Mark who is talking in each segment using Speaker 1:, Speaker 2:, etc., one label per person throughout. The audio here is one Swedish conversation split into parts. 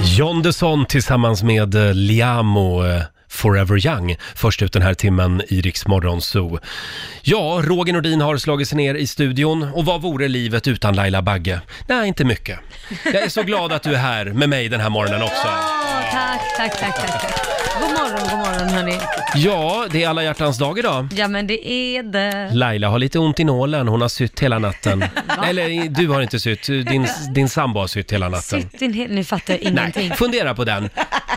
Speaker 1: John Desson tillsammans med eh, Liam och eh, Forever Young först ut den här timmen i Rix Morgon Zoo. Ja, Roger Nordin har slagit sig ner i studion och vad vore livet utan Laila Bagge? Nej, inte mycket. Jag är så glad att du är här med mig den här morgonen också.
Speaker 2: Åh, tack, tack, tack, tack, tack. God morgon, god morgon hörni.
Speaker 1: Ja, det är alla hjärtans dag idag.
Speaker 2: Ja men det är det.
Speaker 1: Laila har lite ont i nålen, hon har sytt hela natten. Eller du har inte sytt, din, din sambo har sytt hela natten.
Speaker 2: Sitt in helt, nu fattar jag ingenting.
Speaker 1: Nej,
Speaker 2: Nej.
Speaker 1: fundera på den.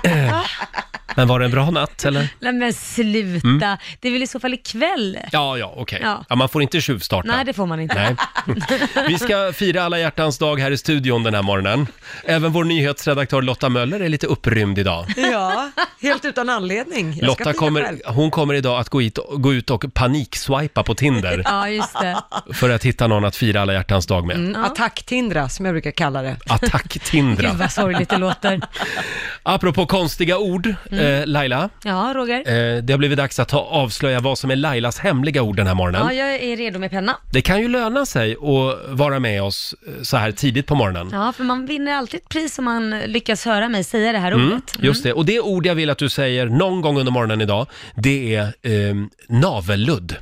Speaker 1: Men var det en bra natt eller?
Speaker 2: men sluta. Det är väl i så fall ikväll?
Speaker 1: Ja, ja, okej. Ja.
Speaker 2: Ja.
Speaker 1: man får inte tjuvstarta.
Speaker 2: Nej, det får man inte.
Speaker 1: Nej. Vi ska fira alla hjärtans dag här i studion den här morgonen. Även vår nyhetsredaktör Lotta Möller är lite upprymd idag.
Speaker 3: Ja, helt utan anledning. Jag ska
Speaker 1: Lotta
Speaker 3: fira
Speaker 1: kommer,
Speaker 3: själv.
Speaker 1: hon kommer idag att gå, hit, gå ut och panikswipa på Tinder
Speaker 2: Ja, Mm. just det.
Speaker 1: för att hitta någon att fira alla hjärtans dag med.
Speaker 3: Mm, Attacktindra, som jag brukar kalla det.
Speaker 2: Gud
Speaker 1: Attack-Tindra.
Speaker 2: vad sorgligt det låter.
Speaker 1: Apropå konstiga ord,
Speaker 2: Mm.
Speaker 1: eh, Laila.
Speaker 2: Ja, Roger?
Speaker 1: Eh, det har blivit dags att ta, avslöja vad som är Lailas hemliga ord den här morgonen.
Speaker 2: Ja, jag är redo med penna.
Speaker 1: Det kan ju löna sig att vara med oss eh, så här tidigt på morgonen.
Speaker 2: Ja, för man vinner alltid ett pris om man lyckas höra mig säga det här ordet.
Speaker 1: Just det, och det ord jag vill att du säger någon gång under morgonen idag, det är eh, navelludd.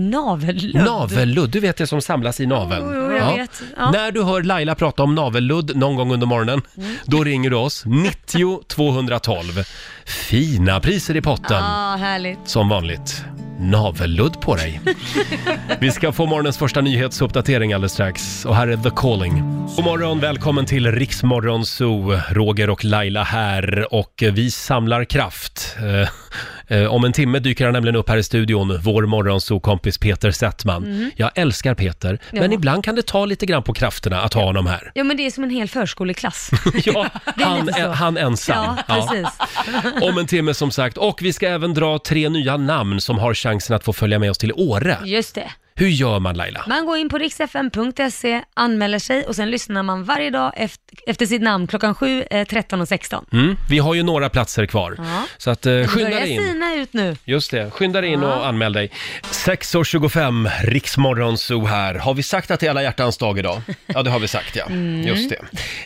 Speaker 2: Navelludd.
Speaker 1: Navelludd, du vet det som samlas i naveln.
Speaker 2: Jo, jo, jag vet. Ja.
Speaker 1: När du hör Laila prata om navelludd någon gång under morgonen,
Speaker 2: Mm.
Speaker 1: då ringer du oss, 90 212. Fina priser i potten,
Speaker 2: Ja, härligt.
Speaker 1: som vanligt. Navelludd på dig. Vi ska få morgonens första nyhetsuppdatering alldeles strax. Och här är The Calling. God morgon, välkommen till Riksmorgon Zoo. Roger och Laila här och eh, vi samlar kraft. Eh, eh, Om en timme dyker han nämligen upp här i studion, vår morgonzoo-kompis Peter Settman. Jag älskar Peter, men
Speaker 2: Mm. Ja.
Speaker 1: ibland kan det ta lite grann på krafterna att ha honom här.
Speaker 2: Ja, men det är som en hel förskoleklass.
Speaker 1: Ja,
Speaker 2: Det är
Speaker 1: han,
Speaker 2: lite så.
Speaker 1: eh, han ensam.
Speaker 2: Ja, precis.
Speaker 1: Om en timme som sagt. Och vi ska även dra tre nya namn som har chansen att få följa med oss till Åre.
Speaker 2: Just det.
Speaker 1: Hur gör man Laila?
Speaker 2: Man går in på riksfm.se, anmäler sig och sen lyssnar man varje dag efter, efter sitt namn klockan 7, eh, 13 och 16.
Speaker 1: Mm, vi har ju några platser kvar.
Speaker 2: Ja.
Speaker 1: Så att, eh, skynda
Speaker 2: börjar
Speaker 1: dig in.
Speaker 2: sina ut nu.
Speaker 1: Just det, skynda dig in och anmäl dig. 6.25, Riksmorgon Zoo här. Har vi sagt att det är alla hjärtans dag idag? Ja, det har vi sagt ja.
Speaker 2: Mm.
Speaker 1: Just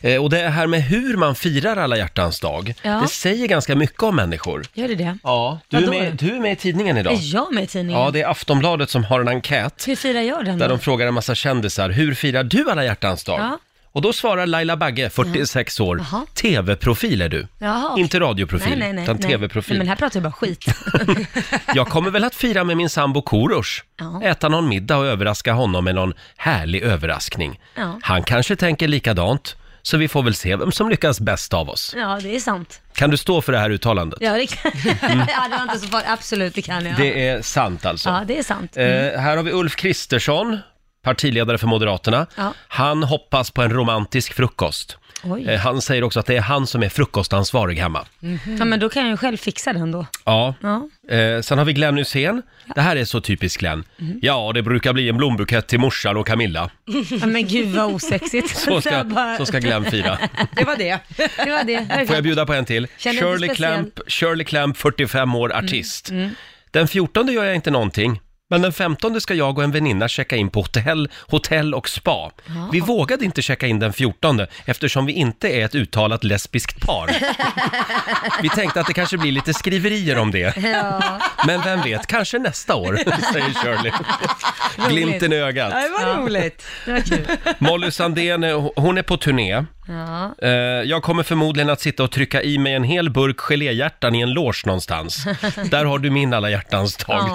Speaker 1: det. Eh, och det här med hur man firar alla hjärtans dag,
Speaker 2: Ja.
Speaker 1: det säger ganska mycket om människor.
Speaker 2: Gör det det?
Speaker 1: Ja, du är,
Speaker 2: Vadå?
Speaker 1: med, du är med i tidningen idag.
Speaker 2: Är jag med i tidningen?
Speaker 1: Ja, det är Aftonbladet som har en enkät
Speaker 2: Hur firar jag den
Speaker 1: där
Speaker 2: då?
Speaker 1: de frågar en massa kändisar, hur firar du alla hjärtans dag?
Speaker 2: Mm. Ja.
Speaker 1: Och då svarar Laila Bagge, 46 år,
Speaker 2: Jaha.
Speaker 1: TV-profil är du.
Speaker 2: Jaha.
Speaker 1: Inte radioprofil,
Speaker 2: nej, nej, nej,
Speaker 1: utan
Speaker 2: nej.
Speaker 1: TV-profil.
Speaker 2: Nej, men här pratar jag bara skit.
Speaker 1: Jag kommer väl att fira med min sambo Korosh.
Speaker 2: Ja.
Speaker 1: Äta någon middag och överraska honom med någon härlig överraskning.
Speaker 2: Ja.
Speaker 1: Han kanske tänker likadant, så vi får väl se vem som lyckas bäst av oss.
Speaker 2: ja, det är sant.
Speaker 1: Kan du stå för det här uttalandet?
Speaker 2: Ja, det, kan... ja, det var inte så farligt. Absolut, det kan jag.
Speaker 1: Mm. Det är sant alltså.
Speaker 2: Ja, det är sant.
Speaker 1: Eh, här har vi Ulf Kristersson, partiledare för Moderaterna.
Speaker 2: Ja.
Speaker 1: Han hoppas på en romantisk frukost.
Speaker 2: Oj.
Speaker 1: Eh, han säger också att det är han som är frukostansvarig hemma.
Speaker 2: Ja, men då kan jag ju själv fixa den då.
Speaker 1: Ja.
Speaker 2: Ja.
Speaker 1: Eh, sen har vi Glenn Hysén. Det här är så typiskt Glenn. Ja, det brukar bli en blombukett till morsan och Camilla.
Speaker 2: ja men gud vad osexigt.
Speaker 1: Så
Speaker 2: Så
Speaker 1: ska,
Speaker 2: jag bara-
Speaker 1: så ska Glenn fira.
Speaker 3: Det var det.
Speaker 2: Det var det.
Speaker 1: Får jag bjuda på en till?
Speaker 2: Känner inte
Speaker 1: Shirley
Speaker 2: speciell. Mm,
Speaker 1: Clamp, Shirley Clamp, 45 år, artist. Den 14 gör jag inte någonting. Men den 15 ska jag och en väninna checka in på hotell, hotell och spa. Vi vågade inte checka in den 14 eftersom vi inte är ett uttalat lesbiskt par. vi tänkte att det kanske blir lite skriverier om det.
Speaker 2: Ja.
Speaker 1: Men vem vet, kanske nästa år, säger Shirley. Glimten i ögat.
Speaker 3: Ja, Det var roligt.
Speaker 2: Det var kul.
Speaker 1: Molly Sandén, eh, hon är på turné.
Speaker 2: Ja.
Speaker 1: Eh, jag kommer förmodligen att sitta och trycka i mig en hel burk geléhjärtan i en loge någonstans. Där har du min alla hjärtans dag.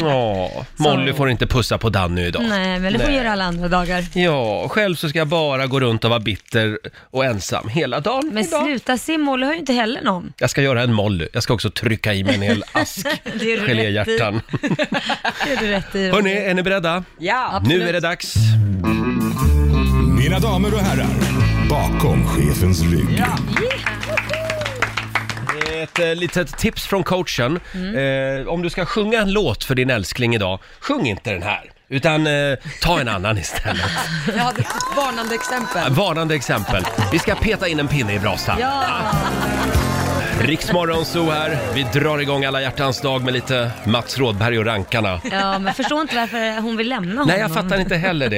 Speaker 2: Åh.
Speaker 1: Åh, Molly får inte pussa på Danny idag.
Speaker 2: Nej, men det får vi
Speaker 1: Nej.
Speaker 2: göra alla andra dagar.
Speaker 1: Ja, själv så ska jag bara gå runt och vara bitter och ensam hela dagen
Speaker 2: Men
Speaker 1: idag.
Speaker 2: sluta, Simmolle har ju inte heller någon.
Speaker 1: Jag ska göra en Molly. Jag ska också trycka i mig en hel ask
Speaker 2: Det är du
Speaker 1: geléhjärtan.
Speaker 2: Det är du rätt i.
Speaker 1: Hörni, är ni beredda?
Speaker 3: Ja.
Speaker 1: Nu är det dags.
Speaker 4: Mina damer och herrar, bakom chefens rygg.
Speaker 1: Ett eh, litet tips från coachen. Eh, om du ska sjunga en låt för din älskling idag, sjung inte den här. Utan eh, ta en annan istället.
Speaker 3: Jag hade ett varnande exempel.
Speaker 1: Varnande exempel. Vi ska peta in en pinne i brasan.
Speaker 2: Ja.
Speaker 1: Riksmorgon Zoo här. Vi drar igång alla hjärtans dag med lite Mats Rådberg och rankarna.
Speaker 2: Ja, men jag förstår inte varför hon vill lämna honom.
Speaker 1: Nej, jag fattar inte heller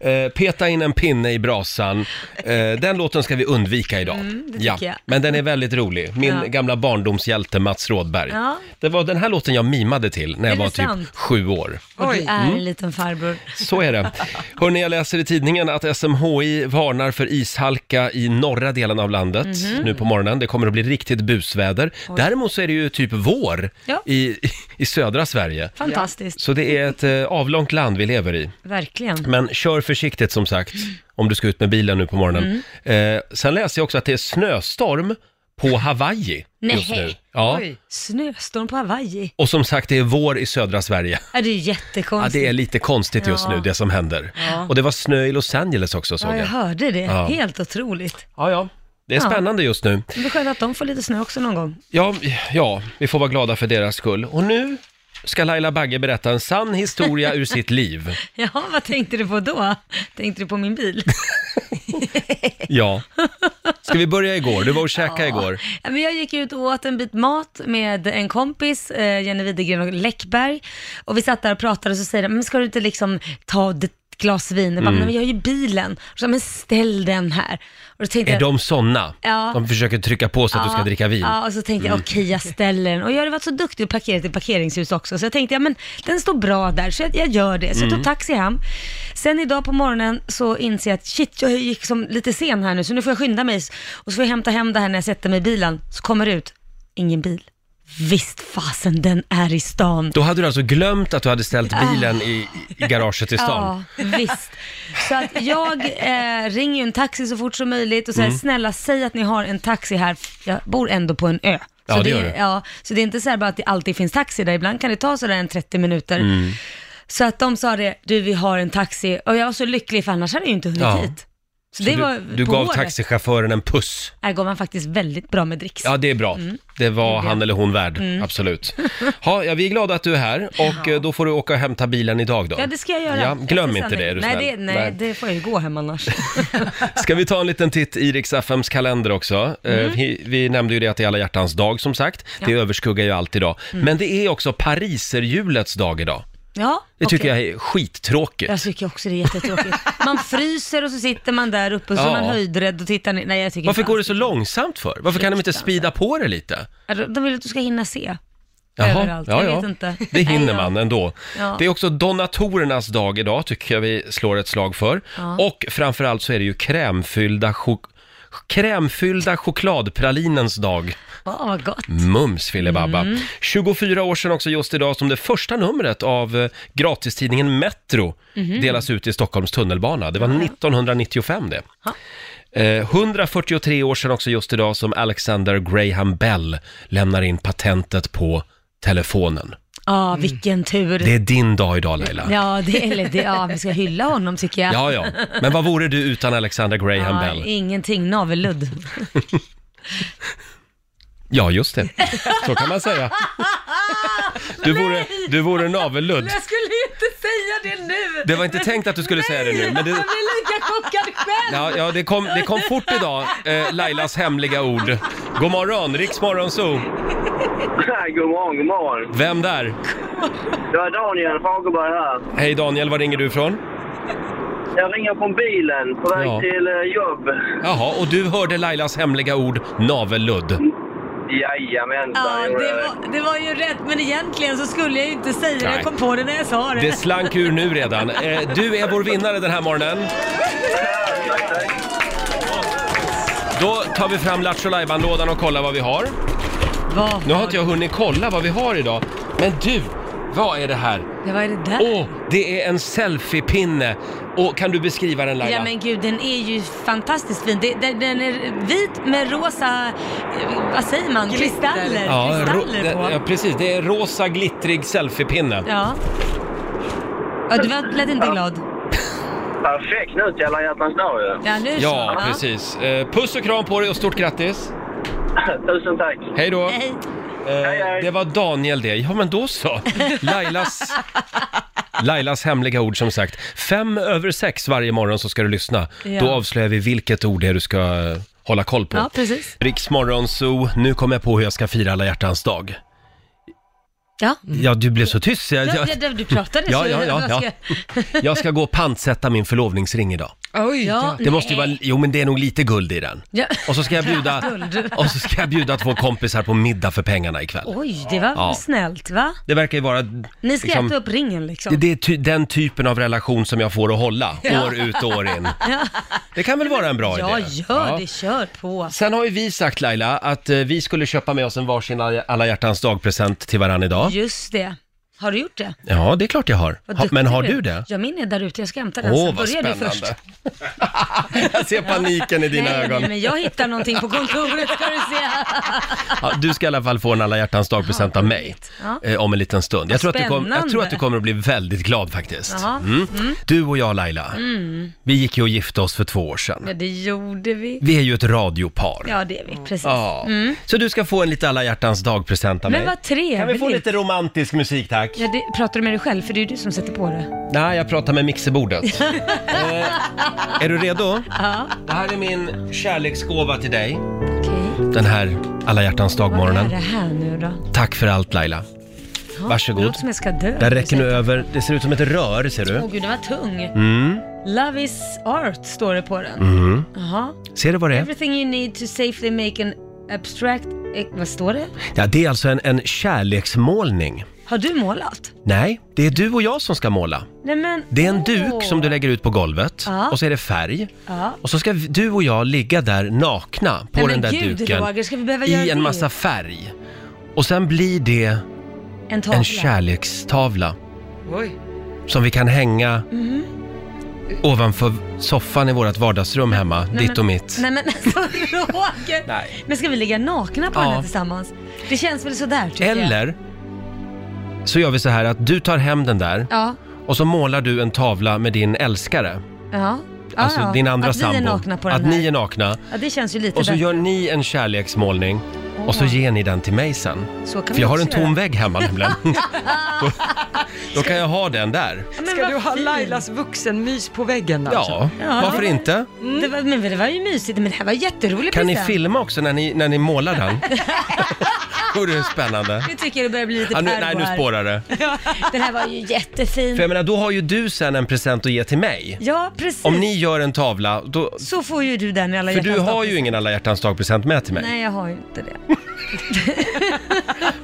Speaker 1: det. Eh, peta in en pinne i brasan. Eh, den låten ska vi undvika idag.
Speaker 2: Mm, det
Speaker 1: ja,
Speaker 2: tycker jag.
Speaker 1: men den är väldigt rolig. Min
Speaker 2: Ja.
Speaker 1: gamla barndomshjälte Mats Rådberg.
Speaker 2: Ja.
Speaker 1: Det var den här låten jag mimade till när jag
Speaker 2: Är det
Speaker 1: var typ
Speaker 2: sant?
Speaker 1: sju år.
Speaker 2: Och du
Speaker 3: Oj.
Speaker 2: är en liten farbror.
Speaker 1: Så är det. Hörrni, jag läser i tidningen att SMHI varnar för ishalka i norra delen av landet
Speaker 2: Mhm.
Speaker 1: nu på morgonen. Det kommer att bli riktigt busväder. Däremot så är det ju typ vår
Speaker 2: Ja.
Speaker 1: i, i södra Sverige.
Speaker 2: Fantastiskt,
Speaker 1: Så det är ett eh, avlångt land vi lever i.
Speaker 2: verkligen.
Speaker 1: Men kör försiktigt som sagt, om du ska ut med bilen nu på morgonen.
Speaker 2: Mm.
Speaker 1: Eh, sen läser jag också att det är snöstorm på Hawaii just
Speaker 2: Nej.
Speaker 1: nu. Ja.
Speaker 3: Oj.
Speaker 2: Snöstorm på Hawaii.
Speaker 1: Och som sagt, det är vår i södra Sverige.
Speaker 2: Ja, det är
Speaker 1: Ja,
Speaker 2: jättekonstigt.
Speaker 1: det är lite konstigt just
Speaker 2: Ja.
Speaker 1: nu, det som händer. Och det var snö i Los Angeles också, såg
Speaker 2: Ja, jag
Speaker 1: jag.
Speaker 2: hörde det.
Speaker 1: Ja.
Speaker 2: Helt otroligt.
Speaker 1: Ja, ja. Det är
Speaker 2: Ja.
Speaker 1: spännande just nu.
Speaker 2: Men det är skönt att de får lite snö också någon gång.
Speaker 1: Ja, ja, vi får vara glada för deras skull. Och nu ska Laila Bagge berätta en sann historia ur sitt liv.
Speaker 2: Jaha, vad tänkte du på då? Tänkte du på min bil?
Speaker 1: Ja. Ska vi börja igår? Du var och käkade igår.
Speaker 2: Ja, Men jag gick ut och åt en bit mat med en kompis, eh, Jenny Widegren och Läckberg. Och vi satt där och pratade och så säger de, men ska du inte liksom ta ett glas vin?
Speaker 1: Mm.
Speaker 2: Jag bara, nej men jag har ju bilen. Och så, men ställ den här. Och då tänkte
Speaker 1: Är
Speaker 2: jag,
Speaker 1: de såna?
Speaker 2: Ja.
Speaker 1: De försöker trycka på så att du ska dricka vin? Mm.
Speaker 2: Ja, och så tänkte jag, okej jag ställer den. Och jag hade varit så duktig och parkerat i parkeringshus också, så jag tänkte, ja men den står bra där, så jag, jag gör det. Så jag
Speaker 1: Mm.
Speaker 2: tog taxi hem. Sen idag på morgonen så inser jag att shit, jag gick som lite sen här nu, så nu får jag skynda mig. Och så får jag hämta hem det här när jag sätter mig i bilen. Så kommer det ut, ingen bil. Visst fasen, den är i stan.
Speaker 1: Då hade du alltså glömt att du hade ställt bilen i, i garaget i stan?
Speaker 2: Ah. Ja, visst. Så att jag eh, ringer ju en taxi så fort som möjligt och säger
Speaker 1: Mm.
Speaker 2: snälla säg att ni har en taxi här, jag bor ändå på en ö.
Speaker 1: Ja,
Speaker 2: så
Speaker 1: det gör
Speaker 2: är-
Speaker 1: du.
Speaker 2: ja, Så det är inte så här bara att det alltid finns taxi där, ibland kan det ta sådär en 30 minuter.
Speaker 1: Mm.
Speaker 2: Så att de sa det, du vi har en taxi och jag var så lycklig för annars hade jag ju inte hunnit
Speaker 1: Ja.
Speaker 2: hit. Så,
Speaker 1: Så
Speaker 2: det var
Speaker 1: du du
Speaker 2: på
Speaker 1: gav
Speaker 2: håret.
Speaker 1: taxichauffören en puss.
Speaker 2: Här går man faktiskt väldigt bra med dricks.
Speaker 1: Ja, det är bra.
Speaker 2: Mm.
Speaker 1: Det var han eller hon värd, absolut. Ha, ja, vi är glada att du är här och eh, då får du åka och hämta bilen idag då.
Speaker 2: Ja, det ska jag göra.
Speaker 1: Ja, glöm
Speaker 2: Efter
Speaker 1: inte
Speaker 2: sändning.
Speaker 1: det, är du
Speaker 2: nej,
Speaker 1: snäll.
Speaker 2: det, nej,
Speaker 1: Nej.
Speaker 2: det får jag ju gå hem annars.
Speaker 1: Ska vi ta en liten titt i Rix FMs kalender också? Eh,
Speaker 2: Mm.
Speaker 1: Vi, vi nämnde ju det att det är alla hjärtans dag som sagt. Det överskuggar ju allt idag.
Speaker 2: Mm.
Speaker 1: Men det är också pariserhjulets dag idag.
Speaker 2: Ja,
Speaker 1: Det tycker
Speaker 2: okej.
Speaker 1: jag är skittråkigt.
Speaker 2: Jag tycker också det är jättetråkigt. Man fryser och så sitter man där uppe och så
Speaker 1: Ja.
Speaker 2: är man höjdrädd och tittar ner. Nej, jag tycker
Speaker 1: Varför
Speaker 2: inte
Speaker 1: går det
Speaker 2: alls.
Speaker 1: så långsamt för? Varför kan de inte speeda på det lite?
Speaker 2: Ja, De vill att du ska hinna se.
Speaker 1: Jaha,
Speaker 2: Överallt.
Speaker 1: ja,
Speaker 2: Jag
Speaker 1: ja.
Speaker 2: vet inte.
Speaker 1: Det
Speaker 2: Nej,
Speaker 1: hinner
Speaker 2: ja.
Speaker 1: man ändå.
Speaker 2: Ja.
Speaker 1: Det är också donatorernas dag idag, tycker jag vi slår ett slag för. Och framförallt så är det ju krämfyllda, chok- krämfyllda chokladpralinens dag.
Speaker 2: Åh, vad gott.
Speaker 1: Mums filibabba.
Speaker 2: Mm.
Speaker 1: 24 år sedan också just idag som det första numret av eh, gratistidningen Metro
Speaker 2: Mhm.
Speaker 1: delas ut i Stockholms tunnelbana. Det var 1995 det. Eh, 143 år sedan också just idag som Alexander Graham Bell lämnar in patentet på telefonen.
Speaker 2: Ja, vilken tur.
Speaker 1: Det är din dag idag Laila.
Speaker 2: Ja, det, eller det, ja, vi ska hylla honom tycker jag.
Speaker 1: Ja, ja. Men vad vore du utan Alexander Graham
Speaker 2: Ja,
Speaker 1: Bell?
Speaker 2: ingenting, navelludd.
Speaker 1: Ja, just det. Så kan man säga. Du vore, du vore navelludd.
Speaker 2: skulle inte säga det nu!
Speaker 1: Det var inte tänkt att du skulle säga det nu, men det,
Speaker 2: blir lika chockad själv!
Speaker 1: Ja, ja det, kom, det kom fort idag, eh, Lailas hemliga ord. God morgon, Riks Morgonzoo.
Speaker 5: God morgon, god morgon.
Speaker 1: Vem där?
Speaker 5: Det är Daniel Fagerberg här.
Speaker 1: Hej Daniel, var ringer du ifrån?
Speaker 5: Jag ringer från bilen på väg
Speaker 1: Ja.
Speaker 5: till eh, jobb.
Speaker 1: Jaha, och du hörde Lailas hemliga ord, navelludd.
Speaker 5: Jajamensan,
Speaker 2: Ja,
Speaker 5: gjorde
Speaker 2: det
Speaker 5: jag det.
Speaker 2: var, det var ju rätt, men egentligen så skulle jag ju inte säga det.
Speaker 1: Nej.
Speaker 2: Jag kom på det när jag sa
Speaker 1: Det slank ur nu redan. Eh, du är vår vinnare den här morgonen.
Speaker 5: Tack, tack.
Speaker 1: Då tar vi fram Lattjo Lajban-lådan och kollar vad vi har.
Speaker 2: Vad
Speaker 1: Nu har inte jag hunnit kolla vad vi har idag. Men du, vad är det här?
Speaker 2: Ja, vad är det där?
Speaker 1: Åh, det är en selfiepinne. Och kan du beskriva den Laila?
Speaker 2: Ja men gud, den är ju fantastiskt fin. Det- Den, den är vit med rosa, eh, vad säger man,
Speaker 3: Glitter.
Speaker 2: kristaller,
Speaker 1: Ja, ro-
Speaker 2: kristaller
Speaker 1: det- ja,
Speaker 2: på.
Speaker 1: precis. Det är en rosa glittrig selfiepinne.
Speaker 2: Ja. ja, du var- lät inte glad.
Speaker 5: Perfekt nu till alla hjärtans dag ju.
Speaker 2: Ja, nu så.
Speaker 1: Ja, precis. Eh, Puss och kram på dig och stort grattis!
Speaker 5: Tusen tack.
Speaker 1: Hej då!
Speaker 2: Hej.
Speaker 5: Hej,
Speaker 1: Eh,
Speaker 5: hej.
Speaker 1: det var Daniel det. Ja, men då så. Lailas... Lailas hemliga ord som sagt. Fem över sex varje morgon så ska du lyssna.
Speaker 2: Ja.
Speaker 1: Då avslöjar vi vilket ord det är du ska eh, hålla koll på.
Speaker 2: Ja, precis.
Speaker 1: Riksmorgon Zoo, nu kommer jag på hur jag ska fira alla hjärtans dag.
Speaker 2: Ja.
Speaker 1: Ja, du blev så tyst. Jag,
Speaker 2: Ja,
Speaker 1: jag,
Speaker 2: ja, du pratade
Speaker 1: Ja,
Speaker 2: så.
Speaker 1: ja, ja,
Speaker 2: vad
Speaker 1: ja.
Speaker 2: ska jag-
Speaker 1: jag ska gå och pantsätta min förlovningsring idag.
Speaker 3: Oj,
Speaker 2: Ja,
Speaker 3: ja.
Speaker 1: Det måste ju
Speaker 2: nej.
Speaker 1: vara, jo men det är nog lite guld i den.
Speaker 2: Ja.
Speaker 1: Och så ska jag bjuda, och så ska jag bjuda två kompisar på middag för pengarna ikväll.
Speaker 2: Oj, det var
Speaker 1: Ja.
Speaker 2: snällt va?
Speaker 1: Det verkar ju vara...
Speaker 2: Ni ska
Speaker 1: liksom-
Speaker 2: äta upp ringen liksom.
Speaker 1: Det- Det är ty- den typen av relation som jag får att hålla år ut och år in. Det kan väl vara en bra
Speaker 2: ja,
Speaker 1: idé?
Speaker 2: gör
Speaker 1: Ja.
Speaker 2: det. Kör på.
Speaker 1: Sen har ju vi sagt Laila att eh, vi skulle köpa med oss en varsin alla alla hjärtans dag-present till varandra idag.
Speaker 2: Just det. Har du gjort det?
Speaker 1: Ja, det är klart jag har.
Speaker 2: Vad
Speaker 1: Ha,
Speaker 2: duktig
Speaker 1: men har
Speaker 2: är.
Speaker 1: du det?
Speaker 2: Ja, min är där ute. Jag ska hämta den.
Speaker 1: Åh,
Speaker 2: sen
Speaker 1: vad
Speaker 2: börjar du först.
Speaker 1: spännande. jag ser paniken i dina
Speaker 2: nej,
Speaker 1: ögon.
Speaker 2: Nej, men jag hittar någonting på kontoret ska du se.
Speaker 1: Ja, du ska i alla fall få en alla hjärtans dag-present av mig
Speaker 2: Ja.
Speaker 1: eh, om en liten stund. Jag tror, att du kom, jag tror att du
Speaker 2: Spännande.
Speaker 1: kommer att bli väldigt glad faktiskt.
Speaker 2: Jaha. Mm.
Speaker 1: Mm. Du och jag Laila, vi gick ju och gifte oss för två år sedan.
Speaker 2: Ja, det gjorde vi.
Speaker 1: Vi är ju ett radiopar.
Speaker 2: Ja, det är vi. Precis.
Speaker 1: Ja. Så du ska få en lite alla hjärtans dag-present av
Speaker 2: Men
Speaker 1: mig.
Speaker 2: vad trevligt.
Speaker 1: Kan vi få lite romantisk musik tack?
Speaker 2: Ja, det, pratar du med dig själv? För det är ju du som sätter på det.
Speaker 1: Nej, jag pratar med mixerbordet. eh, är du redo? Ja. Det här är min kärleksgåva till dig.
Speaker 2: Okej.
Speaker 1: Den här alla hjärtans
Speaker 2: Vad är
Speaker 1: dag-morgonen.
Speaker 2: det här nu då?
Speaker 1: Tack för allt Laila.
Speaker 2: Ja,
Speaker 1: Varsågod.
Speaker 2: det låter som jag ska dö.
Speaker 1: Där räcker nu över. Det ser ut som ett rör, ser
Speaker 2: Åh
Speaker 1: du.
Speaker 2: gud, den var tung.
Speaker 1: Mm.
Speaker 2: Love is art står det på den. Jaha.
Speaker 1: Ser du vad det är?
Speaker 2: Everything you need to safely make an abstract... eh, Vad står det?
Speaker 1: Ja, det är alltså en, en kärleksmålning.
Speaker 2: Har du målat?
Speaker 1: Nej, det är du och jag som ska måla.
Speaker 2: Nej men...
Speaker 1: Det är en
Speaker 2: åh.
Speaker 1: duk som du lägger ut på golvet
Speaker 2: Ja.
Speaker 1: och så är det färg.
Speaker 2: Ja.
Speaker 1: Och så ska vi- du och jag ligga där nakna på
Speaker 2: Nej,
Speaker 1: den
Speaker 2: men
Speaker 1: där
Speaker 2: gud,
Speaker 1: duken
Speaker 2: Roger, ska vi behöva göra
Speaker 1: i en
Speaker 2: det?
Speaker 1: massa färg. Och sen blir det
Speaker 2: En tavla.
Speaker 1: en kärlekstavla
Speaker 3: Oj.
Speaker 1: som vi kan hänga
Speaker 2: Mhm.
Speaker 1: ovanför soffan i vårt vardagsrum hemma,
Speaker 2: Nej,
Speaker 1: ditt
Speaker 2: men-
Speaker 1: och mitt.
Speaker 2: Nej men alltså Roger!
Speaker 1: Nej.
Speaker 2: Men ska vi ligga nakna på
Speaker 1: Ja.
Speaker 2: den här tillsammans? Det känns väl sådär tycker jag.
Speaker 1: Eller så gör vi så här att du tar hem den där
Speaker 2: Ja.
Speaker 1: och så målar du en tavla med din älskare,
Speaker 2: Ja. ja
Speaker 1: alltså
Speaker 2: ja.
Speaker 1: din andra
Speaker 2: att
Speaker 1: sambo.
Speaker 2: Att ni är nakna på den
Speaker 1: att
Speaker 2: här.
Speaker 1: ni är nakna.
Speaker 2: Ja det känns ju lite
Speaker 1: Och så
Speaker 2: bättre.
Speaker 1: gör ni en kärleksmålning och så
Speaker 2: Åh.
Speaker 1: ger ni den till mig sen.
Speaker 2: Så kan
Speaker 1: För
Speaker 2: vi
Speaker 1: jag har en
Speaker 2: också
Speaker 1: tom
Speaker 2: göra.
Speaker 1: vägg hemma nämligen. då, då kan jag ha den där.
Speaker 2: Ja, men
Speaker 3: Ska
Speaker 2: vad
Speaker 3: du ha
Speaker 2: fint.
Speaker 3: Lailas vuxenmys på väggen alltså?
Speaker 1: Ja, varför inte?
Speaker 3: Mm.
Speaker 2: Det var, men det var ju mysigt, men det här var jätteroligt
Speaker 1: Kan ni
Speaker 2: present.
Speaker 1: filma också när ni, när ni målar den? Vore det spännande?
Speaker 2: Nu tycker jag det börjar bli lite
Speaker 1: Ja, nu,
Speaker 2: pervo
Speaker 1: nej, nu
Speaker 2: här.
Speaker 1: spårar det.
Speaker 2: Den här var ju jättefin.
Speaker 1: För jag menar, då har ju du sen en present att ge till mig.
Speaker 2: Ja, precis.
Speaker 1: Om ni gör en tavla, då...
Speaker 2: Så får ju du den i alla
Speaker 1: För du
Speaker 2: hjärtans
Speaker 1: har
Speaker 2: dag.
Speaker 1: ju ingen alla hjärtans dag-present med till mig.
Speaker 2: Nej, jag har ju inte det.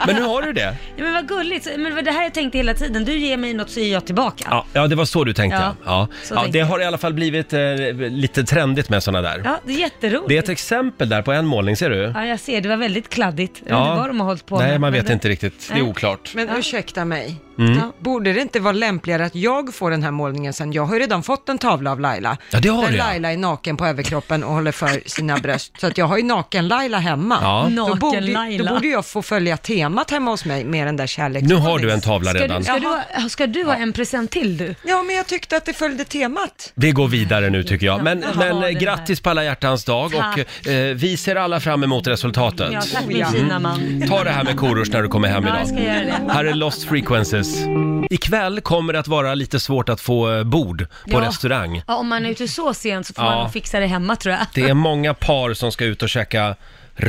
Speaker 1: Men nu har du det.
Speaker 2: Ja, men vad gulligt. Men det var det här jag tänkte hela tiden. Du ger mig något så ger jag tillbaka.
Speaker 1: Ja, ja det var så du tänkte ja.
Speaker 2: Ja,
Speaker 1: ja.
Speaker 2: så
Speaker 1: ja
Speaker 2: tänkte
Speaker 1: det
Speaker 2: jag.
Speaker 1: har i alla fall blivit eh, lite trendigt med såna där.
Speaker 2: Ja, det är jätteroligt.
Speaker 1: Det är ett exempel där på en målning, ser du?
Speaker 2: Ja, jag ser. Det var väldigt kladdigt. Jag vet inte vad de har hållit på
Speaker 1: Nej,
Speaker 2: med,
Speaker 1: man
Speaker 2: men
Speaker 1: vet
Speaker 2: det-
Speaker 1: inte riktigt. Det är
Speaker 2: Nej.
Speaker 1: oklart.
Speaker 3: Men ursäkta mig,
Speaker 1: Mm.
Speaker 2: Ja.
Speaker 3: borde det inte vara lämpligare att jag får den här målningen sen? Jag har ju redan fått en tavla av Laila.
Speaker 1: Ja, det har
Speaker 3: där
Speaker 1: du, ja.
Speaker 3: Laila är naken på överkroppen och håller för sina bröst. Så att jag har ju naken-Laila hemma.
Speaker 1: Ja.
Speaker 3: Då borde,
Speaker 2: Naken-Laila.
Speaker 3: då borde jag få följa temat hemma hos mig med den där kärleken.
Speaker 1: Nu har du en tavla
Speaker 2: Ska
Speaker 1: redan.
Speaker 2: du, ska, du ha, ska du ha en present till du?
Speaker 3: Ja, men jag tyckte att det följde temat.
Speaker 1: Vi går vidare nu tycker jag. Men,
Speaker 2: Ja,
Speaker 1: men
Speaker 2: det
Speaker 1: eh,
Speaker 2: här.
Speaker 1: grattis på alla hjärtans dag och
Speaker 2: Tack.
Speaker 1: eh, vi ser alla fram emot resultatet.
Speaker 2: Ja, tack min
Speaker 3: ja.
Speaker 2: fina man.
Speaker 1: Ta det här med korus när du kommer hem
Speaker 2: Ja,
Speaker 1: idag.
Speaker 2: jag ska göra det.
Speaker 1: Här är Lost Frequencies. Ikväll kommer det att vara lite svårt att få eh, bord på
Speaker 2: Ja.
Speaker 1: restaurang.
Speaker 2: Ja, om man är ute så sent så får
Speaker 1: Ja.
Speaker 2: man nog fixa det hemma tror jag.
Speaker 1: Det är många par som ska ut och käka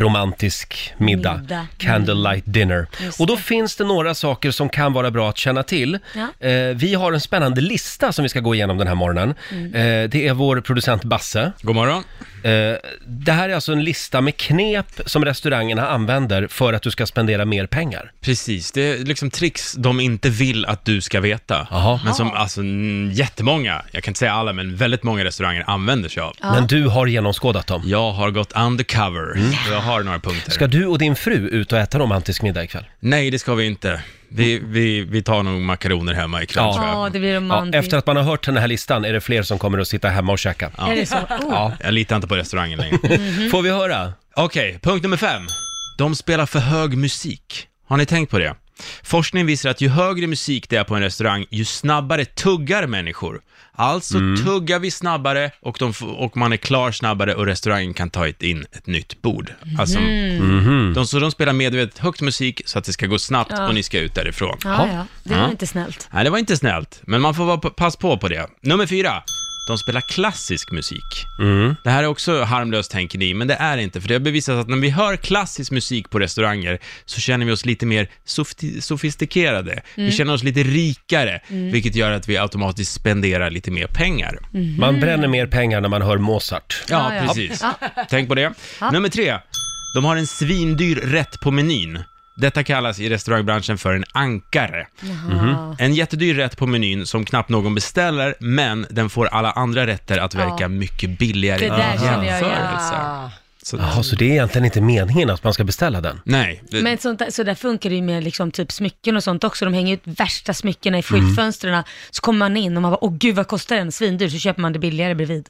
Speaker 1: romantisk middag,
Speaker 2: Middag. Mm.
Speaker 1: candlelight dinner.
Speaker 2: Just
Speaker 1: Och då finns det några saker som kan vara bra att känna till.
Speaker 2: Ja.
Speaker 1: Eh, vi har en spännande lista som vi ska gå igenom den här morgonen.
Speaker 2: Mm.
Speaker 1: Eh, det är vår producent Basse.
Speaker 6: God morgon.
Speaker 1: Eh, det här är alltså en lista med knep som restaurangerna använder för att du ska spendera mer pengar.
Speaker 6: Precis, det är liksom tricks de inte vill att du ska veta.
Speaker 1: Jaha.
Speaker 6: Men som alltså mm, jättemånga, jag kan inte säga alla, men väldigt många restauranger använder sig av.
Speaker 1: Men du har genomskådat dem.
Speaker 6: Jag har gått undercover och jag har några punkter.
Speaker 1: Mm. Ska du och din fru ut och äta romantisk middag ikväll?
Speaker 6: Nej, det ska vi inte. Vi, vi, vi tar nog makaroner hemma ikväll
Speaker 1: Ja.
Speaker 6: tror
Speaker 2: Ja,
Speaker 6: jag.
Speaker 2: det blir
Speaker 1: Ja,
Speaker 2: romantiskt.
Speaker 1: efter att man har hört den här listan är det fler som kommer att sitta hemma och käka.
Speaker 2: Är det så? Oh.
Speaker 1: Ja.
Speaker 6: Jag litar inte på restaurangen längre.
Speaker 2: Mhm.
Speaker 1: Får vi höra?
Speaker 6: Okej, punkt nummer fem. De spelar för hög musik. Har ni tänkt på det? Forskning visar att ju högre musik det är på en restaurang, ju snabbare tuggar människor. Alltså tuggar vi snabbare och, de, f- och man är klar snabbare och restaurangen kan ta ett- in ett nytt bord. Alltså,
Speaker 2: Mhm.
Speaker 6: de, så de spelar medvetet högt musik så att det ska gå snabbt och ni ska ut därifrån.
Speaker 2: Ja, ja. Det var inte snällt.
Speaker 6: Nej, det var inte snällt, men man får vara på, pass på på det. Nummer fyra. de spelar klassisk musik. Det här är också harmlöst tänker ni, men det är inte, för det har bevisats att när vi hör klassisk musik på restauranger så känner vi oss lite mer softi- sofistikerade. Vi känner oss lite rikare, vilket gör att vi automatiskt spenderar lite mer pengar.
Speaker 1: Man bränner mer pengar när man hör Mozart.
Speaker 6: Ja,
Speaker 2: Mhm. Ja, ja.
Speaker 6: precis. Tänk på det. Nummer tre. De har en svindyr rätt på menyn. Detta kallas i restaurangbranschen för en ankare. Mhm. En jättedyr rätt på menyn som knappt någon beställer, men den får alla andra rätter att verka
Speaker 2: Ja.
Speaker 6: mycket billigare
Speaker 2: Det där
Speaker 6: i
Speaker 2: känner jag
Speaker 6: jämförelse.
Speaker 3: Ah,
Speaker 6: Så,
Speaker 1: Jaha, så det är egentligen inte meningen att man ska beställa den?
Speaker 6: Nej, det-
Speaker 2: Men sånt där, så där funkar det ju med liksom typ smycken och sånt också. De hänger ut värsta smyckena i skyltfönstren. Så kommer man in och man bara, åh gud vad kostar den? Svindyr, så köper man det billigare bredvid.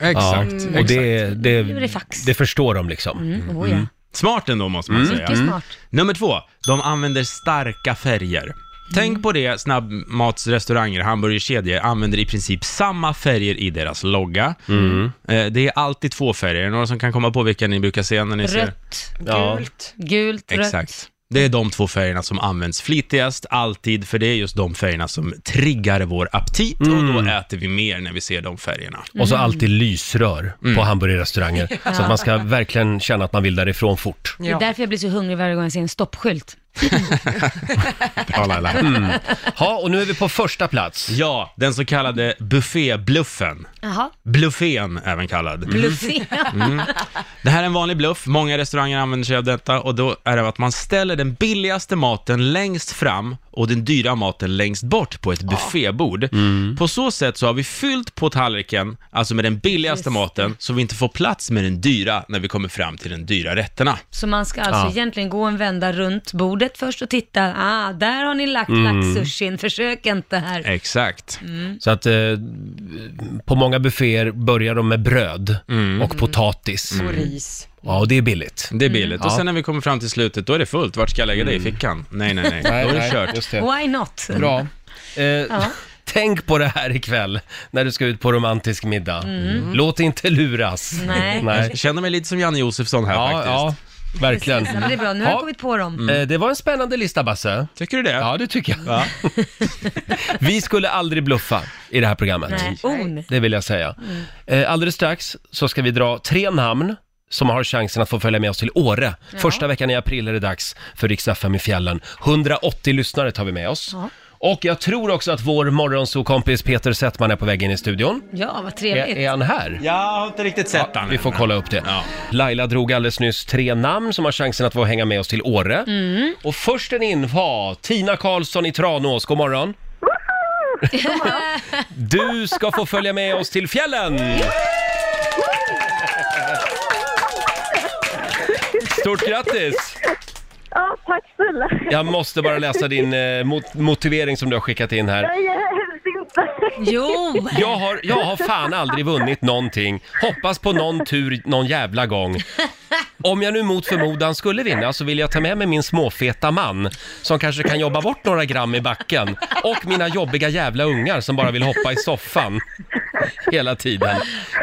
Speaker 1: Ja,
Speaker 6: exakt.
Speaker 2: Mm.
Speaker 1: och det, det,
Speaker 2: är det fax.
Speaker 1: det förstår de liksom.
Speaker 2: Mm, oh, ja.
Speaker 6: Smart ändå måste man säga.
Speaker 2: Mycket smart.
Speaker 6: Nummer två, de använder starka färger.
Speaker 2: Mm.
Speaker 6: Tänk på det, snabbmatsrestauranger, hamburgerkedjor använder i princip samma färger i deras logga. Eh, Det är alltid två färger, Är det några som kan komma på vilka ni brukar se när ni ser?
Speaker 2: Rött,
Speaker 1: Ja.
Speaker 3: Gult.
Speaker 2: gult, rött.
Speaker 6: Exakt. Det är de två färgerna som används flitigast, alltid, för det är just de färgerna som triggar vår aptit och då äter vi mer när vi ser de färgerna.
Speaker 1: Och
Speaker 2: Mm.
Speaker 1: så alltid lysrör på hamburgerrestauranger. Så att man ska verkligen känna att man vill därifrån fort.
Speaker 2: Det är därför jag blir så hungrig varje gång jag ser en stoppskylt.
Speaker 6: Bra, Laila.
Speaker 1: Ja, och nu är vi på första plats.
Speaker 6: Ja, den så kallade buffébluffen.
Speaker 2: Jaha,
Speaker 6: Bluffén även kallad.
Speaker 2: Mm. bluffig.
Speaker 6: Det här är en vanlig bluff, många restauranger använder sig av detta och då är det att man ställer den billigaste maten längst fram och den dyra maten längst bort på ett buffébord.
Speaker 1: Mm.
Speaker 6: På så sätt så har vi fyllt på tallriken, alltså med den billigaste maten, så vi inte får plats med den dyra när vi kommer fram till den dyra rätterna.
Speaker 2: Så man ska alltså
Speaker 1: Ja.
Speaker 2: egentligen gå en vända runt bordet först och titta. Ah, där har ni lagt laxsushin, försök inte här.
Speaker 6: Exakt.
Speaker 1: Så att eh, på många bufféer börjar de med bröd och potatis.
Speaker 3: Och ris.
Speaker 1: Ja, och det är billigt.
Speaker 6: Det är billigt. Och
Speaker 1: Ja. Mm.
Speaker 6: sen när vi kommer fram till slutet, då är det fullt. Vart ska jag lägga det? I fickan? Nej, nej, nej. Då är det kört.
Speaker 2: Why not?
Speaker 1: Bra. Eh, Tänk på det här ikväll när du ska ut på romantisk middag. Mm. Låt inte luras.
Speaker 2: Nej.
Speaker 6: Jag känner mig lite som Janne Josefsson här
Speaker 1: Ja,
Speaker 6: faktiskt.
Speaker 1: ja, verkligen.
Speaker 2: Precis, ja, men det är bra. Nu har
Speaker 1: Ja.
Speaker 2: jag kommit på dem.
Speaker 1: Eh, Det var en spännande lista, Basse.
Speaker 6: Tycker du det?
Speaker 1: Ja, det tycker jag. Vi skulle aldrig bluffa i det här programmet.
Speaker 2: Nej, Oh. on.
Speaker 1: Det vill jag säga. Eh, Alldeles strax så ska vi dra tre namn som har chansen att få följa med oss till Åre. Första veckan i april är det dags för Rix FM i fjällen. 180 lyssnare tar vi med oss.
Speaker 2: Ja.
Speaker 1: Och jag tror också att vår morgonsokompis Peter Settman är på väg in i studion.
Speaker 2: Ja, vad
Speaker 1: Är,
Speaker 2: trevligt.
Speaker 1: är han här?
Speaker 6: Jag har inte riktigt sett den
Speaker 1: Vi får kolla upp det.
Speaker 6: Ja.
Speaker 1: Laila drog alldeles nyss tre namn som har chansen att få hänga med oss till Åre. Och först en in var Tina Karlsson i Tranås. God morgon! Du ska få följa med oss till fjällen! Stort grattis!
Speaker 7: Ja, tack snälla.
Speaker 1: Jag måste bara läsa din eh, mot- motivering som du har skickat in här.
Speaker 7: Jag helst inte.
Speaker 2: Jo!
Speaker 1: Jag har, jag har fan aldrig vunnit någonting. Hoppas på någon tur någon jävla gång. Om jag nu mot förmodan skulle vinna så vill jag ta med mig min småfeta man som kanske kan jobba bort några gram i backen och mina jobbiga jävla ungar som bara vill hoppa i soffan hela tiden.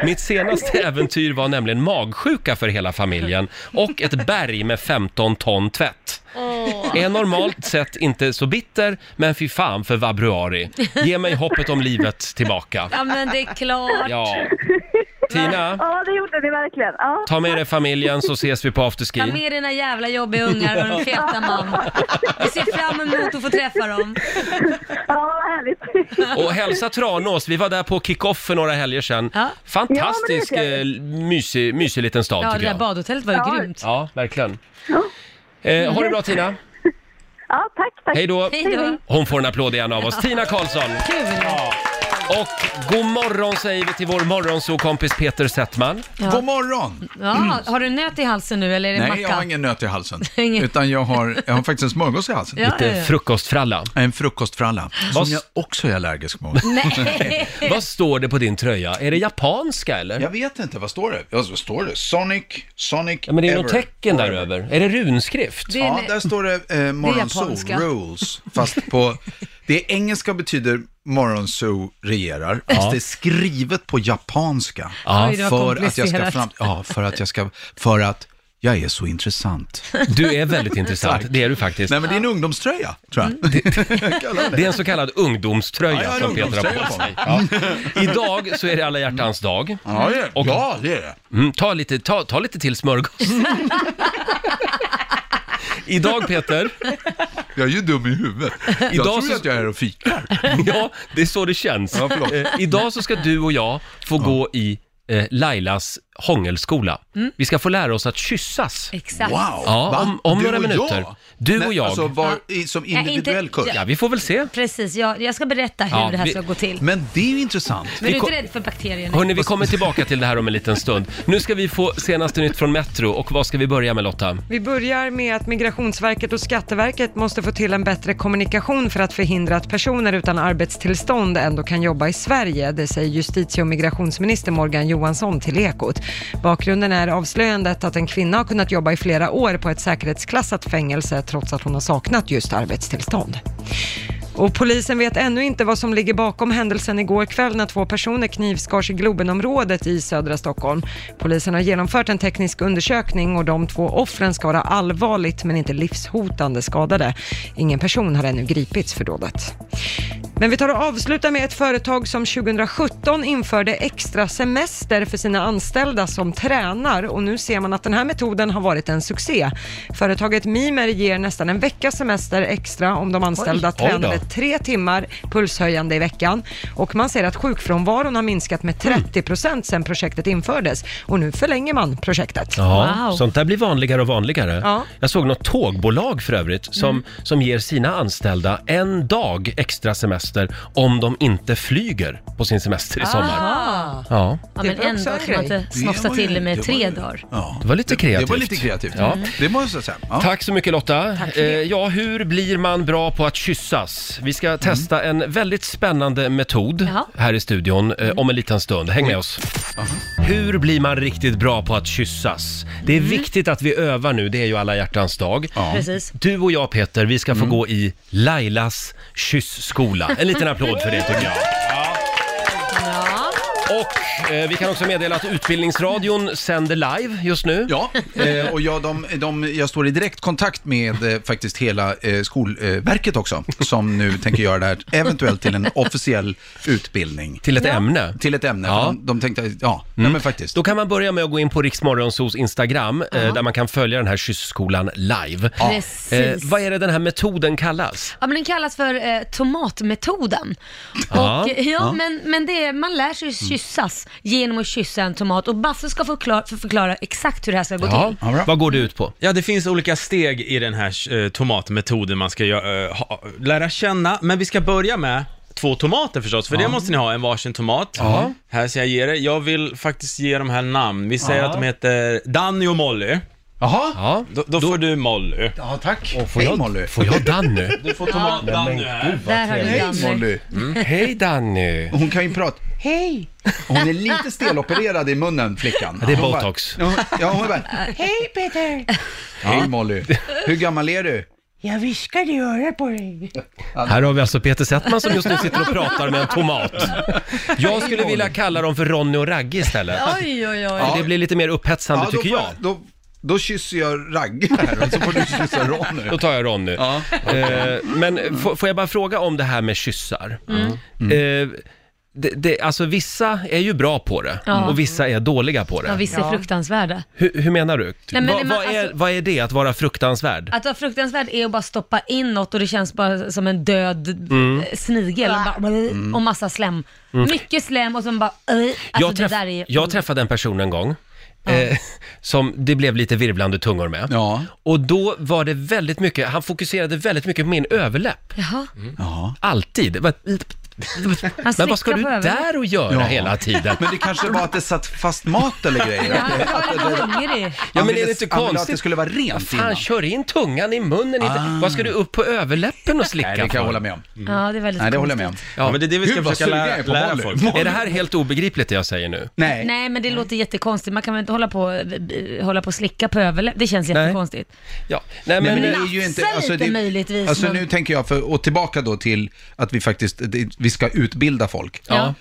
Speaker 1: Mitt senaste äventyr var nämligen magsjuka för hela familjen och ett berg med 15 ton tvätt. Är normalt sett inte så bitter, men fy fan för vabruari. Ge mig hoppet om livet tillbaka.
Speaker 2: Ja, men det är klart.
Speaker 1: Ja. Tina,
Speaker 7: Ja, det gjorde ni verkligen. Ja.
Speaker 1: ta med dig familjen så ses vi på
Speaker 2: Ta
Speaker 1: afterski.
Speaker 2: med dina jävla jobbiga ungar och den feta man. Vi ser fram emot att få träffa dem.
Speaker 7: Ja, vad härligt.
Speaker 1: Och hälsa Tranås, vi var där på kick-off för några helger sedan.
Speaker 2: Ja.
Speaker 1: Fantastisk,
Speaker 7: Ja, men det vet jag.
Speaker 1: eh, mysig, mysig liten stad
Speaker 2: Ja, det
Speaker 1: tycker
Speaker 2: där
Speaker 1: jag.
Speaker 2: badhotellet var ju
Speaker 7: Ja.
Speaker 2: grymt.
Speaker 1: Ja, verkligen. Eh, ha det bra Tina,
Speaker 7: Ja, tack, tack.
Speaker 1: hej då.
Speaker 2: Mm. Hej då.
Speaker 1: Hon får en applåd igen av oss. Tina Karlsson!
Speaker 2: Kul!
Speaker 1: Och god morgon säger vi till vår morgonsokompis Peter Settman.
Speaker 8: God morgon!
Speaker 2: Ja, har du nöt i halsen nu eller är det
Speaker 8: Nej,
Speaker 2: macka?
Speaker 8: jag har ingen nöt i halsen.
Speaker 2: Ingen.
Speaker 8: Utan jag har, jag har faktiskt en smörgås i halsen.
Speaker 2: Ja, ja,
Speaker 1: Lite
Speaker 2: ja.
Speaker 1: frukostfralla.
Speaker 8: En frukostfralla.
Speaker 1: Vad-
Speaker 8: Som jag också är allergisk mot.
Speaker 2: Nej.
Speaker 1: Vad står det på din tröja? Är det japanska eller?
Speaker 8: Jag vet inte, vad står det? Alltså, står det Sonic, Sonic
Speaker 1: Ja, men det är
Speaker 8: ever.
Speaker 1: något tecken där över. Är det runskrift?
Speaker 2: Det är
Speaker 8: Ja,
Speaker 2: en-
Speaker 8: där står det eh, Morgonzoo
Speaker 2: japanska.
Speaker 8: rules. Fast på... Det är engelska betyder Morgonzoo regerar. Fast det är skrivet på japanska.
Speaker 2: Oj, det var
Speaker 8: för att jag ska
Speaker 2: komplicerat.
Speaker 8: fram... Ja, för att jag ska... För att jag är så intressant.
Speaker 1: Du är väldigt intressant, det är du faktiskt.
Speaker 8: Nej, men det är en ungdomströja, tror jag.
Speaker 1: Mm. Det är en så kallad ungdomströja
Speaker 8: Ja, jag har
Speaker 1: som Peter har
Speaker 8: ungdomströja Mm.
Speaker 1: på
Speaker 8: på
Speaker 1: sig.
Speaker 8: mig.
Speaker 1: Ja. Idag så är det alla hjärtans dag.
Speaker 8: Ja, det är
Speaker 1: Och-
Speaker 8: ja, det. Är det.
Speaker 1: Mm, ta, lite, ta, ta lite till smörgås. Idag Peter,
Speaker 8: Jag är ju dum i huvudet. Jag
Speaker 1: Idag
Speaker 8: tror
Speaker 1: så-
Speaker 8: ju att jag är här och fikar.
Speaker 1: ja det är så det känns.
Speaker 8: Ja, förlåt.
Speaker 1: Eh, idag så ska du och jag få gå i eh, Lailas hångelskola. Vi ska få lära oss att kyssas.
Speaker 2: Exakt.
Speaker 8: Wow!
Speaker 1: Ja,
Speaker 8: Va?
Speaker 1: om, om
Speaker 8: Du
Speaker 1: några
Speaker 8: och jag?
Speaker 1: minuter. Du
Speaker 8: Nej,
Speaker 1: och jag.
Speaker 8: Alltså, var, i, som
Speaker 2: inte-
Speaker 8: individuell kurs.
Speaker 1: Ja, vi får väl se.
Speaker 2: Precis, jag, jag ska berätta hur
Speaker 1: Ja,
Speaker 2: det här
Speaker 1: vi-
Speaker 2: ska gå till. Men,
Speaker 8: Men det är ju intressant.
Speaker 2: är
Speaker 1: vi
Speaker 2: du
Speaker 1: kom-
Speaker 2: inte rädd för bakterierna?
Speaker 1: Hörni, vi kommer tillbaka till det här om en liten stund. Nu ska vi få senaste nytt från Metro och vad ska vi börja med Lotta?
Speaker 3: Vi börjar med att Migrationsverket och Skatteverket måste få till en bättre kommunikation för att förhindra att personer utan arbetstillstånd ändå kan jobba i Sverige. Det säger justitie och migrationsminister Morgan Johansson till Ekot. Bakgrunden är avslöjandet att en kvinna har kunnat jobba i flera år på ett säkerhetsklassat fängelse trots att hon har saknat just arbetstillstånd. Och polisen vet ännu inte vad som ligger bakom händelsen igår kväll när två personer knivskars i Globenområdet i södra Stockholm. Polisen har genomfört en teknisk undersökning och de två offren ska vara allvarligt men inte livshotande skadade. Ingen person har ännu gripits för dådet. Men vi tar och avslutar med ett företag som 2017 införde extra semester för sina anställda som tränar och nu ser man att den här metoden har varit en succé. Företaget Mimer ger nästan en veckas semester extra om de anställda
Speaker 1: oj då.
Speaker 3: tränade tre timmar pulshöjande i veckan och man ser att sjukfrånvaron har minskat med
Speaker 1: Mm.
Speaker 3: 30 procent sedan projektet infördes och nu förlänger man projektet.
Speaker 1: Ja,
Speaker 2: Wow.
Speaker 1: sånt där blir vanligare och vanligare.
Speaker 3: Ja.
Speaker 1: Jag såg något tågbolag för övrigt som, som ger sina anställda en dag extra semester om de inte flyger på sin semester i sommar.
Speaker 2: Ah,
Speaker 1: Ja,
Speaker 2: ja,
Speaker 3: Det
Speaker 2: men
Speaker 3: var också
Speaker 2: ändå kan
Speaker 3: en
Speaker 2: man
Speaker 3: grej.
Speaker 2: inte
Speaker 8: Det
Speaker 2: snofsa
Speaker 8: var ju-
Speaker 2: till det
Speaker 8: det
Speaker 2: med
Speaker 8: var
Speaker 2: tre
Speaker 8: ju-
Speaker 2: dagar.
Speaker 8: Ja.
Speaker 1: det var lite kreativt.
Speaker 8: Det var lite kreativt. Mm.
Speaker 1: Ja.
Speaker 8: Det måste jag säga. Ja.
Speaker 1: Tack så mycket Lotta. Eh, ja, hur blir man bra på att kyssas? Vi ska testa en väldigt spännande metod
Speaker 2: Ja.
Speaker 1: här i studion eh, om en liten stund. Häng med oss. Hur blir man riktigt bra på att kyssas? Det är viktigt att vi övar nu, det är ju alla hjärtans dag.
Speaker 2: Precis.
Speaker 1: Du och jag Peter, vi ska få gå i Lailas kyssskola. En liten applåd för det tycker jag.
Speaker 2: Ja.
Speaker 1: Och eh, vi kan också meddela att Utbildningsradion sänder live just nu.
Speaker 8: Ja, eh, och jag, de, de, jag står i direkt kontakt med eh, faktiskt hela eh, Skolverket också, som nu tänker göra det här eventuellt till en officiell utbildning.
Speaker 1: Till ett ämne.
Speaker 8: Till ett ämne.
Speaker 1: Ja. Mm.
Speaker 8: Ja. De, de tänkte, ja, nej men faktiskt.
Speaker 1: Då kan man börja med att gå in på Riksmorgonsos Instagram eh, där man kan följa den här kyssskolan live.
Speaker 2: Precis.
Speaker 1: Eh, vad är det den här metoden kallas?
Speaker 2: Ja, men den kallas för eh, tomatmetoden.
Speaker 1: Ja. Mm.
Speaker 2: Och, eh, ja, Men, men det är, man lär sig kyssas genom att kyssa en tomat och Basse ska förklara, förklara exakt hur det här ska gå
Speaker 1: Ja,
Speaker 2: till.
Speaker 8: Ja, bra.
Speaker 1: vad går det ut på?
Speaker 6: Ja, det finns olika steg i den här eh, tomatmetoden man ska gö- eh, ha, lära känna, men vi ska börja med två tomater förstås, för det måste ni ha, en varsin tomat. Här ska jag ge er. Jag vill faktiskt ge dem här namn. Vi säger att de heter Danny och Molly.
Speaker 8: Jaha,
Speaker 1: Ja.
Speaker 6: Då, då, får du Molly.
Speaker 8: ja, tack.
Speaker 1: Får
Speaker 8: Hej
Speaker 1: jag,
Speaker 8: Molly.
Speaker 1: Får jag Danny?
Speaker 6: Du får tomat Danny här.
Speaker 2: Där har du
Speaker 8: Hej
Speaker 2: Danny.
Speaker 8: Molly.
Speaker 1: Mm. Hej Danny!
Speaker 8: Hon kan ju prata. Hej! Hon är lite stelopererad i munnen, flickan.
Speaker 1: det är
Speaker 8: Hon bara-
Speaker 1: botox.
Speaker 8: Ja, hon- Ja, hon är bara, hej Peter! Hej Molly. Hur gammal är du?
Speaker 9: Jag viskade i örat på dig.
Speaker 1: Här har vi alltså Peter Settman som just nu sitter och pratar med en tomat. Jag skulle vilja kalla dem för Ronny och Ragge istället.
Speaker 2: Oj, oj, oj.
Speaker 1: Det blir lite mer upphetsande
Speaker 8: då,
Speaker 1: tycker
Speaker 8: får
Speaker 1: jag.
Speaker 8: då, då kysser jag Ragge här och så får du kyssa Ronny.
Speaker 1: Då tar jag Ronny.
Speaker 8: Ja.
Speaker 1: Eh, men f- får jag bara fråga om det här med kyssar?
Speaker 2: Mm.
Speaker 1: Eh, det, det, alltså vissa är ju bra på det
Speaker 2: Ja.
Speaker 1: och vissa är dåliga på det.
Speaker 2: Ja, visst är fruktansvärda.
Speaker 1: hur, hur menar du?
Speaker 2: men
Speaker 1: Va,
Speaker 2: man-
Speaker 1: vad, är,
Speaker 2: alltså-
Speaker 1: vad är det att vara fruktansvärd?
Speaker 2: Att vara fruktansvärd är att bara stoppa in något och det känns bara som en död
Speaker 1: Mm.
Speaker 2: eh, snigel och, bara, och massa slem. Mycket slem och sen bara... eh, Alltså
Speaker 1: jag,
Speaker 2: det
Speaker 1: träff,
Speaker 2: där är...
Speaker 1: jag träffade en person en gång eh, som det blev lite virvlande tungor med.
Speaker 8: Ja.
Speaker 1: Och då var det väldigt mycket, han fokuserade väldigt mycket på min överläpp.
Speaker 2: Jaha,
Speaker 8: Ja.
Speaker 1: Alltid. Det var-
Speaker 2: han
Speaker 1: Men vad ska
Speaker 2: slickar
Speaker 1: du
Speaker 2: på överläppen.
Speaker 1: där och göra
Speaker 8: Ja.
Speaker 1: hela tiden?
Speaker 8: Men det kanske var att det satt fast mat eller grejer. Att det- att det- Mm.
Speaker 2: Han var hungrig.
Speaker 1: men
Speaker 8: han
Speaker 1: är det
Speaker 8: ville-
Speaker 1: inte
Speaker 8: Han ville att
Speaker 1: konstigt?
Speaker 8: det skulle vara rent
Speaker 1: Fan,
Speaker 8: innan. Ah.
Speaker 1: kör in tungan i munnen. Inte. Vad ska du upp på överläppen och slicka
Speaker 8: Nej, det kan jag
Speaker 1: för?
Speaker 8: hålla med om.
Speaker 2: Ja, det är väldigt
Speaker 8: Nej, det
Speaker 2: konstigt.
Speaker 8: håller jag med om.
Speaker 6: Ja, men det är det vi ska
Speaker 8: Gud, vad
Speaker 6: försöka
Speaker 8: sugen jag
Speaker 6: lära,
Speaker 8: är på
Speaker 6: lära
Speaker 8: Molly.
Speaker 6: folk.
Speaker 1: Är det här helt obegripligt det jag säger nu?
Speaker 8: Nej.
Speaker 2: Nej men det låter jättekonstigt, man kan väl inte hålla på, eh, hålla på och slicka på överläppen, det känns jättekonstigt.
Speaker 1: Ja. Nej,
Speaker 8: Nej,
Speaker 1: men, eh,
Speaker 8: men det är ju inte,
Speaker 2: Nafsa
Speaker 8: alltså,
Speaker 2: lite
Speaker 8: det,
Speaker 2: möjligtvis,
Speaker 8: Alltså
Speaker 2: men-
Speaker 8: nu tänker jag, för, och tillbaka då till att vi faktiskt, det, vi ska utbilda folk.
Speaker 1: Ja.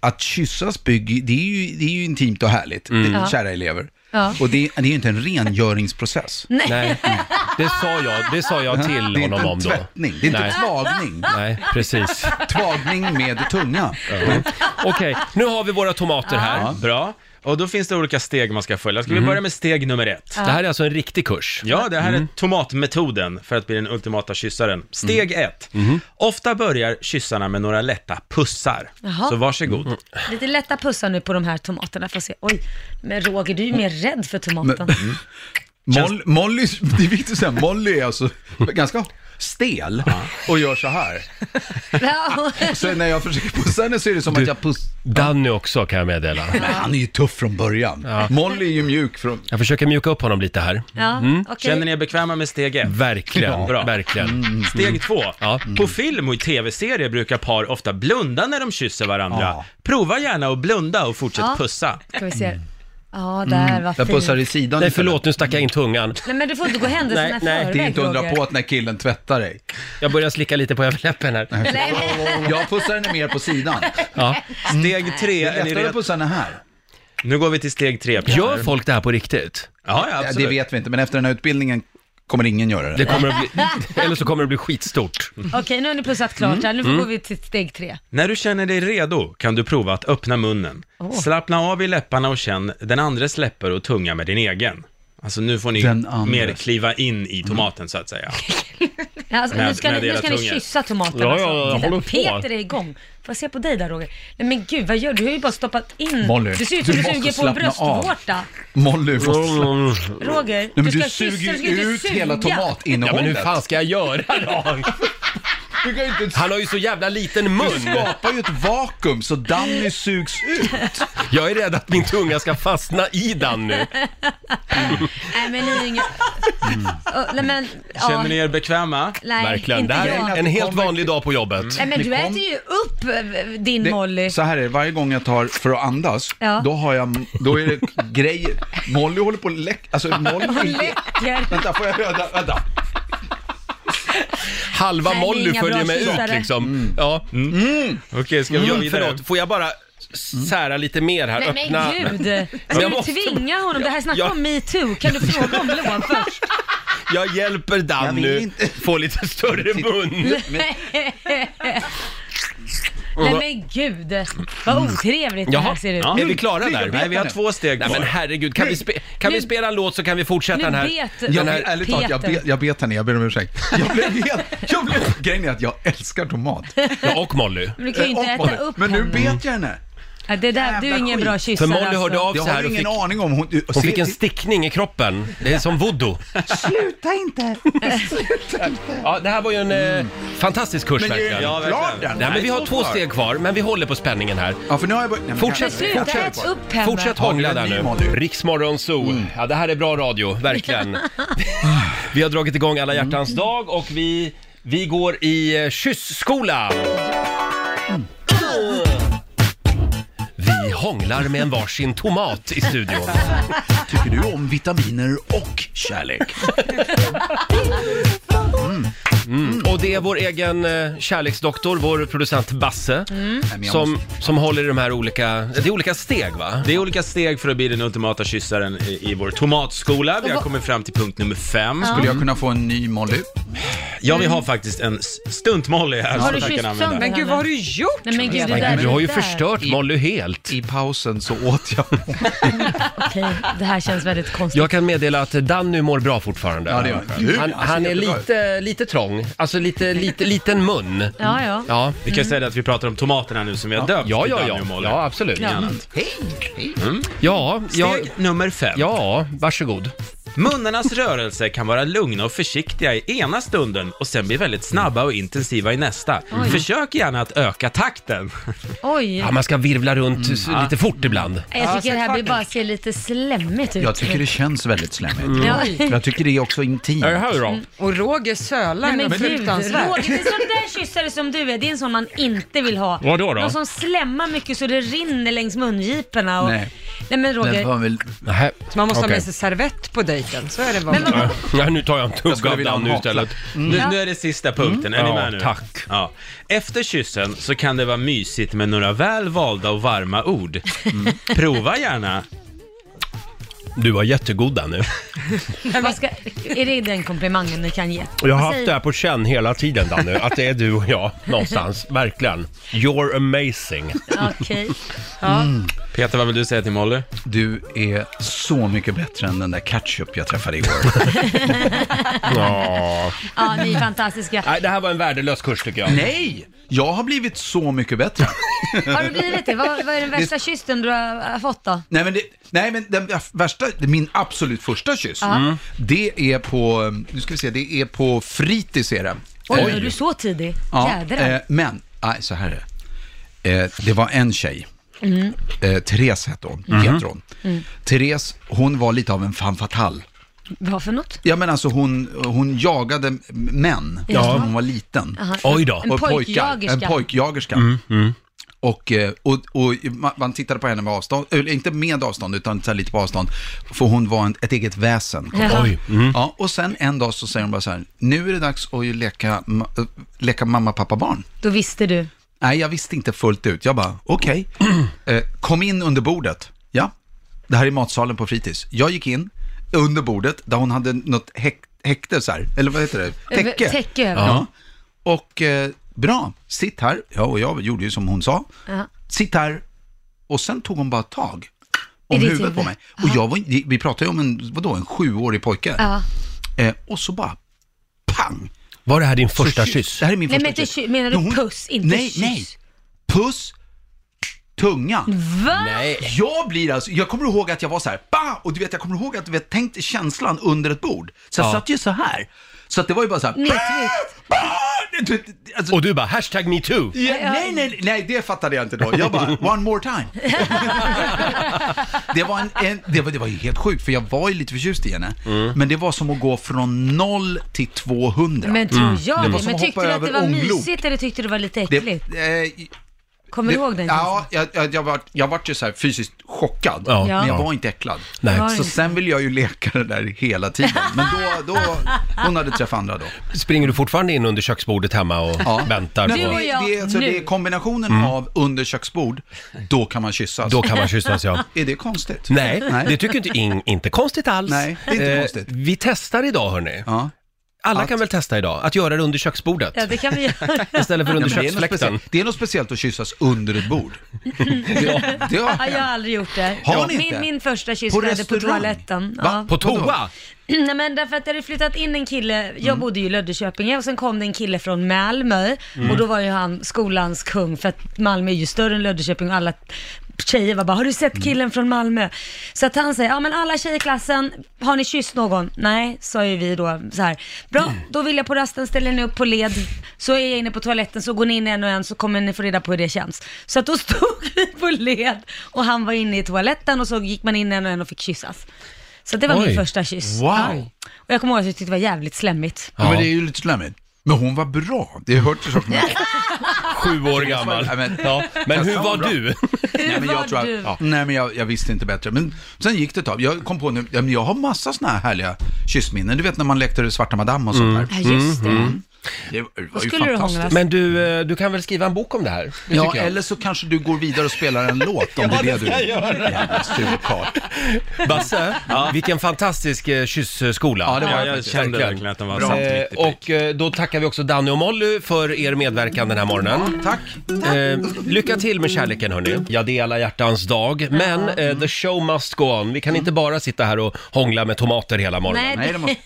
Speaker 8: Att kyssas bygger, det är ju, det är ju intimt och härligt, det, kära elever.
Speaker 2: Mm. Ja.
Speaker 8: Och det, det är ju inte en rengöringsprocess.
Speaker 2: Nej.
Speaker 1: Nej, det sa jag, det sa jag till
Speaker 8: det är
Speaker 1: honom
Speaker 8: inte
Speaker 1: om
Speaker 8: en
Speaker 1: då.
Speaker 8: tvättning, det är inte
Speaker 1: Nej.
Speaker 8: tvagning.
Speaker 1: Nej, precis.
Speaker 8: Tvagning med tunga.
Speaker 1: Okej, nu har vi våra tomater här.
Speaker 6: Bra. Och då finns det olika steg man ska följa. Ska vi börja med steg nummer ett?
Speaker 1: Det här är alltså en riktig kurs.
Speaker 6: Ja, det här
Speaker 8: Mm.
Speaker 6: är tomatmetoden för att bli den ultimata kyssaren. Steg
Speaker 8: Mm.
Speaker 6: ett.
Speaker 8: Mm-hmm.
Speaker 6: Ofta börjar kyssarna med några lätta pussar.
Speaker 2: Jaha.
Speaker 6: Så varsågod.
Speaker 8: Mm.
Speaker 2: Lite lätta pussar nu på de här tomaterna. Får se. Oj, men Roger, du är ju mer rädd för tomaten.
Speaker 8: Moll, Molly, det är viktigt att säga, Molly är alltså ganska stel och gör så här.
Speaker 2: Ja.
Speaker 8: Så när jag försöker pussa henne så är det som att jag pussar.
Speaker 1: Danny också kan jag meddela.
Speaker 8: Men han är ju tuff från början. Molly är ju mjuk från...
Speaker 1: Jag försöker mjuka upp honom lite här.
Speaker 2: Ja,
Speaker 8: Mm.
Speaker 2: okej.
Speaker 6: Känner ni er bekväma med steg ett?
Speaker 1: Verkligen,
Speaker 6: Ja. Bra.
Speaker 1: verkligen.
Speaker 8: Mm.
Speaker 6: Steg två.
Speaker 1: Ja.
Speaker 6: På film och i tv-serier brukar par ofta blunda när de kysser varandra.
Speaker 8: Ja.
Speaker 6: Prova gärna att blunda och fortsätt
Speaker 2: Ja.
Speaker 6: pussa.
Speaker 2: Ska vi se. Ja, där, vad
Speaker 8: Jag Mm. pussar
Speaker 2: fint.
Speaker 8: i sidan
Speaker 1: Nej,
Speaker 8: istället.
Speaker 1: förlåt, nu stack jag in tungan.
Speaker 2: Nej, men du får inte gå händelserna
Speaker 1: Nej,
Speaker 2: i
Speaker 1: nej,
Speaker 2: förväg,
Speaker 8: Det är inte att undra
Speaker 2: Roger.
Speaker 8: på att när killen tvättar dig.
Speaker 1: Jag börjar slicka lite på överläppen här.
Speaker 2: Nej, men-
Speaker 8: Jag pussar henne mer på sidan.
Speaker 1: Ja.
Speaker 2: Mm.
Speaker 6: Steg tre.
Speaker 8: Det
Speaker 6: Är
Speaker 8: är
Speaker 6: ni
Speaker 8: lättare att
Speaker 6: redo?
Speaker 8: pussa henne här.
Speaker 6: Nu går vi till steg tre. Peter.
Speaker 1: Gör folk det här på riktigt?
Speaker 6: Ja, ja,
Speaker 8: Ja,
Speaker 6: absolut.
Speaker 8: Det vet vi inte, men efter den här utbildningen kommer ingen göra det.
Speaker 1: Det kommer att bli, eller så kommer det bli skitstort.
Speaker 2: Okej, nu har ni pussat klart
Speaker 8: Mm.
Speaker 2: här. Nu går vi till steg tre.
Speaker 6: När du känner dig redo kan du prova att öppna munnen. Slappna av i läpparna och känn den andres läppar och tunga med din egen. Alltså nu får ni
Speaker 8: Den andres.
Speaker 6: mer kliva in i tomaten så att säga.
Speaker 2: Ja, Alltså, nu
Speaker 6: Med-
Speaker 2: ska,
Speaker 6: med
Speaker 2: ni, nu
Speaker 6: era
Speaker 2: ska ni
Speaker 6: tungor.
Speaker 2: kyssa tomaten
Speaker 1: Ja,
Speaker 2: alltså.
Speaker 1: ja, jag
Speaker 2: Titta,
Speaker 1: håller på.
Speaker 2: Peter är igång. Får jag se på dig där Roger? Nej men gud, vad gör du? Du har ju bara stoppat in...
Speaker 8: Molly,
Speaker 2: det ser ut som
Speaker 8: du
Speaker 2: du,
Speaker 8: måste
Speaker 2: suger på en
Speaker 8: slappna av.
Speaker 2: bröstvårta.
Speaker 8: Molly, måste...
Speaker 1: Mm.
Speaker 8: Nej,
Speaker 2: Roger,
Speaker 8: men du,
Speaker 2: ska
Speaker 8: suger
Speaker 2: kyssa, du ska
Speaker 8: ju
Speaker 2: inte
Speaker 8: ut
Speaker 2: suga.
Speaker 8: hela
Speaker 1: Ja, men hur
Speaker 8: tomatinnehållet.
Speaker 1: fan ska jag göra då?
Speaker 8: du kan ju inte...
Speaker 1: Han har ju så jävla liten
Speaker 8: Du
Speaker 1: mun.
Speaker 8: skapar ju ett vakuum så Danny sugs ut.
Speaker 1: Jag är rädd att min tunga ska fastna i Danny.
Speaker 2: Nej men ni är inga...
Speaker 8: Mm.
Speaker 2: Ö, Nej men, ja.
Speaker 6: Känner ni er bekväma?
Speaker 2: Nej,
Speaker 1: Verkligen.
Speaker 2: inte
Speaker 1: Det här
Speaker 2: jag.
Speaker 1: är en helt vanlig dag på jobbet.
Speaker 2: Nej men
Speaker 8: Ni
Speaker 2: du
Speaker 8: kom-
Speaker 2: äter ju upp eh, din
Speaker 8: Det-
Speaker 2: Molly.
Speaker 8: Så här är det, varje gång jag tar för att andas,
Speaker 2: Ja.
Speaker 8: då har jag, då är det grejer. Molly håller på att läcka, alltså Molly...
Speaker 2: Hon läcker.
Speaker 8: Vänta, får jag höra? Vänta.
Speaker 1: Halva
Speaker 2: Nej, det är
Speaker 1: Molly
Speaker 2: inga
Speaker 1: följer
Speaker 2: bra
Speaker 1: med ut
Speaker 2: kyssare.
Speaker 1: liksom. Ja.
Speaker 6: Okej, ska vi gå
Speaker 1: Jo,
Speaker 6: vidare?
Speaker 1: förlåt, får jag bara sära lite mer här?
Speaker 2: Nej
Speaker 1: Öppna...
Speaker 2: men gud!
Speaker 1: Men
Speaker 2: Ska
Speaker 1: jag
Speaker 2: du
Speaker 1: måste-
Speaker 2: tvinga honom? Det här snackar
Speaker 1: Jag-
Speaker 2: om metoo. Kan du fråga om lov först?
Speaker 1: Jag hjälper Dan
Speaker 8: Jag vill
Speaker 1: nu
Speaker 8: inte.
Speaker 1: få lite större mun.
Speaker 2: Nej men gud, vad otrevligt det här
Speaker 1: Jaha,
Speaker 2: ser ut.
Speaker 1: är vi klara
Speaker 8: Ligga
Speaker 1: där?
Speaker 8: bredvid.
Speaker 6: Nej, vi har två steg
Speaker 1: Nej men
Speaker 6: kvar.
Speaker 1: herregud, kan, vi, spe- kan vi spela en låt så kan vi fortsätta
Speaker 2: Nu
Speaker 1: den här...
Speaker 2: bet
Speaker 8: Jag,
Speaker 1: den här...
Speaker 8: blev- ärligt talat, jag,
Speaker 2: Peter.
Speaker 8: bet- jag bet henne, jag ber om ursäkt. Jag blev helt, jag blev, grejen är att jag älskar tomat. Eh,
Speaker 1: Ja, och Molly.
Speaker 2: Men du kan ju inte
Speaker 8: Och Molly.
Speaker 2: äta upp
Speaker 8: Men nu
Speaker 2: henne.
Speaker 8: bet jag henne.
Speaker 2: Ja, det där, du är
Speaker 8: Jävla
Speaker 2: ingen
Speaker 8: skit.
Speaker 2: bra alltså.
Speaker 1: För
Speaker 2: kyssare
Speaker 1: Molly hörde av sig
Speaker 8: Det alltså, har
Speaker 1: här
Speaker 8: du
Speaker 1: och
Speaker 8: ingen
Speaker 1: fick,
Speaker 8: aning om. Hon,
Speaker 1: hon fick en stickning i kroppen. Det är som voodoo.
Speaker 9: Sluta inte!
Speaker 1: Ja, det här var ju en eh, fantastisk kurs
Speaker 8: Men ge
Speaker 1: verkligen.
Speaker 6: Ja,
Speaker 8: ja, klart
Speaker 6: verkligen.
Speaker 8: den.
Speaker 1: Nej men vi har två steg kvar, men vi håller på spänningen här.
Speaker 8: Ja, för nu har jag börjat. nej, men
Speaker 1: Fortsätt,
Speaker 8: jag-
Speaker 2: Sluta
Speaker 1: Fortsätt.
Speaker 2: ät upp henne.
Speaker 1: Fortsätt hångla
Speaker 8: Har du
Speaker 1: där
Speaker 8: en ny
Speaker 1: nu.
Speaker 8: Molly? Mm.
Speaker 1: Riksmorgon Zoo. Ja, det här är bra radio, verkligen. vi har dragit igång alla
Speaker 8: Mm.
Speaker 1: hjärtans dag och vi, vi går i eh, kyssskola.
Speaker 8: Mm.
Speaker 1: Vi hånglar med en varsin tomat i studion.
Speaker 8: Tycker du om vitaminer och kärlek?
Speaker 1: Och det är vår egen eh, kärleksdoktor, vår producent Basse,
Speaker 8: Nej, men jag
Speaker 1: som,
Speaker 8: måste-
Speaker 1: som håller i de här olika, det är olika steg va?
Speaker 6: Det är olika steg för att bli den ultimata kyssaren i, i vår tomatskola. Vi har kommit fram till punkt nummer fem.
Speaker 8: Skulle jag kunna få en ny Molly?
Speaker 6: Ja, vi har faktiskt en s- stunt-Molly
Speaker 2: Har
Speaker 6: här som
Speaker 2: du
Speaker 6: jag
Speaker 2: kysst
Speaker 6: kan använda.
Speaker 2: sönder
Speaker 3: Men gud, vad har du gjort?
Speaker 2: Nej men gud, det där
Speaker 1: Men du har ju
Speaker 2: det där.
Speaker 1: förstört Molly helt.
Speaker 8: I pausen så åt jag.
Speaker 2: Okej, det här känns väldigt konstigt.
Speaker 1: Jag kan meddela att Danny mår bra fortfarande.
Speaker 8: Ja, det gör han. Gud,
Speaker 1: han,
Speaker 8: han ser
Speaker 1: han är
Speaker 8: jättebra ut.
Speaker 1: lite, lite trång, alltså lite, lite liten mun.
Speaker 2: Ja, ja.
Speaker 1: Ja,
Speaker 6: Vi kan säga det att vi pratar om tomaterna nu som vi har döpt
Speaker 1: ja,
Speaker 6: till
Speaker 1: ja,
Speaker 6: Danny och
Speaker 1: ja.
Speaker 6: Molly.
Speaker 1: ja absolut.
Speaker 2: Ja.
Speaker 1: Ja,
Speaker 8: Hej! Hej!
Speaker 1: ja, ja,
Speaker 6: Steg nummer fem.
Speaker 1: ja varsågod.
Speaker 6: Munnarnas rörelser kan vara lugna och försiktiga i ena stunden och sen bli väldigt snabba och intensiva i nästa. Försök gärna att öka takten.
Speaker 2: Oj,
Speaker 1: Ja, man ska virvla runt s- lite fort ibland.
Speaker 2: jag tycker det här
Speaker 8: klart
Speaker 2: blir bara ser lite slemmigt ut.
Speaker 8: Jag tycker det känns väldigt slemmigt.
Speaker 2: Mm. Ja.
Speaker 8: Jag tycker det är också intimt.
Speaker 1: här då?
Speaker 3: Och Roger sölar
Speaker 2: Nej, men
Speaker 3: något
Speaker 2: gud,
Speaker 3: fruktansvärt.
Speaker 2: Roger, det är sån där kyssare som du är, det är en sån man inte vill ha.
Speaker 1: Vadå då?
Speaker 2: Någon som slemmar mycket så det rinner längs mungiporna och... Nej.
Speaker 8: Nej.
Speaker 2: Nej men
Speaker 8: Den
Speaker 2: Roger,
Speaker 8: får man väl...
Speaker 1: Nähä.
Speaker 3: Man måste ha
Speaker 1: Okej.
Speaker 3: med sig servett på dejten, så är det vanligt.
Speaker 1: Ja, nu tar jag en tugga
Speaker 8: skulle
Speaker 1: av
Speaker 8: vilja ha en
Speaker 1: Danny istället.
Speaker 6: Nu, nu är det sista punkten, är
Speaker 1: Ja,
Speaker 6: ni med nu?
Speaker 1: tack.
Speaker 6: Ja. Efter kyssen så kan det vara mysigt med några väl valda och varma ord. Prova gärna.
Speaker 1: Du var jättegod Danny.
Speaker 2: Vad ska, är det den komplimangen ni kan ge?
Speaker 1: Jag har
Speaker 2: Vad
Speaker 1: haft
Speaker 2: säger-
Speaker 1: det här på känn hela tiden Danny, att det är du och jag någonstans. Verkligen. You're amazing.
Speaker 2: Okej. Ja.
Speaker 1: Mm.
Speaker 6: Peter, vad vill du säga till Molly?
Speaker 8: Du är så mycket bättre än den där ketchup jag träffade igår.
Speaker 1: Ja.
Speaker 2: ja, ni är fantastiska.
Speaker 1: Nej, det här var en värdelös kurs tycker jag.
Speaker 8: Nej! Jag har blivit så mycket bättre.
Speaker 2: Har du blivit det? Vad, vad är den värsta kyssen du har har fått då?
Speaker 8: Nej men, det, nej, men den värsta, min absolut första kyss,
Speaker 2: Mm.
Speaker 8: det är på, nu ska vi se, det är på fritids är det.
Speaker 2: Oj,
Speaker 8: Eh,
Speaker 2: är du så tidig?
Speaker 8: Ja,
Speaker 2: Jädrar.
Speaker 8: eh, men, nej, så här är det. Eh, det var en tjej,
Speaker 2: Mm.
Speaker 8: eh, Therese hette hon, heter hon. Therese, hon var lite av en femme fatale.
Speaker 2: Vad för något?
Speaker 8: Ja men alltså hon, hon jagade m- män
Speaker 2: Ja.
Speaker 8: fast när hon var liten.
Speaker 2: Aha.
Speaker 1: Oj då.
Speaker 2: En
Speaker 8: Och pojkar.
Speaker 2: pojkjagerska.
Speaker 8: En pojkjagerska. Och, eh, och, och ma- man tittade på henne med avstånd, eller inte med avstånd utan så här lite på avstånd, för hon var en, ett eget väsen.
Speaker 2: Jaha.
Speaker 1: Oj.
Speaker 8: Ja, och sen en dag så säger hon bara så här, nu är det dags att ju leka, ma- äh, leka mamma, pappa, barn.
Speaker 2: Då visste du.
Speaker 8: Nej, jag visste inte fullt ut. Jag bara, okej. Eh, kom in under bordet. Ja, det här är matsalen på fritids. Jag gick in under bordet där hon hade något häk häkte så här, eller vad heter det? Täcke.
Speaker 2: Täcke över.
Speaker 8: Ja. Och eh, bra, sitt här. Ja, och jag gjorde ju som hon sa.
Speaker 2: Ja.
Speaker 8: Sitt här. Och sen tog hon bara tag
Speaker 2: I
Speaker 8: om
Speaker 2: ditt
Speaker 8: huvudet på
Speaker 2: huvud?
Speaker 8: mig. Och jag var, vi pratade ju om en, vadå, en sjuårig pojke.
Speaker 2: Ja.
Speaker 8: Eh, och så bara, pang!
Speaker 1: Var det här din
Speaker 8: Så
Speaker 1: första
Speaker 8: kyss.
Speaker 1: kyss?
Speaker 8: Det här är min
Speaker 2: Nej,
Speaker 8: första
Speaker 2: men inte
Speaker 8: kyss.
Speaker 2: ky- menar du
Speaker 8: Men
Speaker 2: puss, inte
Speaker 8: nej,
Speaker 2: kyss? Mm.
Speaker 8: Nej, Puss, tunga.
Speaker 2: Va?
Speaker 1: Nej.
Speaker 8: Jag blir alltså, jag kommer ihåg att jag var så här, bah! Och du vet, jag kommer ihåg att du vet, tänkte känslan under ett bord. Så jag
Speaker 1: Ja.
Speaker 8: satt ju så här. Så att det var ju bara så här,
Speaker 2: Nedtryckt.
Speaker 8: bah! Du vet, Alltså,
Speaker 1: Och du bara hashtag metoo.
Speaker 8: Ja, nej, nej, nej, det fattade jag inte då. Jag bara, one more time. det, var en, en, det, var, det var ju helt sjukt, för jag var ju lite förtjust i henne.
Speaker 1: Mm.
Speaker 8: Men det var som att gå från 0 till 200.
Speaker 2: Men tror jag
Speaker 8: Mm.
Speaker 2: det?
Speaker 8: Det var som
Speaker 2: Men
Speaker 8: att
Speaker 2: tyckte
Speaker 8: hoppa
Speaker 2: du att det
Speaker 8: över
Speaker 2: var
Speaker 8: ånglok.
Speaker 2: mysigt eller tyckte du det var lite
Speaker 8: det,
Speaker 2: äckligt?
Speaker 8: eh,
Speaker 2: Kommer du ihåg den
Speaker 8: Ja, jag, jag, jag, var, jag var ju så här fysiskt chockad,
Speaker 1: Ja.
Speaker 8: men jag
Speaker 1: Ja.
Speaker 8: var inte äcklad.
Speaker 1: Nej.
Speaker 2: Var
Speaker 8: Så
Speaker 2: inte.
Speaker 8: sen ville jag ju leka det där hela tiden, men då, då, hon hade träffat andra då.
Speaker 1: Springer du fortfarande in under köksbordet hemma och
Speaker 8: Ja.
Speaker 1: väntar?
Speaker 8: Men
Speaker 2: Du och
Speaker 1: På...
Speaker 8: det,
Speaker 2: jag
Speaker 8: det, är- alltså,
Speaker 2: nu.
Speaker 8: det är kombinationen av under köksbord, då kan man kyssas.
Speaker 1: Då kan man kyssas ja.
Speaker 8: Är det konstigt?
Speaker 1: Nej,
Speaker 8: Nej.
Speaker 1: det tycker inte Ing. Inte konstigt alls. Eh,
Speaker 8: Nej, det är inte konstigt.
Speaker 1: Vi testar idag hörni.
Speaker 8: Ja.
Speaker 1: Alla
Speaker 8: Att-
Speaker 1: kan väl testa idag, att göra det under köksbordet
Speaker 2: Ja, det kan vi göra.
Speaker 1: istället för under
Speaker 8: Ja, men det, är något
Speaker 1: köksfläkten.
Speaker 8: speciellt, det är något speciellt att kyssas under ett bord. Det, det har
Speaker 2: Ja, jag har
Speaker 8: hänt.
Speaker 2: aldrig gjort det.
Speaker 8: Har ni
Speaker 2: min,
Speaker 8: inte?
Speaker 2: min första kyss
Speaker 8: På
Speaker 2: skedde på
Speaker 8: restaurang?
Speaker 2: toaletten.
Speaker 8: Va?
Speaker 2: Ja.
Speaker 1: På
Speaker 8: Vadå?
Speaker 1: toa?
Speaker 2: Nej men därför att det hade flyttat in en kille, jag bodde ju i Löddeköpinge och sen kom det en kille från Malmö och då var ju han skolans kung för att Malmö är ju större än Löddeköping och alla tjejer var bara, har du sett killen från Malmö? Så att han säger, ja men alla tjejer i klassen, har ni kysst någon? Nej, sa ju vi då så här. Bra, då vill jag på rasten ställer ni upp på led, så är jag inne på toaletten så går ni in en och en så kommer ni få reda på hur det känns. Så att då stod vi på led och han var inne i toaletten och så gick man in en och en och fick kyssas. Så det var
Speaker 1: Oj.
Speaker 2: min första kyss.
Speaker 8: Wow.
Speaker 2: Ja. Och jag kommer ihåg att jag tyckte det var jävligt slemmigt.
Speaker 8: Ja, men det är ju lite slemmigt. Men hon var bra. Det har jag hört så ofta.
Speaker 1: Sju år gammal.
Speaker 8: Ja, men-
Speaker 1: Ja, men hur
Speaker 8: Testa
Speaker 1: var
Speaker 8: var bra.
Speaker 1: du?
Speaker 8: Nej, men
Speaker 2: var
Speaker 8: jag, tror
Speaker 2: du?
Speaker 8: att, nej, men jag, jag visste inte bättre. Men sen gick det ett tag. Jag kom på nu, ja, men jag har massa såna här härliga kyssminnen. Du vet när man lekte det Svarta Madame och sånt där.
Speaker 2: Ja, just
Speaker 1: Mhm.
Speaker 2: det. Mm.
Speaker 8: Det var- det var
Speaker 2: Vad
Speaker 8: ju
Speaker 2: skulle du
Speaker 8: fantastiskt.
Speaker 2: hånglas?
Speaker 1: Men du, eh, du kan väl skriva en bok om det här? Det
Speaker 8: Ja,
Speaker 1: tycker jag.
Speaker 8: eller så kanske du går vidare och spelar en låt om det
Speaker 1: Ja,
Speaker 8: är
Speaker 1: det
Speaker 8: det du
Speaker 1: ska jag göra.
Speaker 8: Jävla surkarl.
Speaker 1: Basse, vilken fantastisk eh, kyssskola.
Speaker 8: Ja, det var
Speaker 6: Ja,
Speaker 8: jag
Speaker 6: jag
Speaker 8: faktiskt.
Speaker 6: kände
Speaker 1: Verkligen.
Speaker 6: verkligen att den var
Speaker 8: Bra.
Speaker 6: satt
Speaker 1: Eh,
Speaker 6: mitt i prick.
Speaker 1: och eh, då tackar vi också Danny och Molly för er medverkan den här morgonen.
Speaker 8: Tack.
Speaker 1: Eh, lycka till med kärleken hörni. Ja, det är alla hjärtans dag. Men eh, the show must go on. Vi kan inte bara sitta här och hångla med tomater hela morgonen.
Speaker 2: Nej,
Speaker 8: Nej, det
Speaker 2: det,
Speaker 8: måste...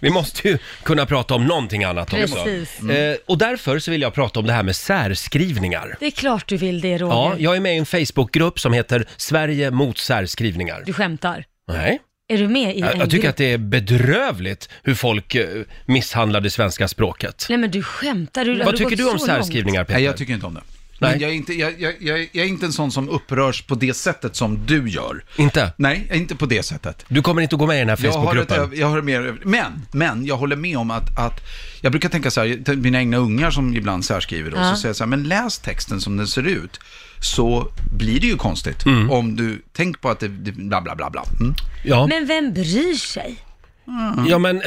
Speaker 1: Vi måste ju kunna prata om någonting annat också.
Speaker 2: Precis.
Speaker 1: Eh, och därför så vill jag prata om det här med särskrivningar.
Speaker 2: det är klart du vill det Roger.
Speaker 1: Ja, jag är med i en Facebookgrupp som heter Sverige mot särskrivningar.
Speaker 2: Du skämtar.
Speaker 1: Nej.
Speaker 2: Är du med i
Speaker 1: Jag,
Speaker 2: en
Speaker 1: jag tycker
Speaker 2: grupp?
Speaker 1: att det är bedrövligt hur folk eh, misshandlar det svenska språket.
Speaker 2: Nej men du skämtar. Du, har
Speaker 1: Vad
Speaker 2: du
Speaker 1: tycker
Speaker 2: gått
Speaker 1: du om
Speaker 2: så långt?
Speaker 1: särskrivningar Peter?
Speaker 8: Nej, jag tycker inte om det.
Speaker 1: Nej.
Speaker 8: Men jag, är inte, jag, jag, jag, är- jag är inte en sån som upprörs på det sättet som du gör.
Speaker 1: Inte?
Speaker 8: Nej, inte på det sättet.
Speaker 1: Du kommer inte att gå med i den här
Speaker 8: Jag har, ett,
Speaker 1: Facebookgruppen?
Speaker 8: öv- jag har mer, men, men jag håller med om att, att jag brukar tänka så här, till mina egna ungar som ibland särskriver och så säger jag så här, men läs texten som den ser ut så blir det ju konstigt om du, tänk Mm. på att det, det bla bla bla bla. Mm.
Speaker 1: Ja.
Speaker 2: Men vem bryr sig?
Speaker 1: ja, men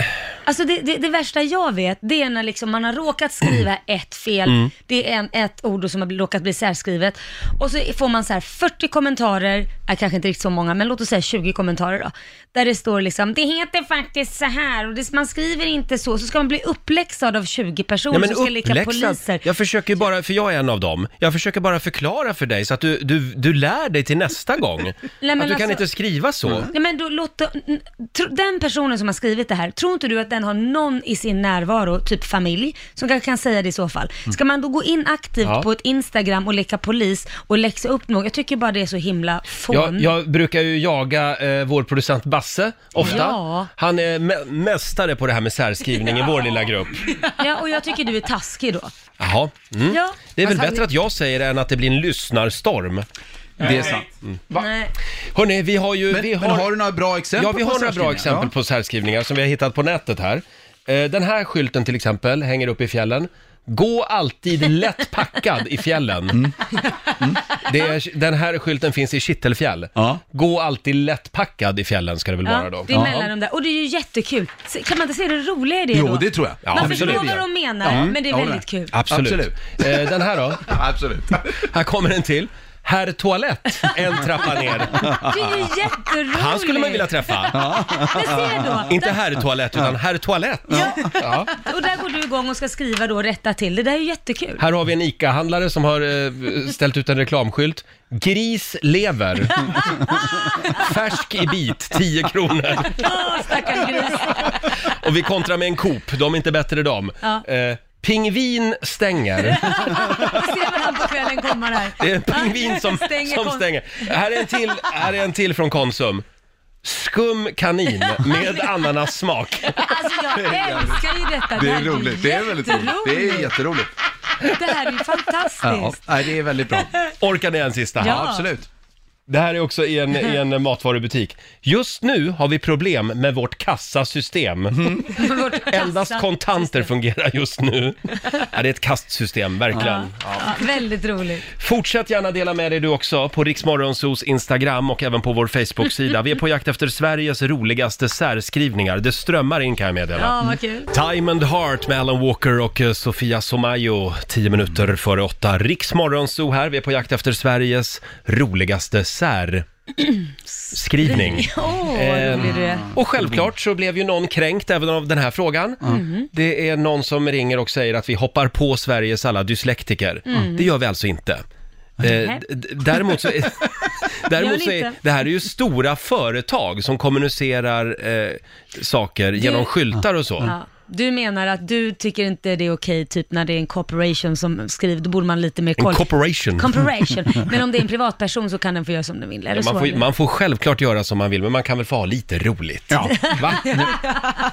Speaker 2: Alltså det, det, det värsta jag vet, det är när liksom man har råkat skriva ett fel,
Speaker 10: Mm.
Speaker 2: det är en, ett ord som har bl- råkat bli särskrivet, och så får man så här 40 kommentarer, äh, kanske inte riktigt så många, men låt oss säga 20 kommentarer då, där det står liksom, det heter faktiskt så här, och det, man skriver inte så, så ska man bli uppläxad av 20 personer som ska leka poliser.
Speaker 1: Jag försöker ju bara, för jag är en av dem, jag försöker bara förklara för dig så att du, du, du lär dig till nästa gång. att du
Speaker 2: men
Speaker 1: kan
Speaker 2: alltså-
Speaker 1: inte skriva så.
Speaker 2: Nej, men då, låt, n- tro- den personen som har skrivit det här, tror inte du att den har någon i sin närvaro, typ familj, som kanske kan säga det i så fall? Ska man då gå in aktivt
Speaker 1: Mm. Ja.
Speaker 2: på ett Instagram och leka polis och läxa upp någon? Jag tycker bara det är så himla fån.
Speaker 1: Jag, jag brukar ju jaga eh, vår producent Basse ofta.
Speaker 2: Ja.
Speaker 1: Han är mä- mästare på det här med särskrivning i vår lilla grupp.
Speaker 2: Ja, och jag tycker du är taskig då.
Speaker 1: Jaha. Mm.
Speaker 2: Ja.
Speaker 1: Det är väl
Speaker 2: Fast han-
Speaker 1: bättre att jag säger det än att det blir en lyssnarstorm.
Speaker 8: Det är sant.
Speaker 1: Mm.
Speaker 2: Nej.
Speaker 1: Hörni, vi har ju...
Speaker 8: Men-
Speaker 1: vi
Speaker 8: men har du några bra exempel
Speaker 1: Ja, vi
Speaker 8: på
Speaker 1: har några bra
Speaker 8: särskrivningar?
Speaker 1: exempel
Speaker 8: Ja.
Speaker 1: på särskrivningar som vi har hittat på nätet här. Eh, Den här skylten till exempel hänger upp i fjällen. Gå alltid lätt packad i fjällen.
Speaker 8: Mm.
Speaker 1: Mm. Det är, den här skylten finns i Kittelfjäll. Gå alltid lättpackad i fjällen ska det väl vara då.
Speaker 2: det är mellan de där. Och det är ju jättekul. Se- Kan man inte se det roliga i det då?
Speaker 1: Ja,
Speaker 2: man
Speaker 1: absolut.
Speaker 2: förstår vad de menar,
Speaker 1: Ja.
Speaker 2: men det är
Speaker 1: Jag håller
Speaker 2: väldigt
Speaker 1: med.
Speaker 2: kul.
Speaker 1: Absolut. Eh, den här då?
Speaker 8: Absolut.
Speaker 1: Här kommer en till. Herr Toalett, en trappa ner.
Speaker 2: Det är ju jätteroligt.
Speaker 1: Han skulle man vilja träffa.
Speaker 2: ser då.
Speaker 1: Inte herr Toalett, utan herr Toalett. Ja.
Speaker 2: Och där går du igång och ska skriva då och rätta till. Det där är ju jättekul.
Speaker 1: Här har vi en ICA-handlare som har eh, ställt ut en reklamskylt. Gris lever. Färsk i bit, 10 kronor.
Speaker 2: Åh, stackars gris.
Speaker 1: Och vi kontrar med en Coop, de är inte bättre de.
Speaker 2: Ja.
Speaker 1: Eh, pingvin stänger.
Speaker 2: Ser man han på kvällen komma där.
Speaker 1: Det är en pingvin som
Speaker 2: Stänger
Speaker 1: stänger.
Speaker 2: kon-
Speaker 1: Som stänger. Här, är en till, här är en till från Konsum. Skum kanin med ananassmak.
Speaker 2: Alltså jag älskar ju detta.
Speaker 8: Det
Speaker 2: här
Speaker 8: är roligt, det är väldigt roligt. Det är jätteroligt.
Speaker 2: jätteroligt. Det här är ju fantastiskt.
Speaker 8: Ja, nej, det är väldigt bra.
Speaker 1: Orkar ni en sista?
Speaker 2: Ja. Ja, absolut.
Speaker 1: Det här är också i en, i en matvarubutik. Just nu har vi problem med vårt kassasystem.
Speaker 2: Mm.
Speaker 1: Endast kontanter fungerar just nu. Ja, det är ett kastsystem, verkligen.
Speaker 2: Ja, väldigt roligt.
Speaker 1: Fortsätt gärna dela med dig du också på Riksmorgonsos Instagram och även på vår Facebook-sida. Vi är på jakt efter Sveriges roligaste särskrivningar. Det strömmar in kan jag meddela.
Speaker 2: Ja, vad kul.
Speaker 1: Time and Heart med Alan Walker och eh, Sofia Somayo, tio minuter före åtta. Riksmorgonso här, vi är på jakt efter Sveriges roligaste särskrivning.
Speaker 2: Åh, vad rolig du är.
Speaker 1: och självklart så blev ju någon kränkt även av den här frågan.
Speaker 2: Mhm.
Speaker 1: Det är någon som ringer och säger att vi hoppar på Sveriges alla dyslektiker.
Speaker 2: Mm.
Speaker 1: Det gör vi alltså inte. Eh,
Speaker 2: Nej.
Speaker 1: d- d- däremot så, är, däremot så
Speaker 2: Gör ni
Speaker 1: är,
Speaker 2: inte?
Speaker 1: det här är ju stora företag som kommunicerar eh, saker genom skyltar och så.
Speaker 2: Ja. Du menar att du tycker inte det är okej, typ när det är en corporation som skriver, då borde man lite mer koll.
Speaker 1: En corporation.
Speaker 2: Corporation. Men om det är en privatperson så kan den få göra som den vill. Är
Speaker 1: Ja,
Speaker 2: det
Speaker 1: man,
Speaker 2: så?
Speaker 1: får,
Speaker 2: eller?
Speaker 1: man får självklart göra som man vill, men man kan väl få ha lite roligt? Ja. Va?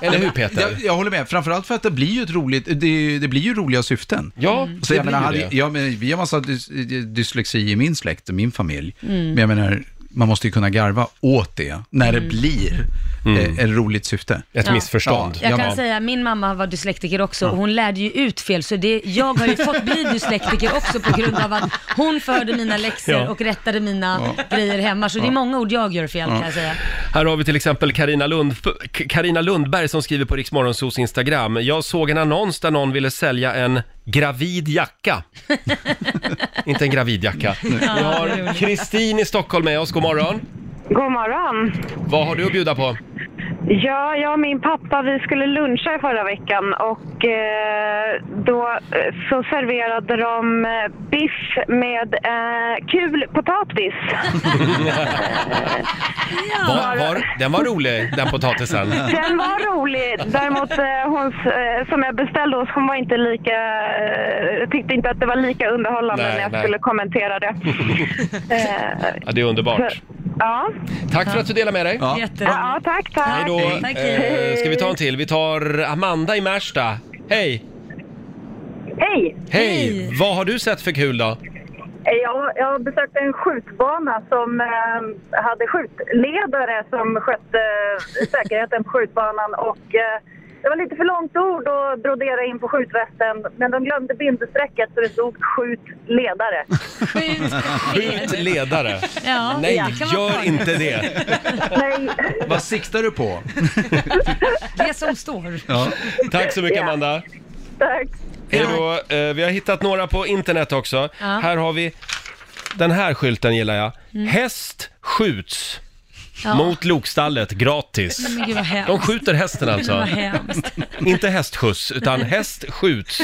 Speaker 1: Eller hur Peter?
Speaker 8: Jag, jag håller med, framförallt för att det blir ju ett roligt, det, det blir ju roliga syften. Mm.
Speaker 1: Ja,
Speaker 8: Så
Speaker 1: det
Speaker 8: jag
Speaker 1: blir
Speaker 8: menar,
Speaker 1: ju
Speaker 8: hade,
Speaker 1: det.
Speaker 8: ja, men, vi har massa dys, dyslexi i min släkt och min familj.
Speaker 1: Mm.
Speaker 8: Men jag menar, man måste ju kunna garva åt det när det blir eh, ett roligt syfte.
Speaker 1: Mm. Ett missförstånd.
Speaker 2: Jag kan säga, min mamma var dyslektiker också och hon lärde ju ut fel, så det, jag har ju fått bli dyslektiker också på grund av att hon förde mina läxor
Speaker 1: Ja.
Speaker 2: och rättade mina
Speaker 1: Ja.
Speaker 2: grejer hemma. Så det är
Speaker 1: Ja.
Speaker 2: många ord jag gör fel
Speaker 1: Ja.
Speaker 2: kan jag säga.
Speaker 1: Här har vi till exempel Karina Lund, Carina Lundberg som skriver på Riksmorgonsos Instagram. Jag såg en annons där någon ville sälja en gravid jacka. Inte en gravid jacka. Vi har Kristin i Stockholm med oss, god morgon.
Speaker 11: God morgon.
Speaker 1: Vad har du att bjuda på?
Speaker 11: Ja, jag och min pappa vi skulle luncha i förra veckan och eh, då eh, så serverade de eh, biff med eh, kul potatis.
Speaker 1: Var, var, den var rolig, den potatisen.
Speaker 11: Den var rolig. Däremot eh, hon eh, som jag beställde hos hon var inte lika, eh, tyckte inte att det var lika underhållande
Speaker 1: Nej,
Speaker 11: när jag
Speaker 1: nej.
Speaker 11: skulle kommentera det. Eh,
Speaker 1: Ja, det är underbart.
Speaker 11: ja.
Speaker 1: Tack för att du delar med dig.
Speaker 11: Ja, ja tack, tack.
Speaker 1: Hej då. Eh, ska vi ta en till? Vi tar Amanda i Märsta. Hej!
Speaker 12: Hej!
Speaker 1: Hej! Vad har du sett för kul då?
Speaker 12: Jag, jag besökte en skjutbana som eh, hade skjutledare som skötte eh, säkerheten på skjutbanan och eh, det var lite för långt ord att brodera in på skjutvästen, men de glömde bindestrecket så det stod skjut ledare.
Speaker 1: Skjut ledare.
Speaker 12: Ja,
Speaker 1: Nej,
Speaker 12: ja, kan man
Speaker 1: gör
Speaker 12: ta.
Speaker 1: inte det.
Speaker 12: Nej,
Speaker 8: Vad siktar du på?
Speaker 2: Det som står.
Speaker 1: Tack så mycket Amanda.
Speaker 12: tack.
Speaker 1: Hej då. Eh, Vi har hittat några på internet också.
Speaker 2: Ja.
Speaker 1: Här har vi den här skylten gillar jag.
Speaker 2: Mm.
Speaker 1: Häst skjuts
Speaker 2: Ja.
Speaker 1: mot lokstallet gratis.
Speaker 2: Men gud vad hemskt.
Speaker 1: De skjuter hästen
Speaker 2: Men
Speaker 1: alltså.
Speaker 2: Vad hemskt.
Speaker 1: Inte hästskjuts, utan häst skjuts.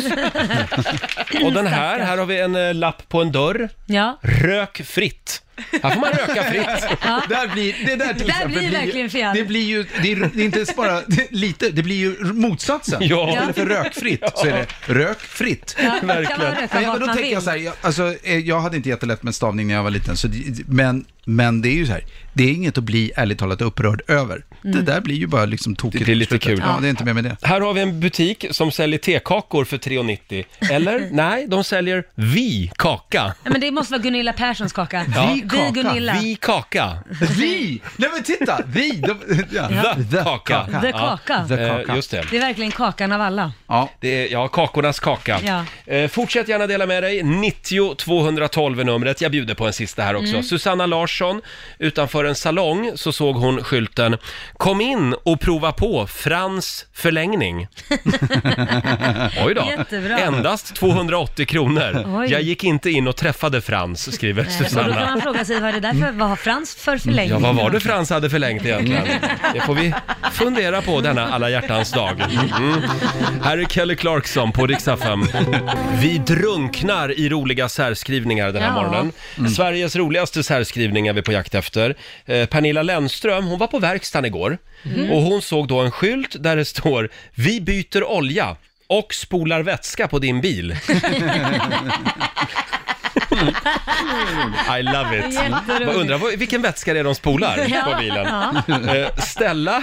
Speaker 1: Och den här, här har vi en eh, lapp på en dörr.
Speaker 2: Ja.
Speaker 1: Rök fritt. Här får man röka fritt.
Speaker 2: Ja.
Speaker 8: Där blir, det där till
Speaker 2: Där
Speaker 8: exempel
Speaker 2: blir verkligen fel.
Speaker 8: Det blir ju, det är, det är inte ens bara det, lite, det blir ju motsatsen.
Speaker 1: Ja.
Speaker 8: Istället för rökfritt så är det rökfritt.
Speaker 2: Ja, kan man Verkligen. röka
Speaker 8: Men, jag-
Speaker 2: vart
Speaker 8: men då
Speaker 2: man
Speaker 8: tänker jag
Speaker 2: vill?
Speaker 8: så här, jag, alltså, eh, jag hade inte jättelätt med stavning när jag var liten, så det, men, men det är ju så här, det är inget att bli ärligt talat upprörd över. Det
Speaker 1: Mm.
Speaker 8: där blir ju bara liksom tokigt. Det blir lite
Speaker 1: kul.
Speaker 8: Ja, det är inte mer med det.
Speaker 1: Här har vi en butik som säljer tekakor för 3,90. Eller? Nej, de säljer vi kaka.
Speaker 2: Nej, men det måste vara Gunilla Perssons kaka. Vi Gunilla.
Speaker 1: Vi kaka.
Speaker 8: Vi! Nej men titta! Vi! De, ja.
Speaker 1: The, kaka.
Speaker 2: kaka. The kaka.
Speaker 1: Ja, eh, Just det.
Speaker 2: Det är verkligen kakan av alla.
Speaker 8: Ja.
Speaker 1: Det är, ja, kakornas kaka.
Speaker 2: Ja.
Speaker 1: Eh, fortsätt gärna dela med dig. 90 212 är numret. Jag bjuder på en sista här också.
Speaker 6: Mm.
Speaker 1: Susanna Larsson, utanför en salong så såg hon skylten “Kom in och prova på Frans förlängning”. Oj då.
Speaker 2: Jättebra.
Speaker 1: Endast 280 kronor.
Speaker 2: Oj.
Speaker 1: Jag gick inte in och träffade Frans, skriver
Speaker 2: Nej, Och då kan man
Speaker 1: Susanna.
Speaker 2: fråga sig vad är det där för, vad har Frans för förlängning?
Speaker 1: Mm. Ja, vad var det Frans hade förlängt egentligen? Det får vi fundera på denna alla hjärtans dag. Mm. Här är Kelly Clarkson på Rix FM. Vi drunknar i roliga särskrivningar den här
Speaker 6: Ja.
Speaker 1: morgonen.
Speaker 6: Mm.
Speaker 1: Sveriges roligaste särskrivning är vi på jakt efter. Eh, Pernilla Lennström, hon var på verkstaden igår
Speaker 6: Mm.
Speaker 1: och hon såg då en skylt där det står “Vi byter olja och spolar vätska på din bil”. I love it.
Speaker 6: Jätteroligt.
Speaker 1: Man undrar vad- vilken vätska det är de spolar
Speaker 6: Ja,
Speaker 1: på bilen.
Speaker 6: ja.
Speaker 1: Eh, Stella.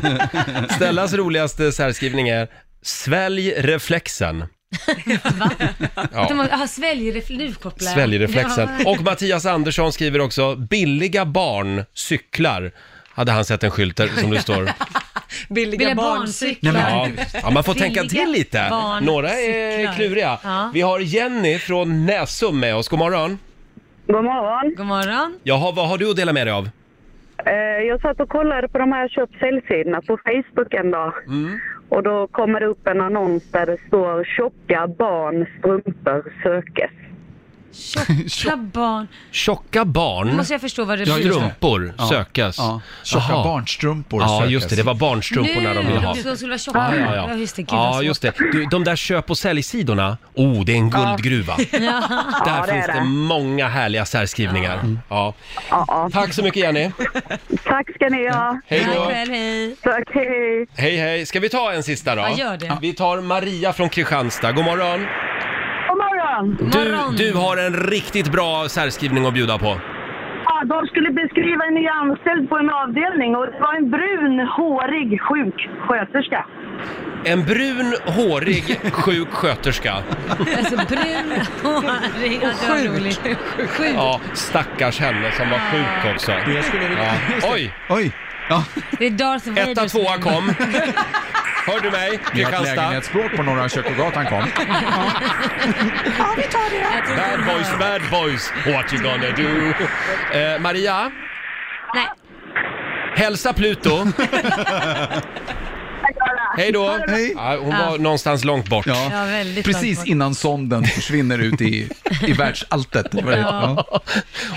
Speaker 1: Stellas roligaste särskrivning är “Svälj reflexen”.
Speaker 2: Utan
Speaker 1: Ja.
Speaker 2: man- Aha, sväljreflex, ah, nu kopplar jag.
Speaker 1: Sväljreflexen.
Speaker 2: Ja.
Speaker 1: Och Mattias Andersson skriver också “Billiga barn cyklar” hade han sett en skylt där som det står.
Speaker 3: Billiga,
Speaker 2: Billiga
Speaker 3: barncyklar.
Speaker 1: Ja, ja, man får tänka
Speaker 3: Billiga
Speaker 1: till lite.
Speaker 3: barn
Speaker 1: Några är
Speaker 3: cyklar.
Speaker 1: kluriga.
Speaker 3: Ja.
Speaker 1: Vi har Jenny från Näsum med oss. God morgon.
Speaker 12: God morgon.
Speaker 2: God morgon.
Speaker 1: Jaha, vad har du att dela med dig av?
Speaker 12: Eh, Jag satt och kollade på de här köp säljsidorna på Facebook en dag. Och då kommer det upp en annons där det står tjocka barn strumpor sökes.
Speaker 2: Tjocka barn.
Speaker 1: Tjocka barn.
Speaker 2: Nu måste jag förstå vad det betyder.
Speaker 1: Strumpor
Speaker 8: Ja.
Speaker 1: sökas.
Speaker 8: Ja. Tjocka
Speaker 1: Jaha.
Speaker 8: barnstrumpor
Speaker 1: Ja,
Speaker 8: sökas.
Speaker 1: just det. Det var barnstrumporna de ville ha.
Speaker 2: Nu, de skulle vara tjocka.
Speaker 1: Ja, ja,
Speaker 2: Ja,
Speaker 1: ja.
Speaker 2: just det. Gud, vad
Speaker 1: ja,
Speaker 2: svårt.
Speaker 1: just det. Du, de där köp och säljsidorna, oh, det är en guldgruva.
Speaker 2: Ja.
Speaker 1: Där finns det. många härliga särskrivningar. Ja. Tack så mycket Jenny.
Speaker 12: Tack ska ni ha.
Speaker 1: Hej då.
Speaker 2: Tack själv, hej.
Speaker 12: Tack, hej.
Speaker 1: Hej, hej. Ska vi ta en sista då?
Speaker 2: Ja, gör det.
Speaker 1: Vi tar Maria från Kristianstad. God morgon.
Speaker 12: God
Speaker 1: Du,
Speaker 12: morgon.
Speaker 1: du har en riktigt bra särskrivning att bjuda på.
Speaker 12: Ja, de skulle beskriva en ny anställd på en avdelning och det var en brun, hårig sjuksköterska.
Speaker 1: En brun, hårig, sjuk sköterska.
Speaker 2: Alltså brun, hårig, ja, det var
Speaker 9: sjuk.
Speaker 2: roligt. Sjuk.
Speaker 1: Ja, stackars henne som var sjuk också.
Speaker 8: Jag skulle vilja-
Speaker 1: Ja. Oj!
Speaker 8: Oj! Ja.
Speaker 2: Det är Darth Vader.
Speaker 1: Etta,
Speaker 2: som
Speaker 1: tvåa
Speaker 2: är-
Speaker 1: kom. Hör du mig?
Speaker 8: Ni har ett
Speaker 1: Kristianstad.
Speaker 8: lägenhetsbråk på Norra Kökogatan kom.
Speaker 9: Ja, vi tar det.
Speaker 2: Jag tror inte
Speaker 1: Bad
Speaker 2: den
Speaker 1: boys,
Speaker 2: hör.
Speaker 1: bad boys, what you gonna do? Eh, Maria,
Speaker 2: Nej,
Speaker 1: hälsa Pluto. Hej då!
Speaker 8: Hej.
Speaker 1: Ja, hon
Speaker 2: Ja.
Speaker 1: var någonstans långt bort.
Speaker 2: ja, väldigt
Speaker 8: Precis
Speaker 2: långt bort.
Speaker 8: innan sonden försvinner ut i, i världsalltet. Det var det. Ja.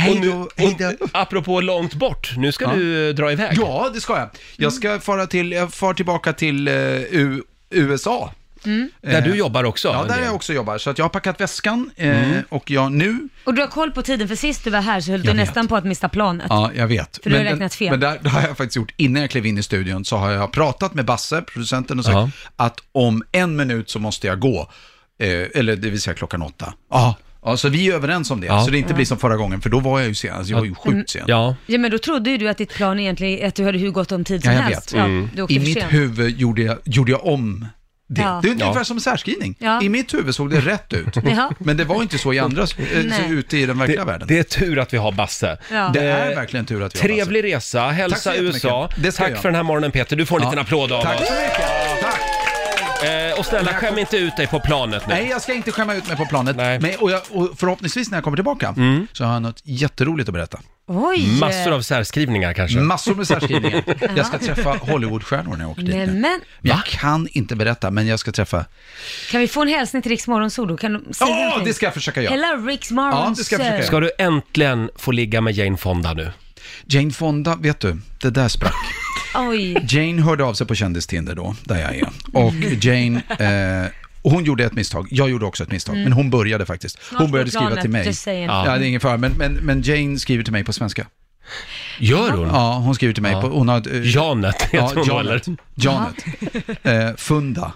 Speaker 1: Och nu, och, apropå långt bort, nu ska
Speaker 8: Ja.
Speaker 1: du eh, dra iväg.
Speaker 8: ja, det ska jag. Jag ska fara till, jag far tillbaka till eh, U- USA. Eh,
Speaker 1: Där du jobbar också.
Speaker 8: Ja,
Speaker 1: en
Speaker 8: Mm. där
Speaker 1: del.
Speaker 8: jag också jobbar. Så att jag har packat väskan eh, och jag nu...
Speaker 2: Och du har koll på tiden, för sist du var här så höll du
Speaker 8: Jag vet.
Speaker 2: nästan på att missa planet.
Speaker 8: Ja, jag vet.
Speaker 2: För du har
Speaker 8: Men den-
Speaker 2: räknat fel.
Speaker 8: Men där, det har jag faktiskt gjort. Innan jag klev in i studion så har jag pratat med Basse, producenten, och sagt
Speaker 1: Ja.
Speaker 8: att om en minut så måste jag gå. Eh, eller det vill säga klockan åtta. Ja. Ja, så vi är överens om det,
Speaker 1: Ja.
Speaker 8: så det inte
Speaker 2: Ja.
Speaker 8: blir som förra gången, för då var jag ju sen, alltså, jag var ju sjukt sen.
Speaker 1: Ja.
Speaker 2: Ja, men då trodde ju du att ditt plan egentligen, att du hade hur gott om tid som
Speaker 8: Ja, jag
Speaker 2: helst.
Speaker 8: vet.
Speaker 1: Mm.
Speaker 2: du åkte
Speaker 8: I
Speaker 2: för
Speaker 8: mitt
Speaker 2: sent.
Speaker 8: huvud gjorde jag, gjorde jag om det.
Speaker 2: Ja.
Speaker 8: Det är
Speaker 1: Ja.
Speaker 8: ungefär som en särskrivning.
Speaker 2: Ja. Mm.
Speaker 8: I mitt huvud såg det rätt ut,
Speaker 2: Ja.
Speaker 8: men det var inte så i andra, eh, så
Speaker 2: Nej.
Speaker 8: ute i den verkliga
Speaker 1: Det,
Speaker 8: världen.
Speaker 1: det är tur att vi har Basse.
Speaker 2: Ja.
Speaker 8: Det
Speaker 1: Eh,
Speaker 8: är verkligen tur att vi har Basse.
Speaker 1: Trevlig resa,
Speaker 8: Tack så
Speaker 1: hälsa
Speaker 8: jättemycket.
Speaker 1: USA.
Speaker 8: Det ska
Speaker 1: Tack
Speaker 8: jag.
Speaker 1: för den här morgonen Peter, du får en
Speaker 8: Ja.
Speaker 1: liten applåd av
Speaker 8: Tack
Speaker 1: oss.
Speaker 8: så mycket. Tack.
Speaker 1: Eh, Och snälla, skäm inte ut dig på planet nu.
Speaker 8: Nej, jag ska inte skämma ut mig på planet. Men, och, jag, och förhoppningsvis när jag kommer tillbaka
Speaker 1: Mm.
Speaker 8: så har jag något jätteroligt att berätta.
Speaker 2: Oj!
Speaker 1: Massor av särskrivningar kanske?
Speaker 8: Massor med särskrivningar. Jag ska träffa Hollywoodstjärnor när jag åker dit.
Speaker 2: Nej, men
Speaker 8: Men Jag kan inte berätta, men jag ska träffa...
Speaker 2: kan vi få en hälsning till Riks Morgonzoo då? Kan du säga
Speaker 8: Ja,
Speaker 2: någonting?
Speaker 8: det ska jag försöka göra.
Speaker 2: Hela Riks Morgonzoo.
Speaker 1: Ska du äntligen få ligga med Jane Fonda nu?
Speaker 8: Jane Fonda, vet du, det där sprack.
Speaker 2: Oj.
Speaker 8: Jane hörde av sig på Kändistinder då, där jag är. Och Jane, eh, hon gjorde ett misstag, jag gjorde också ett misstag,
Speaker 2: Mm.
Speaker 8: men hon började faktiskt.
Speaker 2: Snart
Speaker 8: Hon började
Speaker 2: på
Speaker 8: skriva
Speaker 2: planet,
Speaker 8: till mig.
Speaker 2: just saying.
Speaker 8: Ja. det är ingen fara, men, men, men Jane skriver till mig på svenska.
Speaker 1: Gör hon?
Speaker 8: Ja, hon skriver till mig
Speaker 1: Ja.
Speaker 8: på... Hon har, eh,
Speaker 1: Janet heter hon då,
Speaker 8: Janet.
Speaker 1: eller?
Speaker 8: Janet. Eh, funda.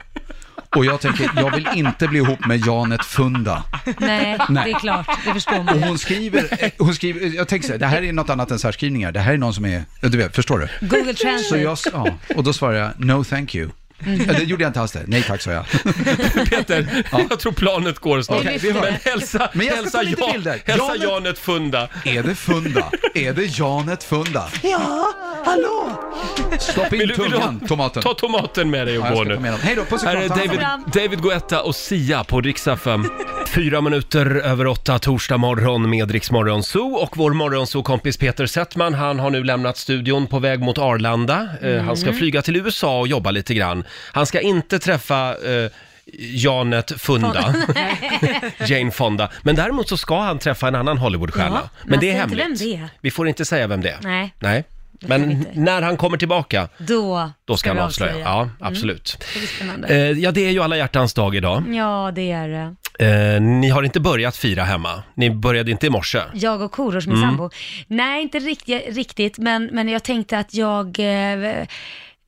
Speaker 8: Och jag tänker, jag vill inte bli ihop med Janet Funda.
Speaker 2: Nej,
Speaker 8: Nej.
Speaker 2: det är klart. Det förstår man.
Speaker 8: Och hon skriver, eh, hon skriver, jag tänker så här, det här är något annat än särskrivningar, det här är någon som är, du vet, förstår du?
Speaker 2: Google Translate.
Speaker 8: Så jag, ja, och då svarar jag no thank you.
Speaker 1: Mm.
Speaker 2: Mhm.
Speaker 8: Ja, Det gjorde jag inte alls det. Nej tack sa jag.
Speaker 1: Peter, jag tror planet går snart.
Speaker 8: Okej, vi hörs.
Speaker 1: Men hälsa,
Speaker 8: Men jag
Speaker 1: hälsa,
Speaker 8: ska ta lite
Speaker 1: Jan-
Speaker 8: bilder.
Speaker 1: hälsa
Speaker 8: Janet-
Speaker 1: Janet Funda.
Speaker 8: Är det Funda? Är det Janet Funda?
Speaker 9: Ja, hallå!
Speaker 8: Stopp in
Speaker 1: Vill du- vill du ha-
Speaker 8: tungan, tomaten.
Speaker 1: Ta tomaten med dig och
Speaker 8: Ja, jag
Speaker 1: gå
Speaker 8: ska
Speaker 1: nu.
Speaker 8: ta med dem. Hej då, puss och
Speaker 1: Här
Speaker 8: kram,
Speaker 1: är
Speaker 8: ta hand om
Speaker 1: David,
Speaker 8: er.
Speaker 1: David Guetta och Sia på Riksa 5. Fyra minuter över åtta torsdag morgon med Rix Morgon Zoo och vår morgonzoo-kompis Peter Settman, han har nu lämnat studion på väg mot Arlanda. Eh,
Speaker 6: Mm.
Speaker 1: Han ska flyga till USA och jobba lite grann. Han ska inte träffa eh, Janet Funda, Jane Fonda, men däremot så ska han träffa en annan Hollywoodstjärna.
Speaker 2: Ja,
Speaker 1: men
Speaker 2: man
Speaker 1: det är
Speaker 2: säger
Speaker 1: hemligt.
Speaker 2: inte vem det är.
Speaker 1: Vi får inte säga vem det är.
Speaker 2: Nej,
Speaker 1: Nej. Men när han kommer tillbaka,
Speaker 2: då,
Speaker 1: då ska
Speaker 2: vi
Speaker 1: han avslöja. Ja, absolut.
Speaker 2: Mm. Det blir spännande.
Speaker 1: Eh, ja, det är ju alla hjärtans dag idag.
Speaker 2: Ja, det är det.
Speaker 1: Eh, ni har inte börjat fira hemma. Ni började inte i morse.
Speaker 2: Jag och Korosh, min
Speaker 1: Mm.
Speaker 2: sambo. Nej, inte riktigt, riktigt men, men jag tänkte att jag... Eh,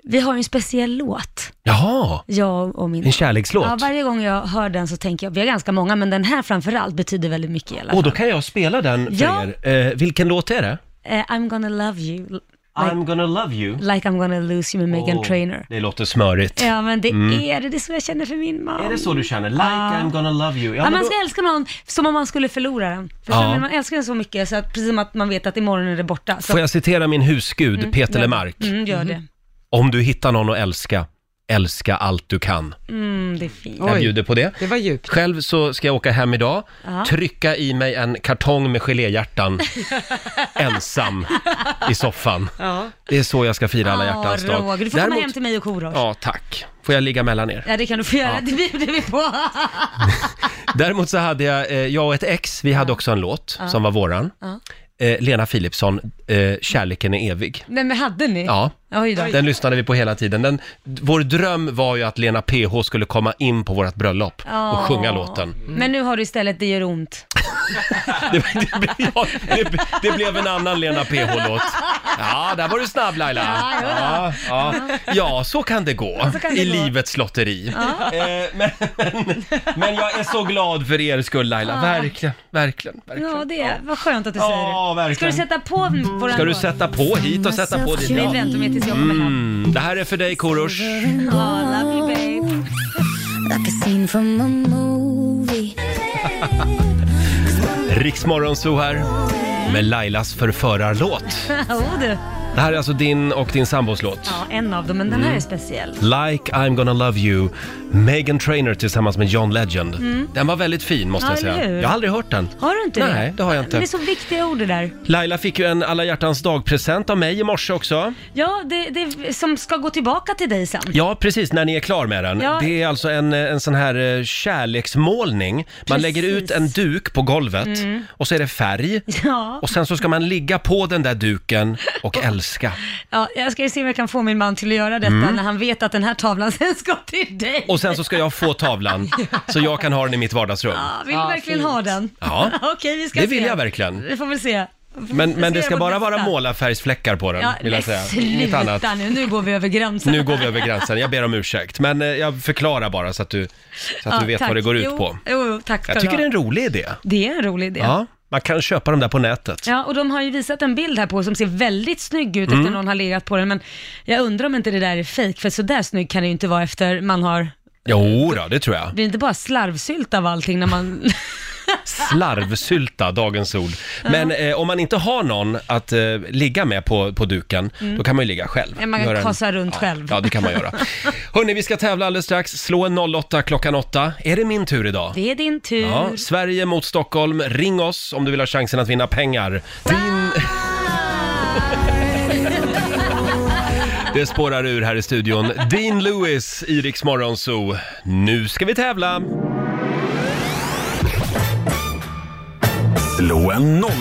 Speaker 2: vi har ju en speciell låt.
Speaker 1: Jaha!
Speaker 2: Jag och min...
Speaker 1: En kärlekslåt?
Speaker 2: Ja, varje gång jag hör den så tänker jag, vi har ganska många, men den här framförallt betyder väldigt mycket i alla
Speaker 1: Och
Speaker 2: fall.
Speaker 1: då kan jag spela den för
Speaker 2: Ja.
Speaker 1: er. Eh, vilken låt är det?
Speaker 2: Eh, I'm gonna love you, like,
Speaker 1: I'm gonna love you.
Speaker 2: like I'm gonna lose you med Megan
Speaker 1: Åh,
Speaker 2: Trainor.
Speaker 1: Det låter smörigt.
Speaker 2: Ja, men det
Speaker 1: Mm.
Speaker 2: är det. Det är så jag känner för min man.
Speaker 1: Är det så du känner? Like
Speaker 2: Ja.
Speaker 1: I'm gonna love you.
Speaker 2: Ja,
Speaker 1: men
Speaker 2: man
Speaker 1: då-
Speaker 2: ska älska någon som om man skulle förlora den. För
Speaker 1: Ja.
Speaker 2: Man älskar den så mycket, så att, precis som att man vet att imorgon är det borta. Så.
Speaker 1: Får jag citera min husgud
Speaker 2: Mm,
Speaker 1: Peter
Speaker 2: gör det.
Speaker 1: Lemark?
Speaker 2: Mm, gör det.
Speaker 1: Om du hittar någon att älska, älska allt du kan.
Speaker 2: Mm, det är fint.
Speaker 1: Jag bjuder på det.
Speaker 3: Det var djupt.
Speaker 1: Själv så ska jag åka hem idag,
Speaker 2: Ja.
Speaker 1: trycka i mig en kartong med geléhjärtan ensam i soffan.
Speaker 2: Ja.
Speaker 1: Det är så jag ska fira alla
Speaker 2: Ja,
Speaker 1: hjärtans dag.
Speaker 2: Roger, du får komma hem till mig och Korosh. Ja.
Speaker 1: Ja, tack. Får jag ligga mellan er?
Speaker 2: det kan du få göra.
Speaker 1: Ja.
Speaker 2: Det bjuder vi på.
Speaker 1: Däremot så hade jag, eh, jag och ett ex, vi hade också en låt
Speaker 2: Ja.
Speaker 1: som var våran.
Speaker 2: Ja.
Speaker 1: Eh, Lena Philipsson, eh, Kärleken är evig.
Speaker 2: Nej, men hade ni?
Speaker 1: Ja,
Speaker 2: Oj då.
Speaker 1: den lyssnade vi på hela tiden. Den, vår dröm var ju att Lena PH skulle komma in på vårt bröllop och
Speaker 2: Ja.
Speaker 1: sjunga låten.
Speaker 2: Men nu har du istället Det gör ont.
Speaker 1: Det, det blev en annan Lena PH-låt. Ja, där var du snabb Laila.
Speaker 9: Ja, jodå.
Speaker 1: ja, ja. ja så kan det gå
Speaker 9: Så kan det
Speaker 1: i
Speaker 9: gå.
Speaker 1: livets lotteri.
Speaker 9: Ja.
Speaker 1: Eh, men, men, men jag är så glad för er skull Laila,
Speaker 2: Ja.
Speaker 1: verkligen, verkligen. verkligen.
Speaker 2: Ja, det är. Vad skönt att du säger det.
Speaker 1: verkligen.
Speaker 2: Ska du sätta på våran
Speaker 1: Ska du
Speaker 2: låt?
Speaker 1: sätta på hit och sätta på dit?
Speaker 2: Nej, vänta med tills jag kommer hem.
Speaker 1: Mm, det här är för dig Korosh.
Speaker 2: Ja, love you babe.
Speaker 1: Riksmorgonzoo här med Lailas förförarlåt.
Speaker 2: oh, du.
Speaker 1: Det här är alltså din och din sambos låt.
Speaker 2: Ja, en av dem, men
Speaker 1: Mm.
Speaker 2: den här är speciell.
Speaker 1: Like I'm gonna love you, Megan Trainor tillsammans med John Legend.
Speaker 2: Mm.
Speaker 1: Den var väldigt fin måste
Speaker 2: Ja,
Speaker 1: jag
Speaker 2: eller
Speaker 1: säga.
Speaker 2: hur?
Speaker 1: Jag har aldrig hört den.
Speaker 2: Har du inte det?
Speaker 1: Nej, det har jag inte.
Speaker 2: Men det är så viktiga ord det där.
Speaker 1: Laila fick ju en alla hjärtans dag-present av mig i morse också.
Speaker 2: Ja, det, det som ska gå tillbaka till dig sen.
Speaker 1: Ja, precis, när ni är klar med den.
Speaker 2: Ja.
Speaker 1: Det är alltså en, en sån här eh, kärleksmålning. Man
Speaker 2: Precis.
Speaker 1: lägger ut en duk på golvet
Speaker 2: Mm.
Speaker 1: och så är det färg.
Speaker 2: Ja.
Speaker 1: Och sen så ska man ligga på den där duken och älska.
Speaker 2: ja, jag ska ju se om jag kan få min man till att göra detta
Speaker 1: Mm.
Speaker 2: när han vet att den här tavlan sen ska till dig.
Speaker 1: Och sen så ska jag få tavlan så jag kan ha den i mitt vardagsrum.
Speaker 2: Ja, vill du verkligen ha den?
Speaker 1: Ah, Ja.
Speaker 2: Okej, vi ska
Speaker 1: Det
Speaker 2: se.
Speaker 1: vill jag verkligen.
Speaker 2: Vi får väl se. Vi får
Speaker 1: Men,
Speaker 2: se
Speaker 1: men det
Speaker 2: vårt
Speaker 1: ska bara
Speaker 2: bästa.
Speaker 1: vara målarfärgsfläckar på den,
Speaker 2: Ja,
Speaker 1: vill jag
Speaker 2: men
Speaker 1: säga. Inget annat.
Speaker 2: Sluta nu, nu går vi över gränsen.
Speaker 1: Nu går vi över gränsen, jag ber om ursäkt. Men eh, jag förklarar bara så att du, så att
Speaker 2: Ja,
Speaker 1: du vet
Speaker 2: tack.
Speaker 1: vad det går ut
Speaker 2: Jo,
Speaker 1: på.
Speaker 2: Jo, jo, tack ska
Speaker 1: Jag
Speaker 2: du
Speaker 1: tycker
Speaker 2: ha.
Speaker 1: det är en rolig idé.
Speaker 2: Det är en rolig idé.
Speaker 1: Ja, man kan köpa dem där på nätet.
Speaker 2: Ja, och de har ju visat en bild här på som ser väldigt snygg ut
Speaker 1: Mm.
Speaker 2: efter någon har legat på den, men jag undrar om inte det där är fejk, för så där snygg kan det ju inte vara efter man har...
Speaker 1: Jo då, det tror jag.
Speaker 2: Det är inte bara slarvsylt av allting när man...
Speaker 1: Slarvsylta, dagens ord. Men eh, om man inte har någon att eh, ligga med på, på duken,
Speaker 2: Mm.
Speaker 1: då kan man ju ligga själv.
Speaker 2: Ja, man kan
Speaker 1: Göra en-
Speaker 2: kasa runt själv.
Speaker 1: Ja, det kan man göra. Hörni, vi ska tävla alldeles strax. Slå en 08 klockan 8. Är det min tur idag?
Speaker 2: Det är din tur.
Speaker 1: Ja, Sverige mot Stockholm. Ring oss om du vill ha chansen att vinna pengar. Din... Det spårar ur här i studion. Dean Lewis, i Rix Morgon Zoo. Nu ska vi tävla!
Speaker 4: Slå en 08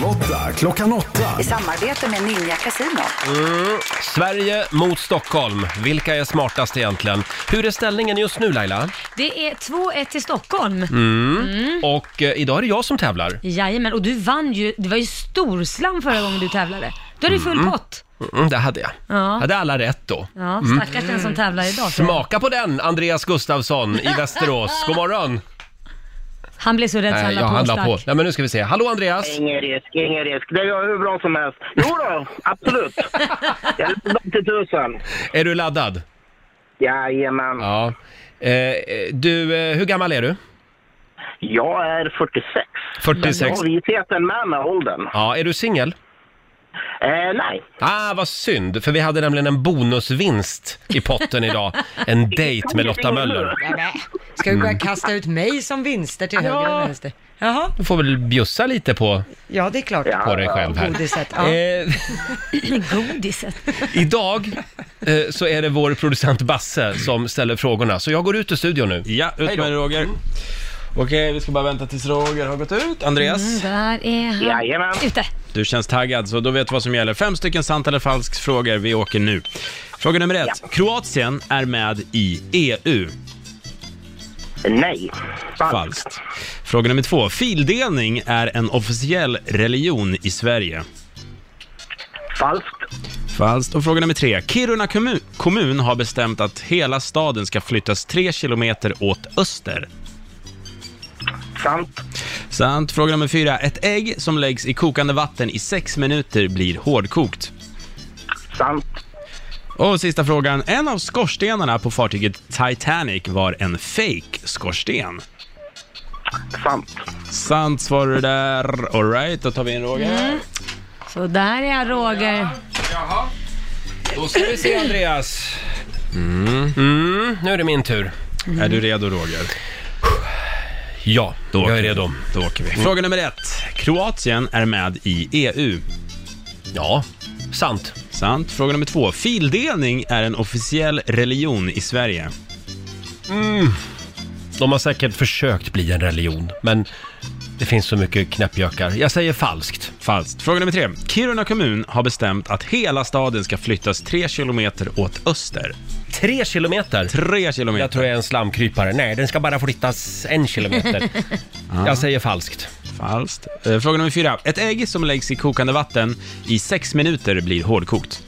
Speaker 4: klockan 8.
Speaker 10: I samarbete med Ninja Casino.
Speaker 1: Mm. Sverige mot Stockholm. Vilka är smartast egentligen? Hur är ställningen just nu Laila?
Speaker 2: Det är 2-1 till Stockholm.
Speaker 1: Mm.
Speaker 2: Mm.
Speaker 1: Och eh, idag är det jag som tävlar.
Speaker 2: Jajamän, och du vann ju. Det var ju storslam förra gången du tävlade. Då är det full
Speaker 1: Mm.
Speaker 2: pott.
Speaker 1: Mm, det hade jag.
Speaker 2: Ja.
Speaker 1: Hade alla rätt då.
Speaker 2: Ja,
Speaker 1: Mm.
Speaker 2: stackars den som tävlar idag. tror jag.
Speaker 1: Smaka på den, Andreas Gustafsson i Västerås. God morgon!
Speaker 2: Han blev så rädd så han
Speaker 1: Nej,
Speaker 2: la
Speaker 1: jag
Speaker 2: på.
Speaker 1: han la
Speaker 2: stack.
Speaker 1: på. Nej, men nu ska vi se. Hallå Andreas!
Speaker 5: Ingen risk, ingen risk. Det går hur bra som helst. Jo då, absolut. Jag är till tusen.
Speaker 1: Är du laddad?
Speaker 5: Jajamän.
Speaker 1: Ja. Eh, eh, du, eh, hur gammal är du?
Speaker 5: Jag är 46.
Speaker 1: 46.
Speaker 5: Jag har visheten med mig, åldern.
Speaker 1: Ja, är du singel?
Speaker 5: Eh, nej.
Speaker 1: Ah, vad synd, för vi hade nämligen en bonusvinst i potten idag. En dejt med Lotta Möller.
Speaker 3: Nej, nej. Ska du börja
Speaker 1: Mm.
Speaker 3: kasta ut mig som vinster till höger och vänster? Jaha,
Speaker 1: Du får väl bjussa lite på,
Speaker 3: ja det är klart.
Speaker 1: på dig själv här.
Speaker 3: Godiset, ja.
Speaker 1: Eh,
Speaker 2: Godiset.
Speaker 1: idag eh, så är det vår producent Basse som ställer frågorna, så jag går ut ur studion nu.
Speaker 6: Ja, ut med dig Roger. Okej, vi ska bara vänta tills Roger har gått ut. Andreas,
Speaker 2: Mm, där är han.
Speaker 6: Jajamän.
Speaker 2: Ute.
Speaker 6: du känns taggad så då vet du vad som gäller. Fem stycken sant eller falskt frågor. Vi åker nu. Fråga nummer ett. Kroatien är med i E EU.
Speaker 5: Nej.
Speaker 6: Falskt. Fråga nummer två. Fildelning är en officiell religion i Sverige.
Speaker 5: Falskt.
Speaker 6: Falskt. Och fråga nummer tre. Kiruna kommun, kommun har bestämt att hela staden ska flyttas tre kilometer åt öster.
Speaker 5: Sant.
Speaker 6: Sant. Fråga nummer fyra. Ett ägg som läggs i kokande vatten i sex minuter blir hårdkokt.
Speaker 5: Sant.
Speaker 6: Och sista frågan. En av skorstenarna på fartyget Titanic var en fake skorsten.
Speaker 5: Sant.
Speaker 6: Sant svarar du där. Alright, då tar vi in Roger.
Speaker 2: Mm. Så där är han Roger.
Speaker 1: Då ska vi se Andreas. Mm. nu är det min tur.
Speaker 6: Mm. Är du redo Roger?
Speaker 1: Ja,
Speaker 6: då
Speaker 1: jag
Speaker 6: åker
Speaker 1: är
Speaker 6: vi.
Speaker 1: redo.
Speaker 6: Då åker vi. Fråga nummer ett. Kroatien är med i EU.
Speaker 1: Ja, sant.
Speaker 6: Sant. Fråga nummer två. Fildelning är en officiell religion i Sverige.
Speaker 1: Mm. De har säkert försökt bli en religion, men det finns så mycket knäppjökar. Jag säger falskt.
Speaker 6: Falskt. Fråga nummer tre. Kiruna kommun har bestämt att hela staden ska flyttas tre kilometer åt öster.
Speaker 1: Tre kilometer?
Speaker 6: Tre kilometer.
Speaker 1: Jag tror jag är en slamkrypare. Nej, den ska bara flyttas en kilometer. Jag säger falskt.
Speaker 6: Falskt. Eh, Fråga nummer fyra. Ett ägg som läggs i kokande vatten i sex minuter blir hårdkokt.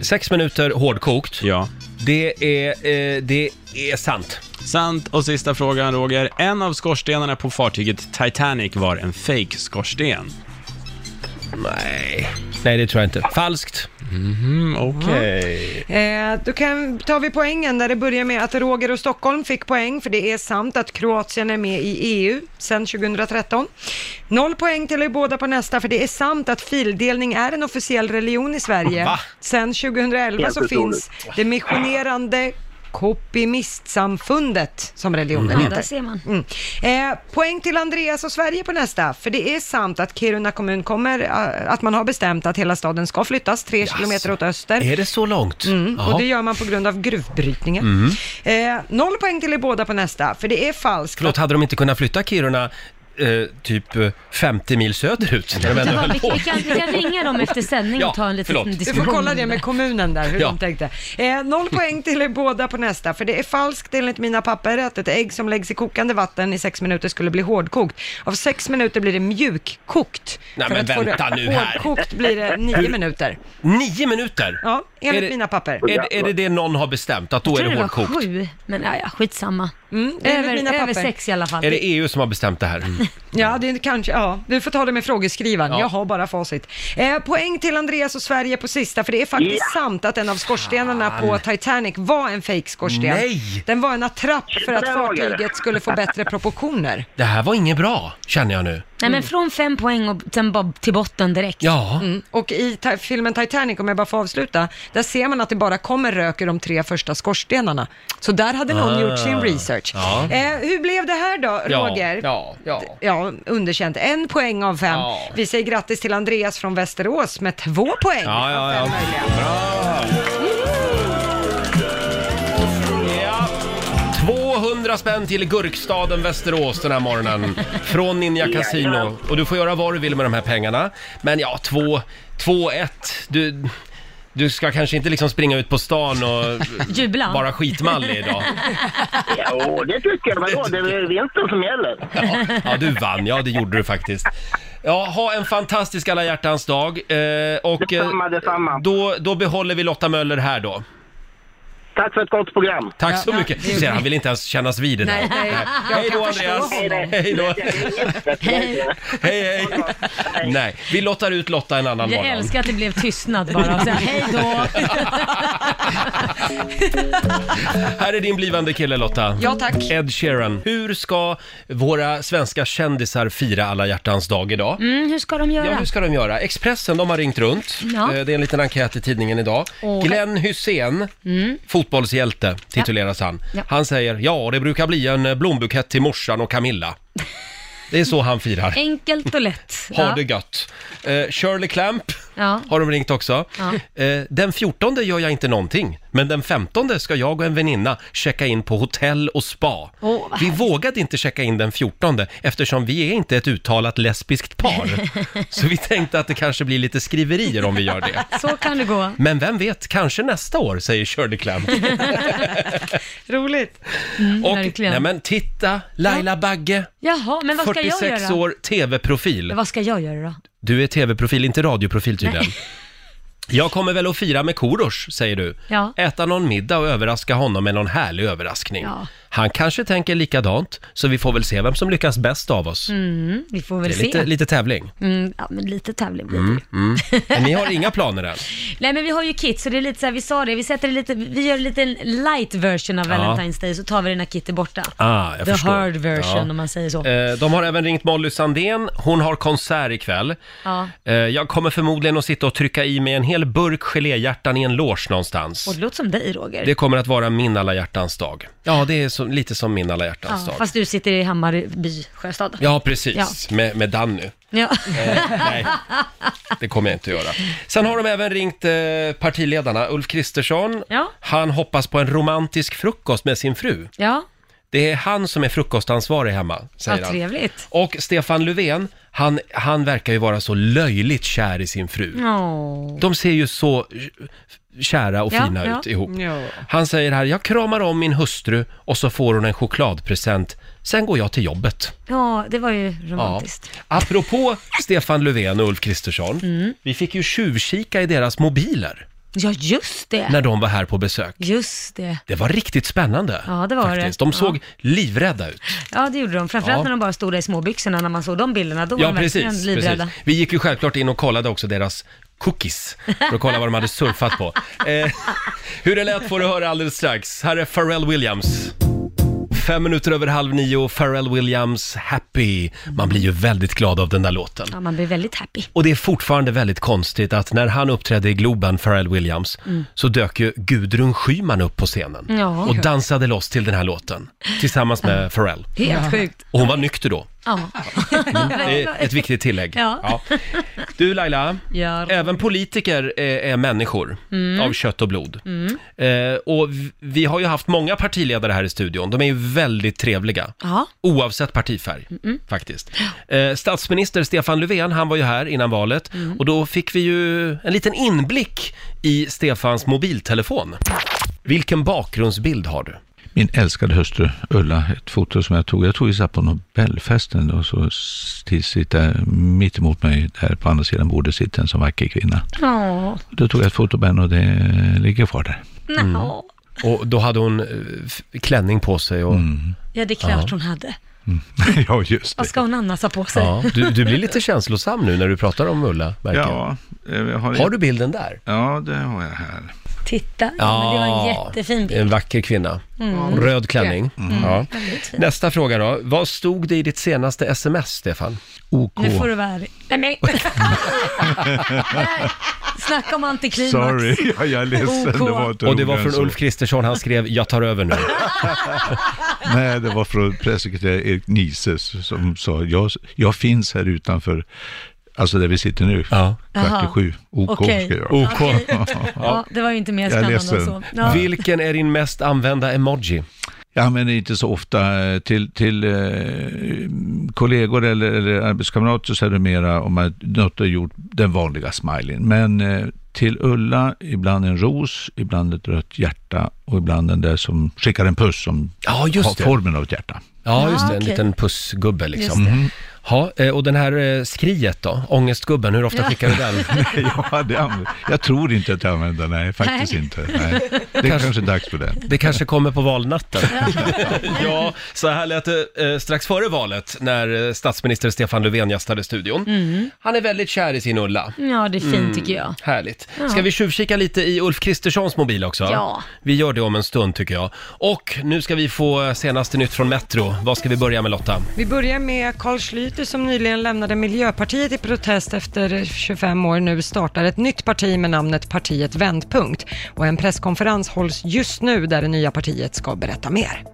Speaker 1: Sex minuter hårdkokt?
Speaker 6: Ja.
Speaker 1: Det är, eh, det är sant.
Speaker 6: Sant. Och sista frågan, Roger. En av skorstenarna på fartyget Titanic var en fake skorsten
Speaker 1: Nej. Nej, det tror jag inte. Falskt.
Speaker 2: Mm,
Speaker 6: Mhm, okej.
Speaker 3: Eh, då kan, tar vi poängen där det börjar med att Roger och Stockholm fick poäng, för det är sant att Kroatien är med i EU sedan 2013. Noll poäng till er båda på nästa, för det är sant att fildelning är en officiell religion i Sverige.
Speaker 6: Va?
Speaker 3: Sedan 2011
Speaker 6: Helt
Speaker 3: så finns
Speaker 6: otroligt.
Speaker 3: det missionerande Kopimistsamfundet som religionen
Speaker 2: Ja,
Speaker 3: heter.
Speaker 2: där ser man.
Speaker 3: Mm. Eh, poäng till Andreas och Sverige på nästa, för det är sant att Kiruna kommun kommer, eh, att man har bestämt att hela staden ska flyttas tre kilometer åt öster.
Speaker 1: Är det så långt?
Speaker 3: Mm,
Speaker 1: Jaha.
Speaker 3: och det gör man på grund av gruvbrytningen.
Speaker 1: Mm.
Speaker 3: Eh, noll poäng till er båda på nästa, för det är falskt.
Speaker 1: Förlåt, hade de inte kunnat flytta Kiruna eh, typ eh, 50 mil söderut? När de ändå höll
Speaker 2: Vi,
Speaker 1: på?
Speaker 2: vi, kan, vi kan ringa dem efter sändning
Speaker 1: Ja,
Speaker 2: och ta en liten
Speaker 1: förlåt.
Speaker 3: Du
Speaker 2: diskussion.
Speaker 3: får kolla det med kommunen där, hur
Speaker 1: Ja.
Speaker 3: de tänkte. Eh, noll poäng till er båda på nästa, för det är falskt enligt mina papper att ett ägg som läggs i kokande vatten i sex minuter skulle bli hårdkokt. Av sex minuter blir det mjukkokt.
Speaker 1: Nej,
Speaker 3: För
Speaker 1: men
Speaker 3: att få det-
Speaker 1: vänta nu här.
Speaker 3: Hårdkokt blir det nio
Speaker 1: Hur-
Speaker 3: minuter.
Speaker 1: Nio minuter?
Speaker 3: Ja, enligt
Speaker 1: Är det-
Speaker 3: mina papper.
Speaker 1: Är, det- är det det någon har bestämt, att då
Speaker 2: Jag
Speaker 1: är
Speaker 2: tror
Speaker 1: det Mm,
Speaker 2: det var
Speaker 1: hårdkokt?
Speaker 2: sju, men ja, ja, skitsamma.
Speaker 3: det är enligt
Speaker 2: över,
Speaker 3: mina
Speaker 2: över
Speaker 3: papper.
Speaker 2: sex i alla fall. Mm.
Speaker 1: Är det EU E som har bestämt det här?
Speaker 3: Ja, det är kanske, ja, du får ta det med frågeskrivaren.
Speaker 9: Ja.
Speaker 3: Jag har bara facit. Eh, poäng till Andreas och Sverige på sista, för det är faktiskt
Speaker 9: Ja.
Speaker 3: sant att en av skorstenarna på Titanic var en fake skorsten
Speaker 1: Nej!
Speaker 3: Den var en attrapp för att
Speaker 2: Där var jag.
Speaker 3: fartyget skulle få bättre proportioner.
Speaker 1: Det här var inget bra, känner jag nu.
Speaker 2: Nej men från fem poäng och sen bara till botten direkt.
Speaker 1: Ja.
Speaker 3: Mm. Och i ta- filmen Titanic, om jag bara får avsluta, där ser man att det bara kommer rök ur de tre första skorstenarna. Så där hade någon
Speaker 9: Ah.
Speaker 3: gjort sin research.
Speaker 9: Ja.
Speaker 3: Eh, hur blev det här då,
Speaker 9: Ja,
Speaker 3: Roger?
Speaker 9: ja, ja.
Speaker 3: D- ja, underkänt. En poäng av fem. Vi säger grattis till Andreas från Västerås med två poäng.
Speaker 9: Ja, ja, ja.
Speaker 1: Bra! 200 spänn till Gurkstaden Västerås den här morgonen från Ninja Casino. Och du får göra vad du vill med de här pengarna. Men ja, 2-1. Du, du ska kanske inte liksom springa ut på stan och
Speaker 2: Jubla.
Speaker 1: vara skitmallig idag.
Speaker 5: Jo, det tycker jag. Vadå? Det är väl vinsten som gäller.
Speaker 1: Ja, du vann. Ja, det gjorde du faktiskt. Ja, ha en fantastisk alla hjärtans dag. Eh, och,
Speaker 5: Detsamma, detsamma.
Speaker 1: Då, då behåller vi Lotta Möller här då.
Speaker 5: Tack för ett gott program.
Speaker 1: Tack så
Speaker 5: Ja,
Speaker 1: mycket.
Speaker 5: ja, det är
Speaker 1: Ser, han
Speaker 5: okej.
Speaker 1: vill inte ens kännas vid det där.
Speaker 5: Nej, nej. Jag
Speaker 1: Hej då
Speaker 5: kan förstå
Speaker 1: Andreas.
Speaker 5: honom.
Speaker 1: Hej då.
Speaker 5: Hej.
Speaker 1: Hej, hej. Nej, vi lottar ut Lotta en annan
Speaker 2: Jag
Speaker 1: morgon.
Speaker 2: älskar att det blev tystnad bara. Så här, hej då.
Speaker 1: Här är din blivande kille Lotta.
Speaker 3: Ja, tack.
Speaker 1: Ed Sheeran. Hur ska våra svenska kändisar fira alla hjärtans dag idag?
Speaker 2: Mm, hur ska de göra?
Speaker 1: Ja, hur ska de göra? Expressen, de har ringt runt.
Speaker 2: Ja.
Speaker 1: Eh, Det är en liten enkät i tidningen idag.
Speaker 2: Åh.
Speaker 1: Glenn Hussein,
Speaker 2: Mm.
Speaker 1: fotbollshjälte, tituleras han.
Speaker 2: Ja.
Speaker 1: Han säger, ja, det brukar bli en eh, blombukett till morsan och Camilla. Det är så han firar.
Speaker 2: Enkelt och lätt.
Speaker 1: Ha
Speaker 2: Ja.
Speaker 1: det gött. Eh, Shirley Clamp
Speaker 2: Ja.
Speaker 1: har de ringt också.
Speaker 2: Ja.
Speaker 1: Eh, den 14 gör jag inte någonting, men den 15 ska jag och en väninna checka in på hotell och spa.
Speaker 2: Åh, vad
Speaker 1: vi vågade inte checka in den 14 eftersom vi är inte ett uttalat lesbiskt par. Så vi tänkte att det kanske blir lite skriverier om vi gör det.
Speaker 2: Så kan det gå.
Speaker 1: Men vem vet, kanske nästa år, säger Shirley Clamp.
Speaker 3: Roligt.
Speaker 1: Och,
Speaker 2: verkligen.
Speaker 1: nej men titta, Laila Bagge,
Speaker 2: Jaha, men vad ska jag göra?
Speaker 1: 46 år,
Speaker 2: Men
Speaker 1: tv-profil.
Speaker 2: Vad ska jag göra då?
Speaker 1: Du är tv-profil, inte radioprofil tydligen.
Speaker 2: Nej.
Speaker 1: Jag kommer väl att fira med Korosh, säger du.
Speaker 2: Ja.
Speaker 1: Äta någon middag och överraska honom med någon härlig överraskning.
Speaker 2: Ja.
Speaker 1: Han kanske tänker likadant, så vi får väl se vem som lyckas bäst av oss.
Speaker 2: Mm, vi får
Speaker 1: Det
Speaker 2: väl
Speaker 1: är
Speaker 2: se.
Speaker 1: lite, lite tävling.
Speaker 2: Mm, ja, men lite tävling blir det.
Speaker 1: Mm, mm. Men ni har inga planer än?
Speaker 2: Nej men vi har ju kit, så det är lite så här, vi sa det, vi sätter det lite, vi gör en liten light version av
Speaker 1: Ja.
Speaker 2: Valentine's Day, så tar vi den när kit är borta.
Speaker 1: Ah, jag
Speaker 2: The
Speaker 1: förstår.
Speaker 2: hard version
Speaker 1: Ja.
Speaker 2: om man säger så.
Speaker 1: Eh, De har även ringt Molly Sandén. Hon har konsert ikväll.
Speaker 2: Ja.
Speaker 1: Eh, Jag kommer förmodligen att sitta och trycka i mig en hel burk geléhjärtan i en loge någonstans.
Speaker 2: Och det låter som dig Roger.
Speaker 1: Det kommer att vara min alla hjärtans dag. Ja, det är så, lite som min alla hjärtans
Speaker 2: ja,
Speaker 1: dag.
Speaker 2: fast du sitter i Hammarby sjöstad.
Speaker 1: Ja, Eh. precis.
Speaker 2: Ja.
Speaker 1: Med, med Danny.
Speaker 2: Ja.
Speaker 1: nej. Det kommer jag inte att göra. Sen har de även ringt eh, partiledarna. Ulf Kristersson,
Speaker 2: Ja.
Speaker 1: han hoppas på en romantisk frukost med sin fru.
Speaker 2: ja.
Speaker 1: Det är han som är frukostansvarig hemma, säger
Speaker 2: Ja,
Speaker 1: han.
Speaker 2: trevligt.
Speaker 1: Och Stefan Löfven, han, han verkar ju vara så löjligt kär i sin fru.
Speaker 2: Mm. Åh.
Speaker 1: De ser ju så kära och
Speaker 2: Ja,
Speaker 1: fina
Speaker 2: ja.
Speaker 1: ut ihop.
Speaker 2: Ja.
Speaker 1: Han säger här, jag kramar om min hustru och så får hon en chokladpresent. Sen går jag till jobbet.
Speaker 2: Ja, det var ju romantiskt.
Speaker 1: Ja. Apropå Stefan Löfven och Ulf Kristersson,
Speaker 2: Mm.
Speaker 1: vi fick ju tjuvkika i deras mobiler
Speaker 2: Ja, just det.
Speaker 1: när de var här på besök.
Speaker 2: Just det.
Speaker 1: Det var riktigt spännande.
Speaker 2: Ja, det var
Speaker 1: faktiskt.
Speaker 2: det.
Speaker 1: De såg livrädda ut.
Speaker 2: Ja, det gjorde de. Framförallt
Speaker 1: Ja.
Speaker 2: när de bara stod där i småbyxorna när man såg de bilderna. Då var
Speaker 1: Ja,
Speaker 2: de verkligen
Speaker 1: precis, precis.
Speaker 2: livrädda.
Speaker 1: Vi gick ju självklart in och kollade också deras cookies för att kolla vad de hade surfat på. Eh, hur det lät får du höra alldeles strax. Här är Pharrell Williams. Fem minuter över halv nio, Pharrell Williams, Happy. Man blir ju väldigt glad av den där låten.
Speaker 2: Ja, man blir väldigt happy.
Speaker 1: Och det är fortfarande väldigt konstigt att när han uppträdde i Globen, Pharrell Williams,
Speaker 2: Mm.
Speaker 1: så dök ju Gudrun Schyman upp på scenen
Speaker 2: Ja.
Speaker 1: och dansade loss till den här låten tillsammans med Pharrell.
Speaker 2: Helt sjukt.
Speaker 1: Och hon var nykter då.
Speaker 2: Ja.
Speaker 1: Mm. Det är ett viktigt tillägg.
Speaker 2: Ja.
Speaker 1: Du Laila,
Speaker 2: Ja.
Speaker 1: även politiker är, är människor
Speaker 2: Mm.
Speaker 1: av kött och blod.
Speaker 2: Mm.
Speaker 1: Eh, och v- vi har ju haft många partiledare här i studion. De är ju väldigt trevliga.
Speaker 2: Ja.
Speaker 1: Oavsett partifärg, faktiskt. Eh, statsminister Stefan Löfven, han var ju här innan valet och då fick vi ju en liten inblick i Stefans mobiltelefon. Vilken bakgrundsbild har du?
Speaker 13: Min älskade hustru Ulla, ett foto som jag tog. Jag tog ju så här på Nobelfesten och så s- sitter mitt emot mig där på andra sidan bordet sitter en sån vacker kvinna.
Speaker 2: Ja.
Speaker 13: Då tog jag ett foto på henne och det ligger kvar där.
Speaker 2: Mm.
Speaker 1: Och då hade hon eh, f- klänning på sig och...
Speaker 2: Mm. Ja, det är klart hon hade.
Speaker 8: ja, just
Speaker 2: Vad ska hon annars ha på sig?
Speaker 1: Ja, du, du blir lite känslosam nu när du pratar om Ulla, verkar
Speaker 8: Ja,
Speaker 1: har,
Speaker 8: det.
Speaker 1: du bilden där?
Speaker 8: Ja, det har jag här.
Speaker 2: Titta, ja, men det var en jättefin bild.
Speaker 1: En vacker kvinna.
Speaker 2: Mm.
Speaker 1: Röd klänning.
Speaker 2: Mm.
Speaker 1: Ja.
Speaker 2: Väldigt fin.
Speaker 1: Nästa fråga då. Vad stod det i ditt senaste sms, Stefan? OK.
Speaker 2: Nu får du vara ärlig. Nej, men... Snacka om antiklimax.
Speaker 8: jag är
Speaker 2: ledsen, OK. det var inte
Speaker 1: Och det var
Speaker 8: roligare
Speaker 1: från
Speaker 8: än så.
Speaker 1: Ulf Kristersson, han skrev “Jag tar över nu”.
Speaker 8: Nej, det var från pressekreterare Erik Nises som sa, jag, jag finns här utanför, alltså där vi sitter nu, kvart i
Speaker 2: Jaha.
Speaker 8: sju. OK
Speaker 2: Okej.
Speaker 8: ska jag
Speaker 1: OK.
Speaker 2: Ja, det var ju inte mer spännande än så. Ja.
Speaker 1: Vilken är din mest använda emoji?
Speaker 8: Jag använder inte så ofta eh, till, till eh, kollegor eller, eller arbetskamrater så är det mera om man något har gjort den vanliga smileyn. Men eh, till Ulla, ibland en ros, ibland ett rött hjärta och ibland den där som skickar en puss som
Speaker 1: Ja, just
Speaker 8: har
Speaker 1: det.
Speaker 8: formen av ett hjärta.
Speaker 1: Ja, just det. En
Speaker 2: okej.
Speaker 1: liten pussgubbe liksom.
Speaker 8: Just det.
Speaker 1: Mhm. Ja, eh, och den här eh, skriet då? Ångestgubben, hur ofta
Speaker 2: Ja.
Speaker 1: skickar du den?
Speaker 8: ja, det använder, jag tror inte att jag använder den, nej faktiskt
Speaker 2: Nej.
Speaker 8: inte. Nej. Det är kanske,
Speaker 1: Kanske-
Speaker 8: dags för det.
Speaker 1: Det kanske kommer på valnatten. ja, så här lät det eh, strax före valet när eh, statsminister Stefan Löfven gästade studion. Han är väldigt kär i sin Ulla.
Speaker 2: Ja, det är fint
Speaker 1: Mm,
Speaker 2: tycker jag.
Speaker 1: Härligt.
Speaker 2: Ja.
Speaker 1: Ska vi tjuvkika lite i Ulf Kristerssons mobil också?
Speaker 2: Ja.
Speaker 1: Vi gör det om en stund tycker jag. Och nu ska vi få senaste nytt från Metro. Vad ska vi börja med Lotta?
Speaker 3: Vi börjar med Carl Schlüter som nyligen lämnade Miljöpartiet i protest efter 25 år nu startar ett nytt parti med namnet Partiet Vändpunkt. Och en presskonferens hålls just nu där det nya partiet ska berätta mer.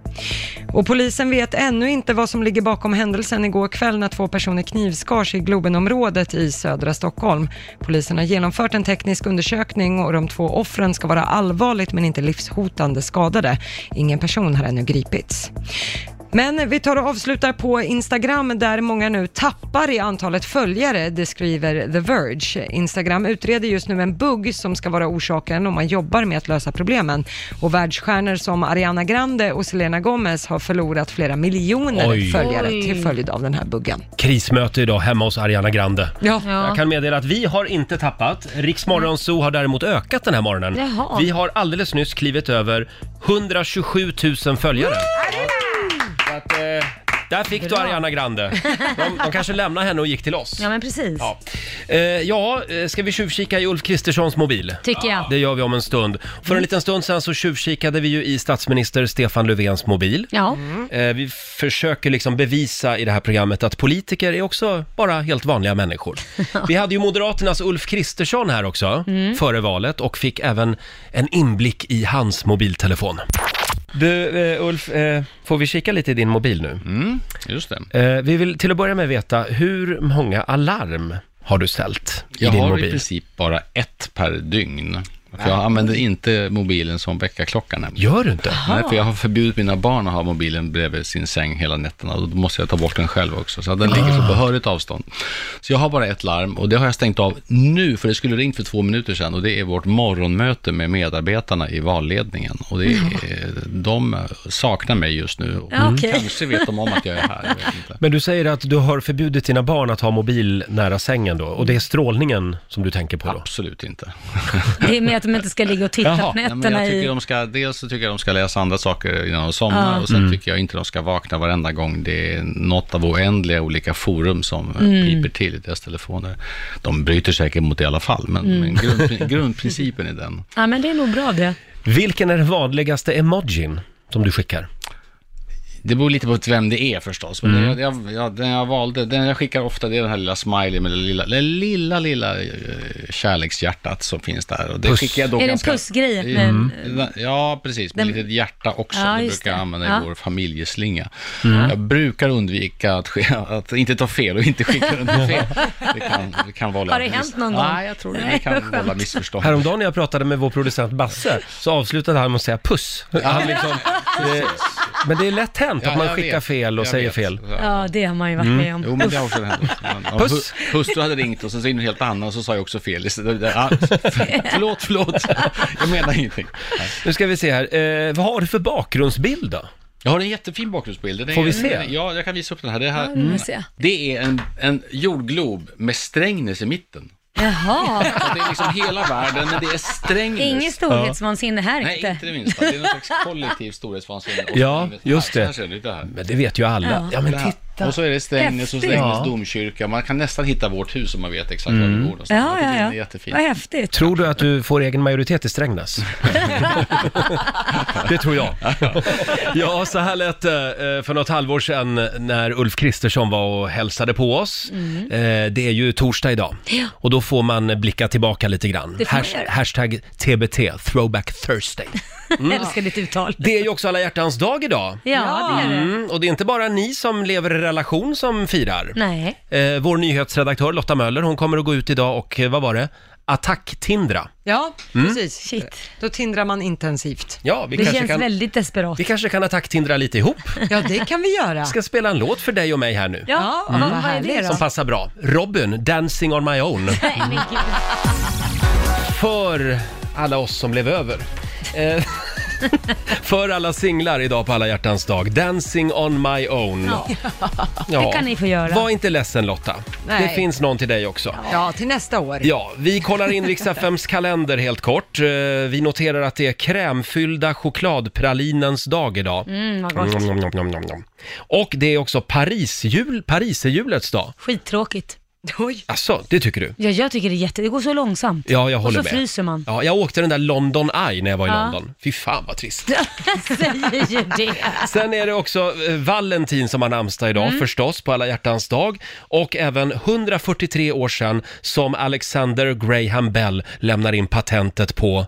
Speaker 3: Och polisen vet ännu inte vad som ligger bakom händelsen igår kväll när två personer knivskars i Globenområdet i södra Stockholm. Polisen har genomfört en teknisk undersökning och de två offren ska vara allvarligt men inte livshotande skadade. Ingen person har ännu gripits. Men vi tar och avslutar på Instagram där många nu tappar i antalet följare, det skriver The Verge. Instagram utreder just nu en bugg som ska vara orsaken om man jobbar med att lösa problemen. Och världsstjärnor som Ariana Grande och Selena Gomez har förlorat flera miljoner
Speaker 1: Oj.
Speaker 3: följare
Speaker 1: Oj.
Speaker 3: till följd av den här buggen.
Speaker 1: Krismöte idag hemma hos Ariana Grande.
Speaker 3: Ja.
Speaker 1: Jag kan meddela att vi har inte tappat. Riksmorgon Zoo har däremot ökat den här morgonen.
Speaker 2: Jaha.
Speaker 1: Vi har alldeles nyss klivit över 127 000 följare. Så att, eh, där fick du
Speaker 2: Bra.
Speaker 1: Ariana Grande. De, de kanske lämnade henne och gick till oss.
Speaker 2: Ja, men precis.
Speaker 1: Ja. Eh, ja, eh, ska vi tjuvkika i Ulf Kristerssons mobil?
Speaker 2: Tycker jag.
Speaker 1: Det gör vi om en stund. För en liten stund sen så tjuvkikade vi ju i statsminister Stefan Löfvens mobil.
Speaker 2: Ja.
Speaker 1: Eh, Vi försöker liksom bevisa i det här programmet att politiker är också bara helt vanliga människor. Vi hade ju Moderaternas Ulf Kristersson här också
Speaker 2: Mm.
Speaker 1: före valet och fick även en inblick i hans mobiltelefon. Du, eh, Ulf, eh, får vi kika lite i din mobil nu? Mm,
Speaker 6: just
Speaker 1: det. Vi vill till att börja med veta, hur många alarm har du ställt i
Speaker 6: Jag
Speaker 1: din
Speaker 6: har
Speaker 1: mobil?
Speaker 6: i princip bara ett per dygn. Mm. För jag
Speaker 1: Ah.
Speaker 6: använder inte mobilen som väckarklocka. nämligen.
Speaker 1: Gör du inte?
Speaker 6: Nej, för jag har förbjudit mina barn att ha mobilen bredvid sin säng hela nätterna. Och då måste jag ta bort den själv också. Så att den ligger på behörigt avstånd. Så jag har bara ett larm och det har jag stängt av nu, för det skulle ringt för två minuter sedan. Och det är vårt morgonmöte med medarbetarna i valledningen. Och det är, de saknar mig just nu. Och
Speaker 1: Ja, okej.
Speaker 6: Kanske vet de om att jag är här. jag vet inte.
Speaker 1: Men du säger att du har förbjudit dina barn att ha mobil nära sängen då, och det är strålningen som du tänker på då?
Speaker 6: Absolut inte.
Speaker 2: Det är med att de inte ska ligga och titta på
Speaker 6: Nej, men
Speaker 2: nätterna
Speaker 6: jag tycker
Speaker 2: i...
Speaker 6: de ska, dels så tycker jag de ska läsa andra saker innan de somnar
Speaker 2: Ja.
Speaker 6: och sen
Speaker 2: Mm.
Speaker 6: tycker jag inte de ska vakna varenda gång det är något av oändliga olika forum som eh,
Speaker 2: Mm.
Speaker 6: piper till i deras telefoner. De bryter säkert mot det i alla fall, men,
Speaker 2: Mm.
Speaker 6: men grundprin- grundprincipen är den.
Speaker 2: Ja, men det är nog bra det.
Speaker 1: Vilken är den vanligaste emojin som du skickar?
Speaker 6: Det beror lite på vem det är förstås. Men
Speaker 1: Mm.
Speaker 6: jag, jag, jag, den jag valde, den jag skickar ofta, det är den här lilla smiley med det lilla, det lilla, lilla eh, kärlekshjärtat som finns där. Och det
Speaker 1: Puss.
Speaker 6: skickar jag då
Speaker 2: Är det en
Speaker 6: ganska-
Speaker 2: pussgrej?
Speaker 6: Eh,
Speaker 2: Men-
Speaker 6: den- Ja, precis. Med
Speaker 2: Den-
Speaker 6: litet hjärta också.
Speaker 2: Ja,
Speaker 6: det
Speaker 2: just
Speaker 6: brukar jag
Speaker 2: det.
Speaker 6: använda
Speaker 2: Ja.
Speaker 6: i vår familjeslinga.
Speaker 1: Mm.
Speaker 6: Jag brukar undvika att, ske- att inte ta fel och inte skicka den fel. Det kan, det kan vålla
Speaker 2: Har det hänt någon gång?
Speaker 6: Nej, jag tror det. Det
Speaker 2: Nej, vad
Speaker 6: kan
Speaker 2: skönt.
Speaker 6: vålla missförstånd.
Speaker 1: Häromdagen när jag pratade med vår producent Basse så avslutade han med att säga puss. Han liksom, eh, men det är lätt hänt
Speaker 6: Ja,
Speaker 1: att man
Speaker 6: jag
Speaker 1: skickar
Speaker 6: vet.
Speaker 1: fel och
Speaker 6: Jag
Speaker 1: säger
Speaker 6: vet.
Speaker 1: fel.
Speaker 2: Ja, det har man ju varit
Speaker 1: Mm.
Speaker 2: med om.
Speaker 6: Jo, men det har
Speaker 2: Uff.
Speaker 6: också hänt. Ja,
Speaker 1: Puss.
Speaker 6: hu- Hustru hade ringt och sen så in en helt annan och så sa jag också fel. Så det- det- ja, Förlåt, förlåt. Jag menar ingenting.
Speaker 1: Nu ska vi se här, eh, vad har du för bakgrundsbild då?
Speaker 6: Jag har en jättefin bakgrundsbild. Den är-
Speaker 1: Får vi se?
Speaker 6: Ja, jag kan visa upp den här. Det, här,
Speaker 1: Ja, det vill jag se.
Speaker 6: det är en, en jordglob med Strängnäs i mitten.
Speaker 2: Jaha.
Speaker 14: Det är liksom hela världen, men det är strängnus.
Speaker 2: Inget storhetsvansinne här
Speaker 14: Nej, inte. det minsta. Det är någon slags kollektiv storhetsvansinne. Och
Speaker 1: Ja, just
Speaker 14: Här,
Speaker 1: det.
Speaker 14: så här ser det ut här.
Speaker 1: Men det vet ju alla. Ja, men
Speaker 14: Det här.
Speaker 1: titta.
Speaker 14: Och så är det Strängnäs och
Speaker 1: Häftigt.
Speaker 14: Strängnäs
Speaker 1: Ja.
Speaker 14: domkyrka. Man kan nästan hitta vårt hus om man vet exakt var vi bor.
Speaker 1: Mm.
Speaker 14: någonstans. Jag tycker Det är jättefint.
Speaker 2: häftigt.
Speaker 1: Tror du att du får egen majoritet i Strängnäs? det tror jag. Ja, så här lät det eh, för något halvår sedan när Ulf Kristersson var och hälsade på oss.
Speaker 2: Mm.
Speaker 1: Eh, Det är ju torsdag idag
Speaker 2: Ja.
Speaker 1: och då får man blicka tillbaka lite grann.
Speaker 2: Det får man
Speaker 1: Hash-
Speaker 2: göra.
Speaker 1: hashtag TBT, throwback Thursday. Mm.
Speaker 2: Älskar ditt uttal.
Speaker 1: Det är ju också alla hjärtans dag idag.
Speaker 2: Ja, det är det.
Speaker 1: Mm, och det är inte bara ni som lever i relation som firar.
Speaker 2: Nej.
Speaker 1: Eh, vår nyhetsredaktör Lotta Möller, hon kommer att gå ut idag och, eh, vad var det? Attack-tindra.
Speaker 3: Ja,
Speaker 1: Mm.
Speaker 3: precis. Då tindrar man intensivt.
Speaker 1: Ja, vi kanske kan,
Speaker 2: väldigt desperat.
Speaker 1: vi kanske kan attack-tindra lite ihop.
Speaker 3: Ja, det kan vi göra.
Speaker 1: ska spela en låt för dig och mig här nu.
Speaker 2: Ja, vad- vad är det då?
Speaker 1: Som passar bra. Robin, Dancing on my own.
Speaker 2: Nej, men gud.
Speaker 1: för alla oss som blev över. Eh, för alla singlar idag på alla hjärtans dag. Dancing on my own.
Speaker 3: Ja.
Speaker 1: Ja.
Speaker 2: Det kan ni få göra.
Speaker 1: Var inte ledsen Lotta. Det
Speaker 3: Nej.
Speaker 1: finns någon till dig också.
Speaker 3: Ja, till nästa år.
Speaker 1: Ja, vi kollar in Riks-FMs kalender helt kort. Eh, Vi noterar att det är krämfyllda chokladpralinens dag idag.
Speaker 2: Mm, vad gott.
Speaker 1: Nom, nom, nom, nom, nom. Och det är också Parisjul, Pariserhjulets dag.
Speaker 2: Skittråkigt. Oj.
Speaker 1: Alltså, det tycker du?
Speaker 2: Ja, jag tycker det är jätte... Det går så långsamt.
Speaker 1: Ja, jag håller
Speaker 2: Och så
Speaker 1: med.
Speaker 2: fryser man.
Speaker 1: Ja, jag åkte den där London Eye när jag var i
Speaker 2: Ja.
Speaker 1: London. Fy fan vad trist.
Speaker 2: Jag säger ju det.
Speaker 1: Sen är det också eh, Valentin som har namnsdag idag
Speaker 2: Mm.
Speaker 1: förstås på alla hjärtans dag och även 143 år sedan som Alexander Graham Bell lämnar in patentet på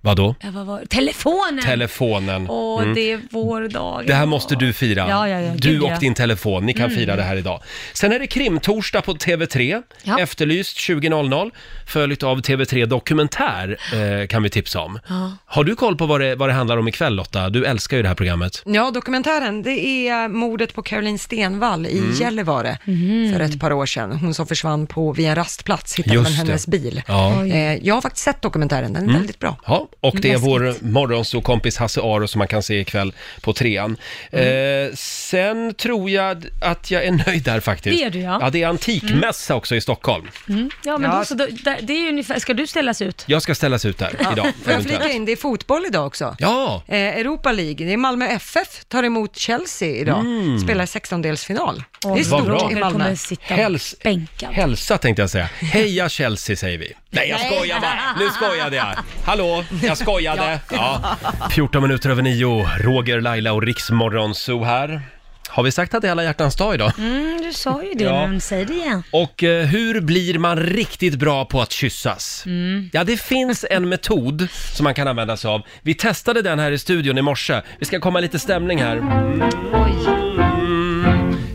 Speaker 1: vadå?
Speaker 2: Ja, vad var det? Telefonen!
Speaker 1: Telefonen.
Speaker 2: Mm. Åh,
Speaker 1: Mm.
Speaker 2: det är vår dag.
Speaker 1: Det här måste du fira.
Speaker 2: Ja, ja, ja.
Speaker 1: Du
Speaker 2: Gud,
Speaker 1: och
Speaker 2: ja.
Speaker 1: din telefon, ni kan
Speaker 2: Mm.
Speaker 1: fira det här idag. Sen är det krimtorsdag på TV3,
Speaker 2: Ja.
Speaker 1: Efterlyst 20.00, följt av TV3 Dokumentär eh, kan vi tipsa om.
Speaker 3: Ja.
Speaker 1: Har du koll på vad det, vad det handlar om ikväll Lotta? Du älskar ju det här programmet.
Speaker 3: Ja, dokumentären, det är mordet på Caroline Stenvall i
Speaker 1: Mm.
Speaker 3: Gällivare
Speaker 1: Mhm.
Speaker 3: för ett par år sedan. Hon som försvann på, vid en rastplats hittade
Speaker 1: Just
Speaker 3: man
Speaker 1: det.
Speaker 3: hennes bil.
Speaker 1: Ja. Oj.
Speaker 3: Eh, Jag har faktiskt sett dokumentären, den är
Speaker 1: Mm.
Speaker 3: väldigt bra.
Speaker 1: Ja, och det är
Speaker 3: Läskigt.
Speaker 1: vår morgonsåkompis Hasse Aro som man kan se ikväll på trean.
Speaker 2: Mm.
Speaker 1: Eh, sen tror jag att jag är nöjd där faktiskt.
Speaker 2: Det är du, ja.
Speaker 1: Ja, det är antikmässa också i Stockholm.
Speaker 2: Mm. Ja, men
Speaker 3: Ja.
Speaker 2: Då, så då, där, det är ju ungefär... Ska du ställas ut?
Speaker 1: Jag ska ställas ut där idag.
Speaker 3: Får jag
Speaker 1: eventuellt.
Speaker 3: flika in, det är fotboll idag också.
Speaker 1: Ja!
Speaker 3: Eh, Europa League, det är Malmö FF, tar emot Chelsea idag,
Speaker 1: Mm.
Speaker 3: spelar 16-delsfinal. Det
Speaker 1: Vad
Speaker 3: är stort
Speaker 1: bra.
Speaker 3: i Malmö.
Speaker 1: Häls- Hälsa tänkte jag säga. Heja Chelsea säger vi. Nej, jag skojar bara. Nu skojade jag. Hallå, jag skojade. Ja. 14 minuter över nio, Roger, Laila och Riksmorgonzoo här. Har vi sagt att det är alla hjärtans dag idag?
Speaker 2: Mm, du sa ju det,
Speaker 1: Ja.
Speaker 2: men säg det igen.
Speaker 1: Och eh, hur blir man riktigt bra på att kyssas?
Speaker 2: Mm.
Speaker 1: Ja, det finns en metod som man kan använda sig av. Vi testade den här i studion i morse. Vi ska komma lite stämning här.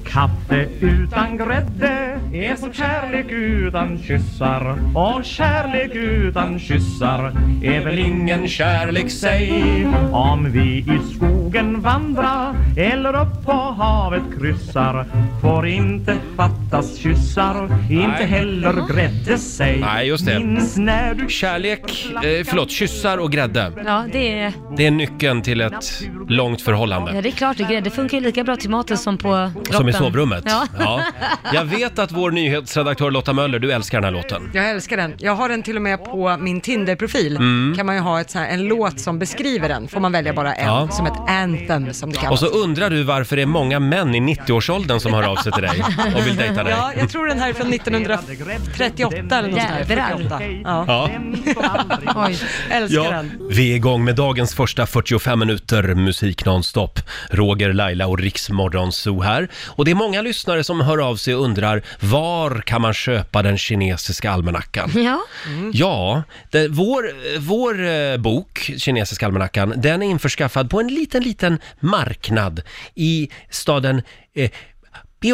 Speaker 15: Kaffe utan grädde är som kärlek utan kyssar och kärlek utan kyssar är väl ingen kärlek säg Om vi i skogen vandrar eller upp på havet kryssar får inte fattas kyssar, inte
Speaker 1: Nej.
Speaker 15: heller grädde säg
Speaker 1: Nej, just det.
Speaker 15: Minns när du
Speaker 1: Kärlek, eh, förlåt, kyssar och grädde.
Speaker 2: Ja, det är...
Speaker 1: Det är nyckeln till ett långt
Speaker 2: Ja,
Speaker 1: förhållande.
Speaker 2: det är klart. Det, grädde funkar ju lika bra till maten som på kroppen.
Speaker 1: Som i sovrummet.
Speaker 2: Ja.
Speaker 1: Ja. Jag vet att vår nyhetsredaktör Lotta Möller, du älskar den här låten.
Speaker 3: Jag älskar den. Jag har den till och med på min Tinder-profil.
Speaker 1: Mm.
Speaker 3: Kan man ju ha ett så här, en låt som beskriver den. Får man välja bara en,
Speaker 1: Ja.
Speaker 3: som ett anthem som det
Speaker 1: Och
Speaker 3: kallas.
Speaker 1: så undrar du varför det är många män i 90-årsåldern som hör av sig till dig och vill dejta dig.
Speaker 3: Ja, jag tror den här är från 1938 eller något sånt där.
Speaker 2: Jädrar.
Speaker 3: 48. Ja.
Speaker 1: Ja.
Speaker 3: Oj, älskar den.
Speaker 1: Vi är igång med dagens första 45 minuter musik nonstop. Roger, Laila och Riksmorgonzoo här. Och det är många lyssnare som hör av sig och undrar var kan man köpa den kinesiska almanackan?
Speaker 2: Ja.
Speaker 1: Mm. Ja, det, vår, vår eh, bok, Kinesiska almanackan, den är införskaffad på en liten, liten marknad i staden eh,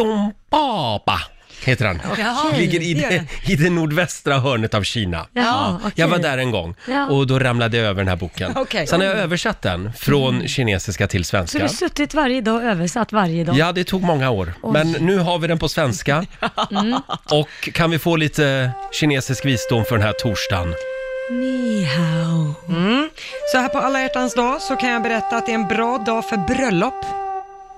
Speaker 1: Pyeongpaba. Heter han.
Speaker 9: Okej,
Speaker 1: Ligger i
Speaker 9: det gör
Speaker 1: det, i det nordvästra hörnet av Kina.
Speaker 9: Jaha, okej.
Speaker 1: Jag var där en gång
Speaker 2: Ja.
Speaker 1: och då ramlade jag över den här boken.
Speaker 2: Okej. Mm.
Speaker 1: Sen har jag översatt den från kinesiska till
Speaker 2: Så du
Speaker 1: svenska.
Speaker 2: har suttit varje dag och översatt varje dag?
Speaker 1: Ja, det tog många år.
Speaker 2: Oj.
Speaker 1: Men nu har vi den på svenska.
Speaker 2: Mm.
Speaker 1: Och kan vi få lite kinesisk visdom för den här torsdagen?
Speaker 3: Ni hao. Mm. Så här på alla hjärtans dag så kan jag berätta att det är en bra dag för bröllop.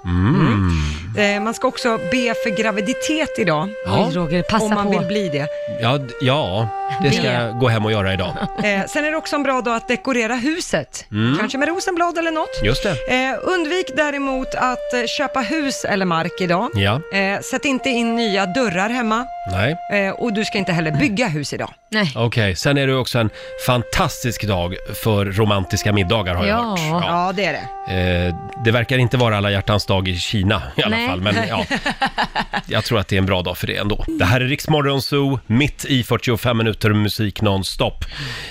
Speaker 1: Mm.
Speaker 3: Eh, man ska också be för graviditet idag.
Speaker 1: Ja. Oj, Roger,
Speaker 2: passa
Speaker 3: Om man
Speaker 2: på.
Speaker 3: vill bli det.
Speaker 1: Ja, d- ja, det ska
Speaker 3: Det.
Speaker 1: jag gå hem och göra idag.
Speaker 3: Eh, sen är det också en bra dag att dekorera huset.
Speaker 1: Mm.
Speaker 3: Kanske med rosenblad eller något.
Speaker 1: Just det.
Speaker 3: Eh, undvik däremot att eh, köpa hus eller mark idag.
Speaker 1: Ja,
Speaker 3: Eh, sätt inte in nya dörrar hemma.
Speaker 1: nej.
Speaker 3: Eh, och du ska inte heller bygga hus idag.
Speaker 2: Nej.
Speaker 1: Okej, sen är det också en fantastisk dag för romantiska middagar har jag hört.
Speaker 3: ja. det är det.
Speaker 1: Eh, det verkar inte vara alla hjärtans dag i Kina i alla
Speaker 3: Nej.
Speaker 1: fall, men ja, jag tror att det är en bra dag för det ändå. Det här är Riksmorgon Zoo, mitt i 45 minuter musik nonstop.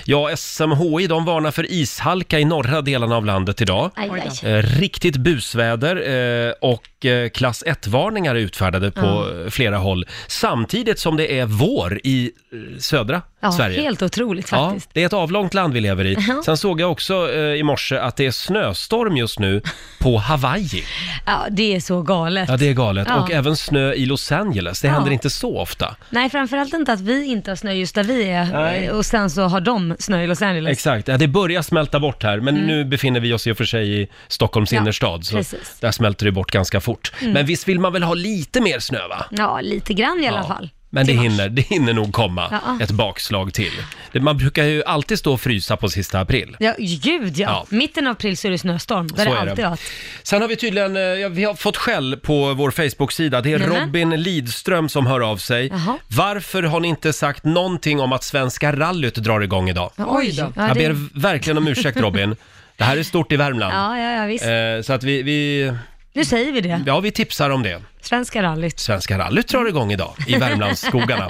Speaker 1: Ja, SMHI de varnar för ishalka i norra delarna av landet idag.
Speaker 2: Aj, aj.
Speaker 1: Eh, Riktigt busväder eh, och eh, klass 1-varningar är utfärdade på
Speaker 2: Ja.
Speaker 1: eh, flera håll. Samtidigt som det är vår i eh, södra
Speaker 2: Ja,
Speaker 1: Sverige.
Speaker 2: helt otroligt
Speaker 1: Ja,
Speaker 2: faktiskt.
Speaker 1: det är ett avlångt land vi lever i.
Speaker 2: Ja.
Speaker 1: Sen såg jag också eh, i morse att det är snöstorm just nu på Hawaii.
Speaker 2: Ja. det är så galet.
Speaker 1: Ja, det är galet.
Speaker 2: Ja.
Speaker 1: Och även snö i Los Angeles. Det
Speaker 2: Ja.
Speaker 1: händer inte så ofta.
Speaker 2: Nej, framförallt inte att vi inte har snö just där vi är
Speaker 1: Nej.
Speaker 2: och sen så har de snö i Los Angeles.
Speaker 1: Exakt, ja, det börjar smälta bort här, men
Speaker 2: Mm.
Speaker 1: nu befinner vi oss i och för sig i Stockholms
Speaker 2: Ja,
Speaker 1: innerstad, så
Speaker 2: precis.
Speaker 1: där smälter det bort ganska fort.
Speaker 2: Mm.
Speaker 1: Men visst vill man väl ha lite mer snö, va?
Speaker 2: Ja, lite grann i alla fall.
Speaker 1: Men det hinner, det hinner nog komma
Speaker 2: Ja.
Speaker 1: ett bakslag till. Det- Man brukar ju alltid stå och frysa på sista april.
Speaker 2: Ja, gud ja.
Speaker 1: Ja.
Speaker 2: Mitten av april så är det snöstorm. Där
Speaker 1: Så
Speaker 2: är
Speaker 1: är det.
Speaker 2: alltid varit.
Speaker 1: Sen har vi tydligen, eh, ja, vi har fått skäll på vår Facebook-sida. Det är
Speaker 2: Nämen.
Speaker 1: Robin Lidström som hör av sig.
Speaker 2: Jaha.
Speaker 1: Varför har ni inte sagt någonting om att Svenska rallyt drar igång idag?
Speaker 2: Oj då. Ja,
Speaker 1: Jag
Speaker 2: det-
Speaker 1: ber verkligen om ursäkt Robin. Det här är stort i Värmland.
Speaker 2: Ja, ja, ja, visst.
Speaker 1: Eh, så att vi, vi,
Speaker 2: Nu säger vi det.
Speaker 1: ja, vi tipsar om det.
Speaker 2: Svenska rallyt.
Speaker 1: Svenska rallyt drar igång idag i Värmlandsskogarna.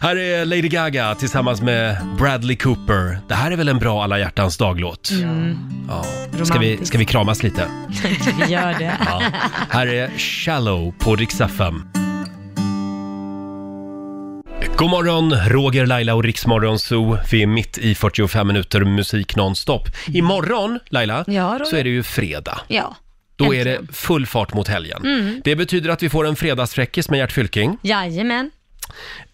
Speaker 1: här är Lady Gaga tillsammans med Bradley Cooper. Det här är väl en bra alla hjärtans dag-låt?
Speaker 2: Mm.
Speaker 1: Ja. Ska, vi, ska vi kramas lite?
Speaker 2: Vi gör det.
Speaker 1: Ja. Här är Shallow på Rix FM. God morgon, Roger, Laila och Riksmorgon Zoo. Vi är mitt i 45 minuter musik nonstop. Imorgon, Laila,
Speaker 2: Ja, Roger.
Speaker 1: så är det ju fredag.
Speaker 2: Ja.
Speaker 1: Då är det full fart mot helgen.
Speaker 2: Mm.
Speaker 1: Det betyder att vi får en fredagsfräckis med Gert Fylking.
Speaker 2: Jajamän.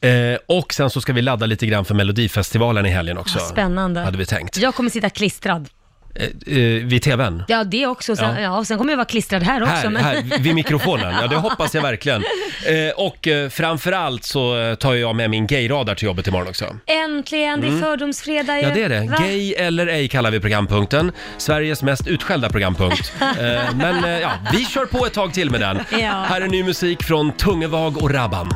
Speaker 1: Eh, och sen så ska vi ladda lite grann för Melodifestivalen i helgen också.
Speaker 2: Ja, Ah, spännande.
Speaker 1: Hade vi tänkt.
Speaker 2: Jag kommer sitta klistrad.
Speaker 1: Eh, eh, vid TVn.
Speaker 2: Ja, det också. Sen,
Speaker 1: Ja.
Speaker 2: ja. och sen kommer jag vara klistrad här också.
Speaker 1: här,
Speaker 2: men...
Speaker 1: här, vid mikrofonen. Ja, det hoppas jag verkligen. Eh, och eh, framförallt så eh, tar jag med min gayradar till jobbet imorgon också.
Speaker 2: Äntligen, det är
Speaker 1: Mm.
Speaker 2: fördomsfredag ju.
Speaker 1: Ja, det är det.
Speaker 2: Eh, Va?
Speaker 1: Gay eller ej kallar vi programpunkten. Sveriges mest utskällda programpunkt. Eh, men eh, ja, vi kör på ett tag till med den.
Speaker 2: Ja.
Speaker 1: Här är ny musik från Tungevag och Rabban.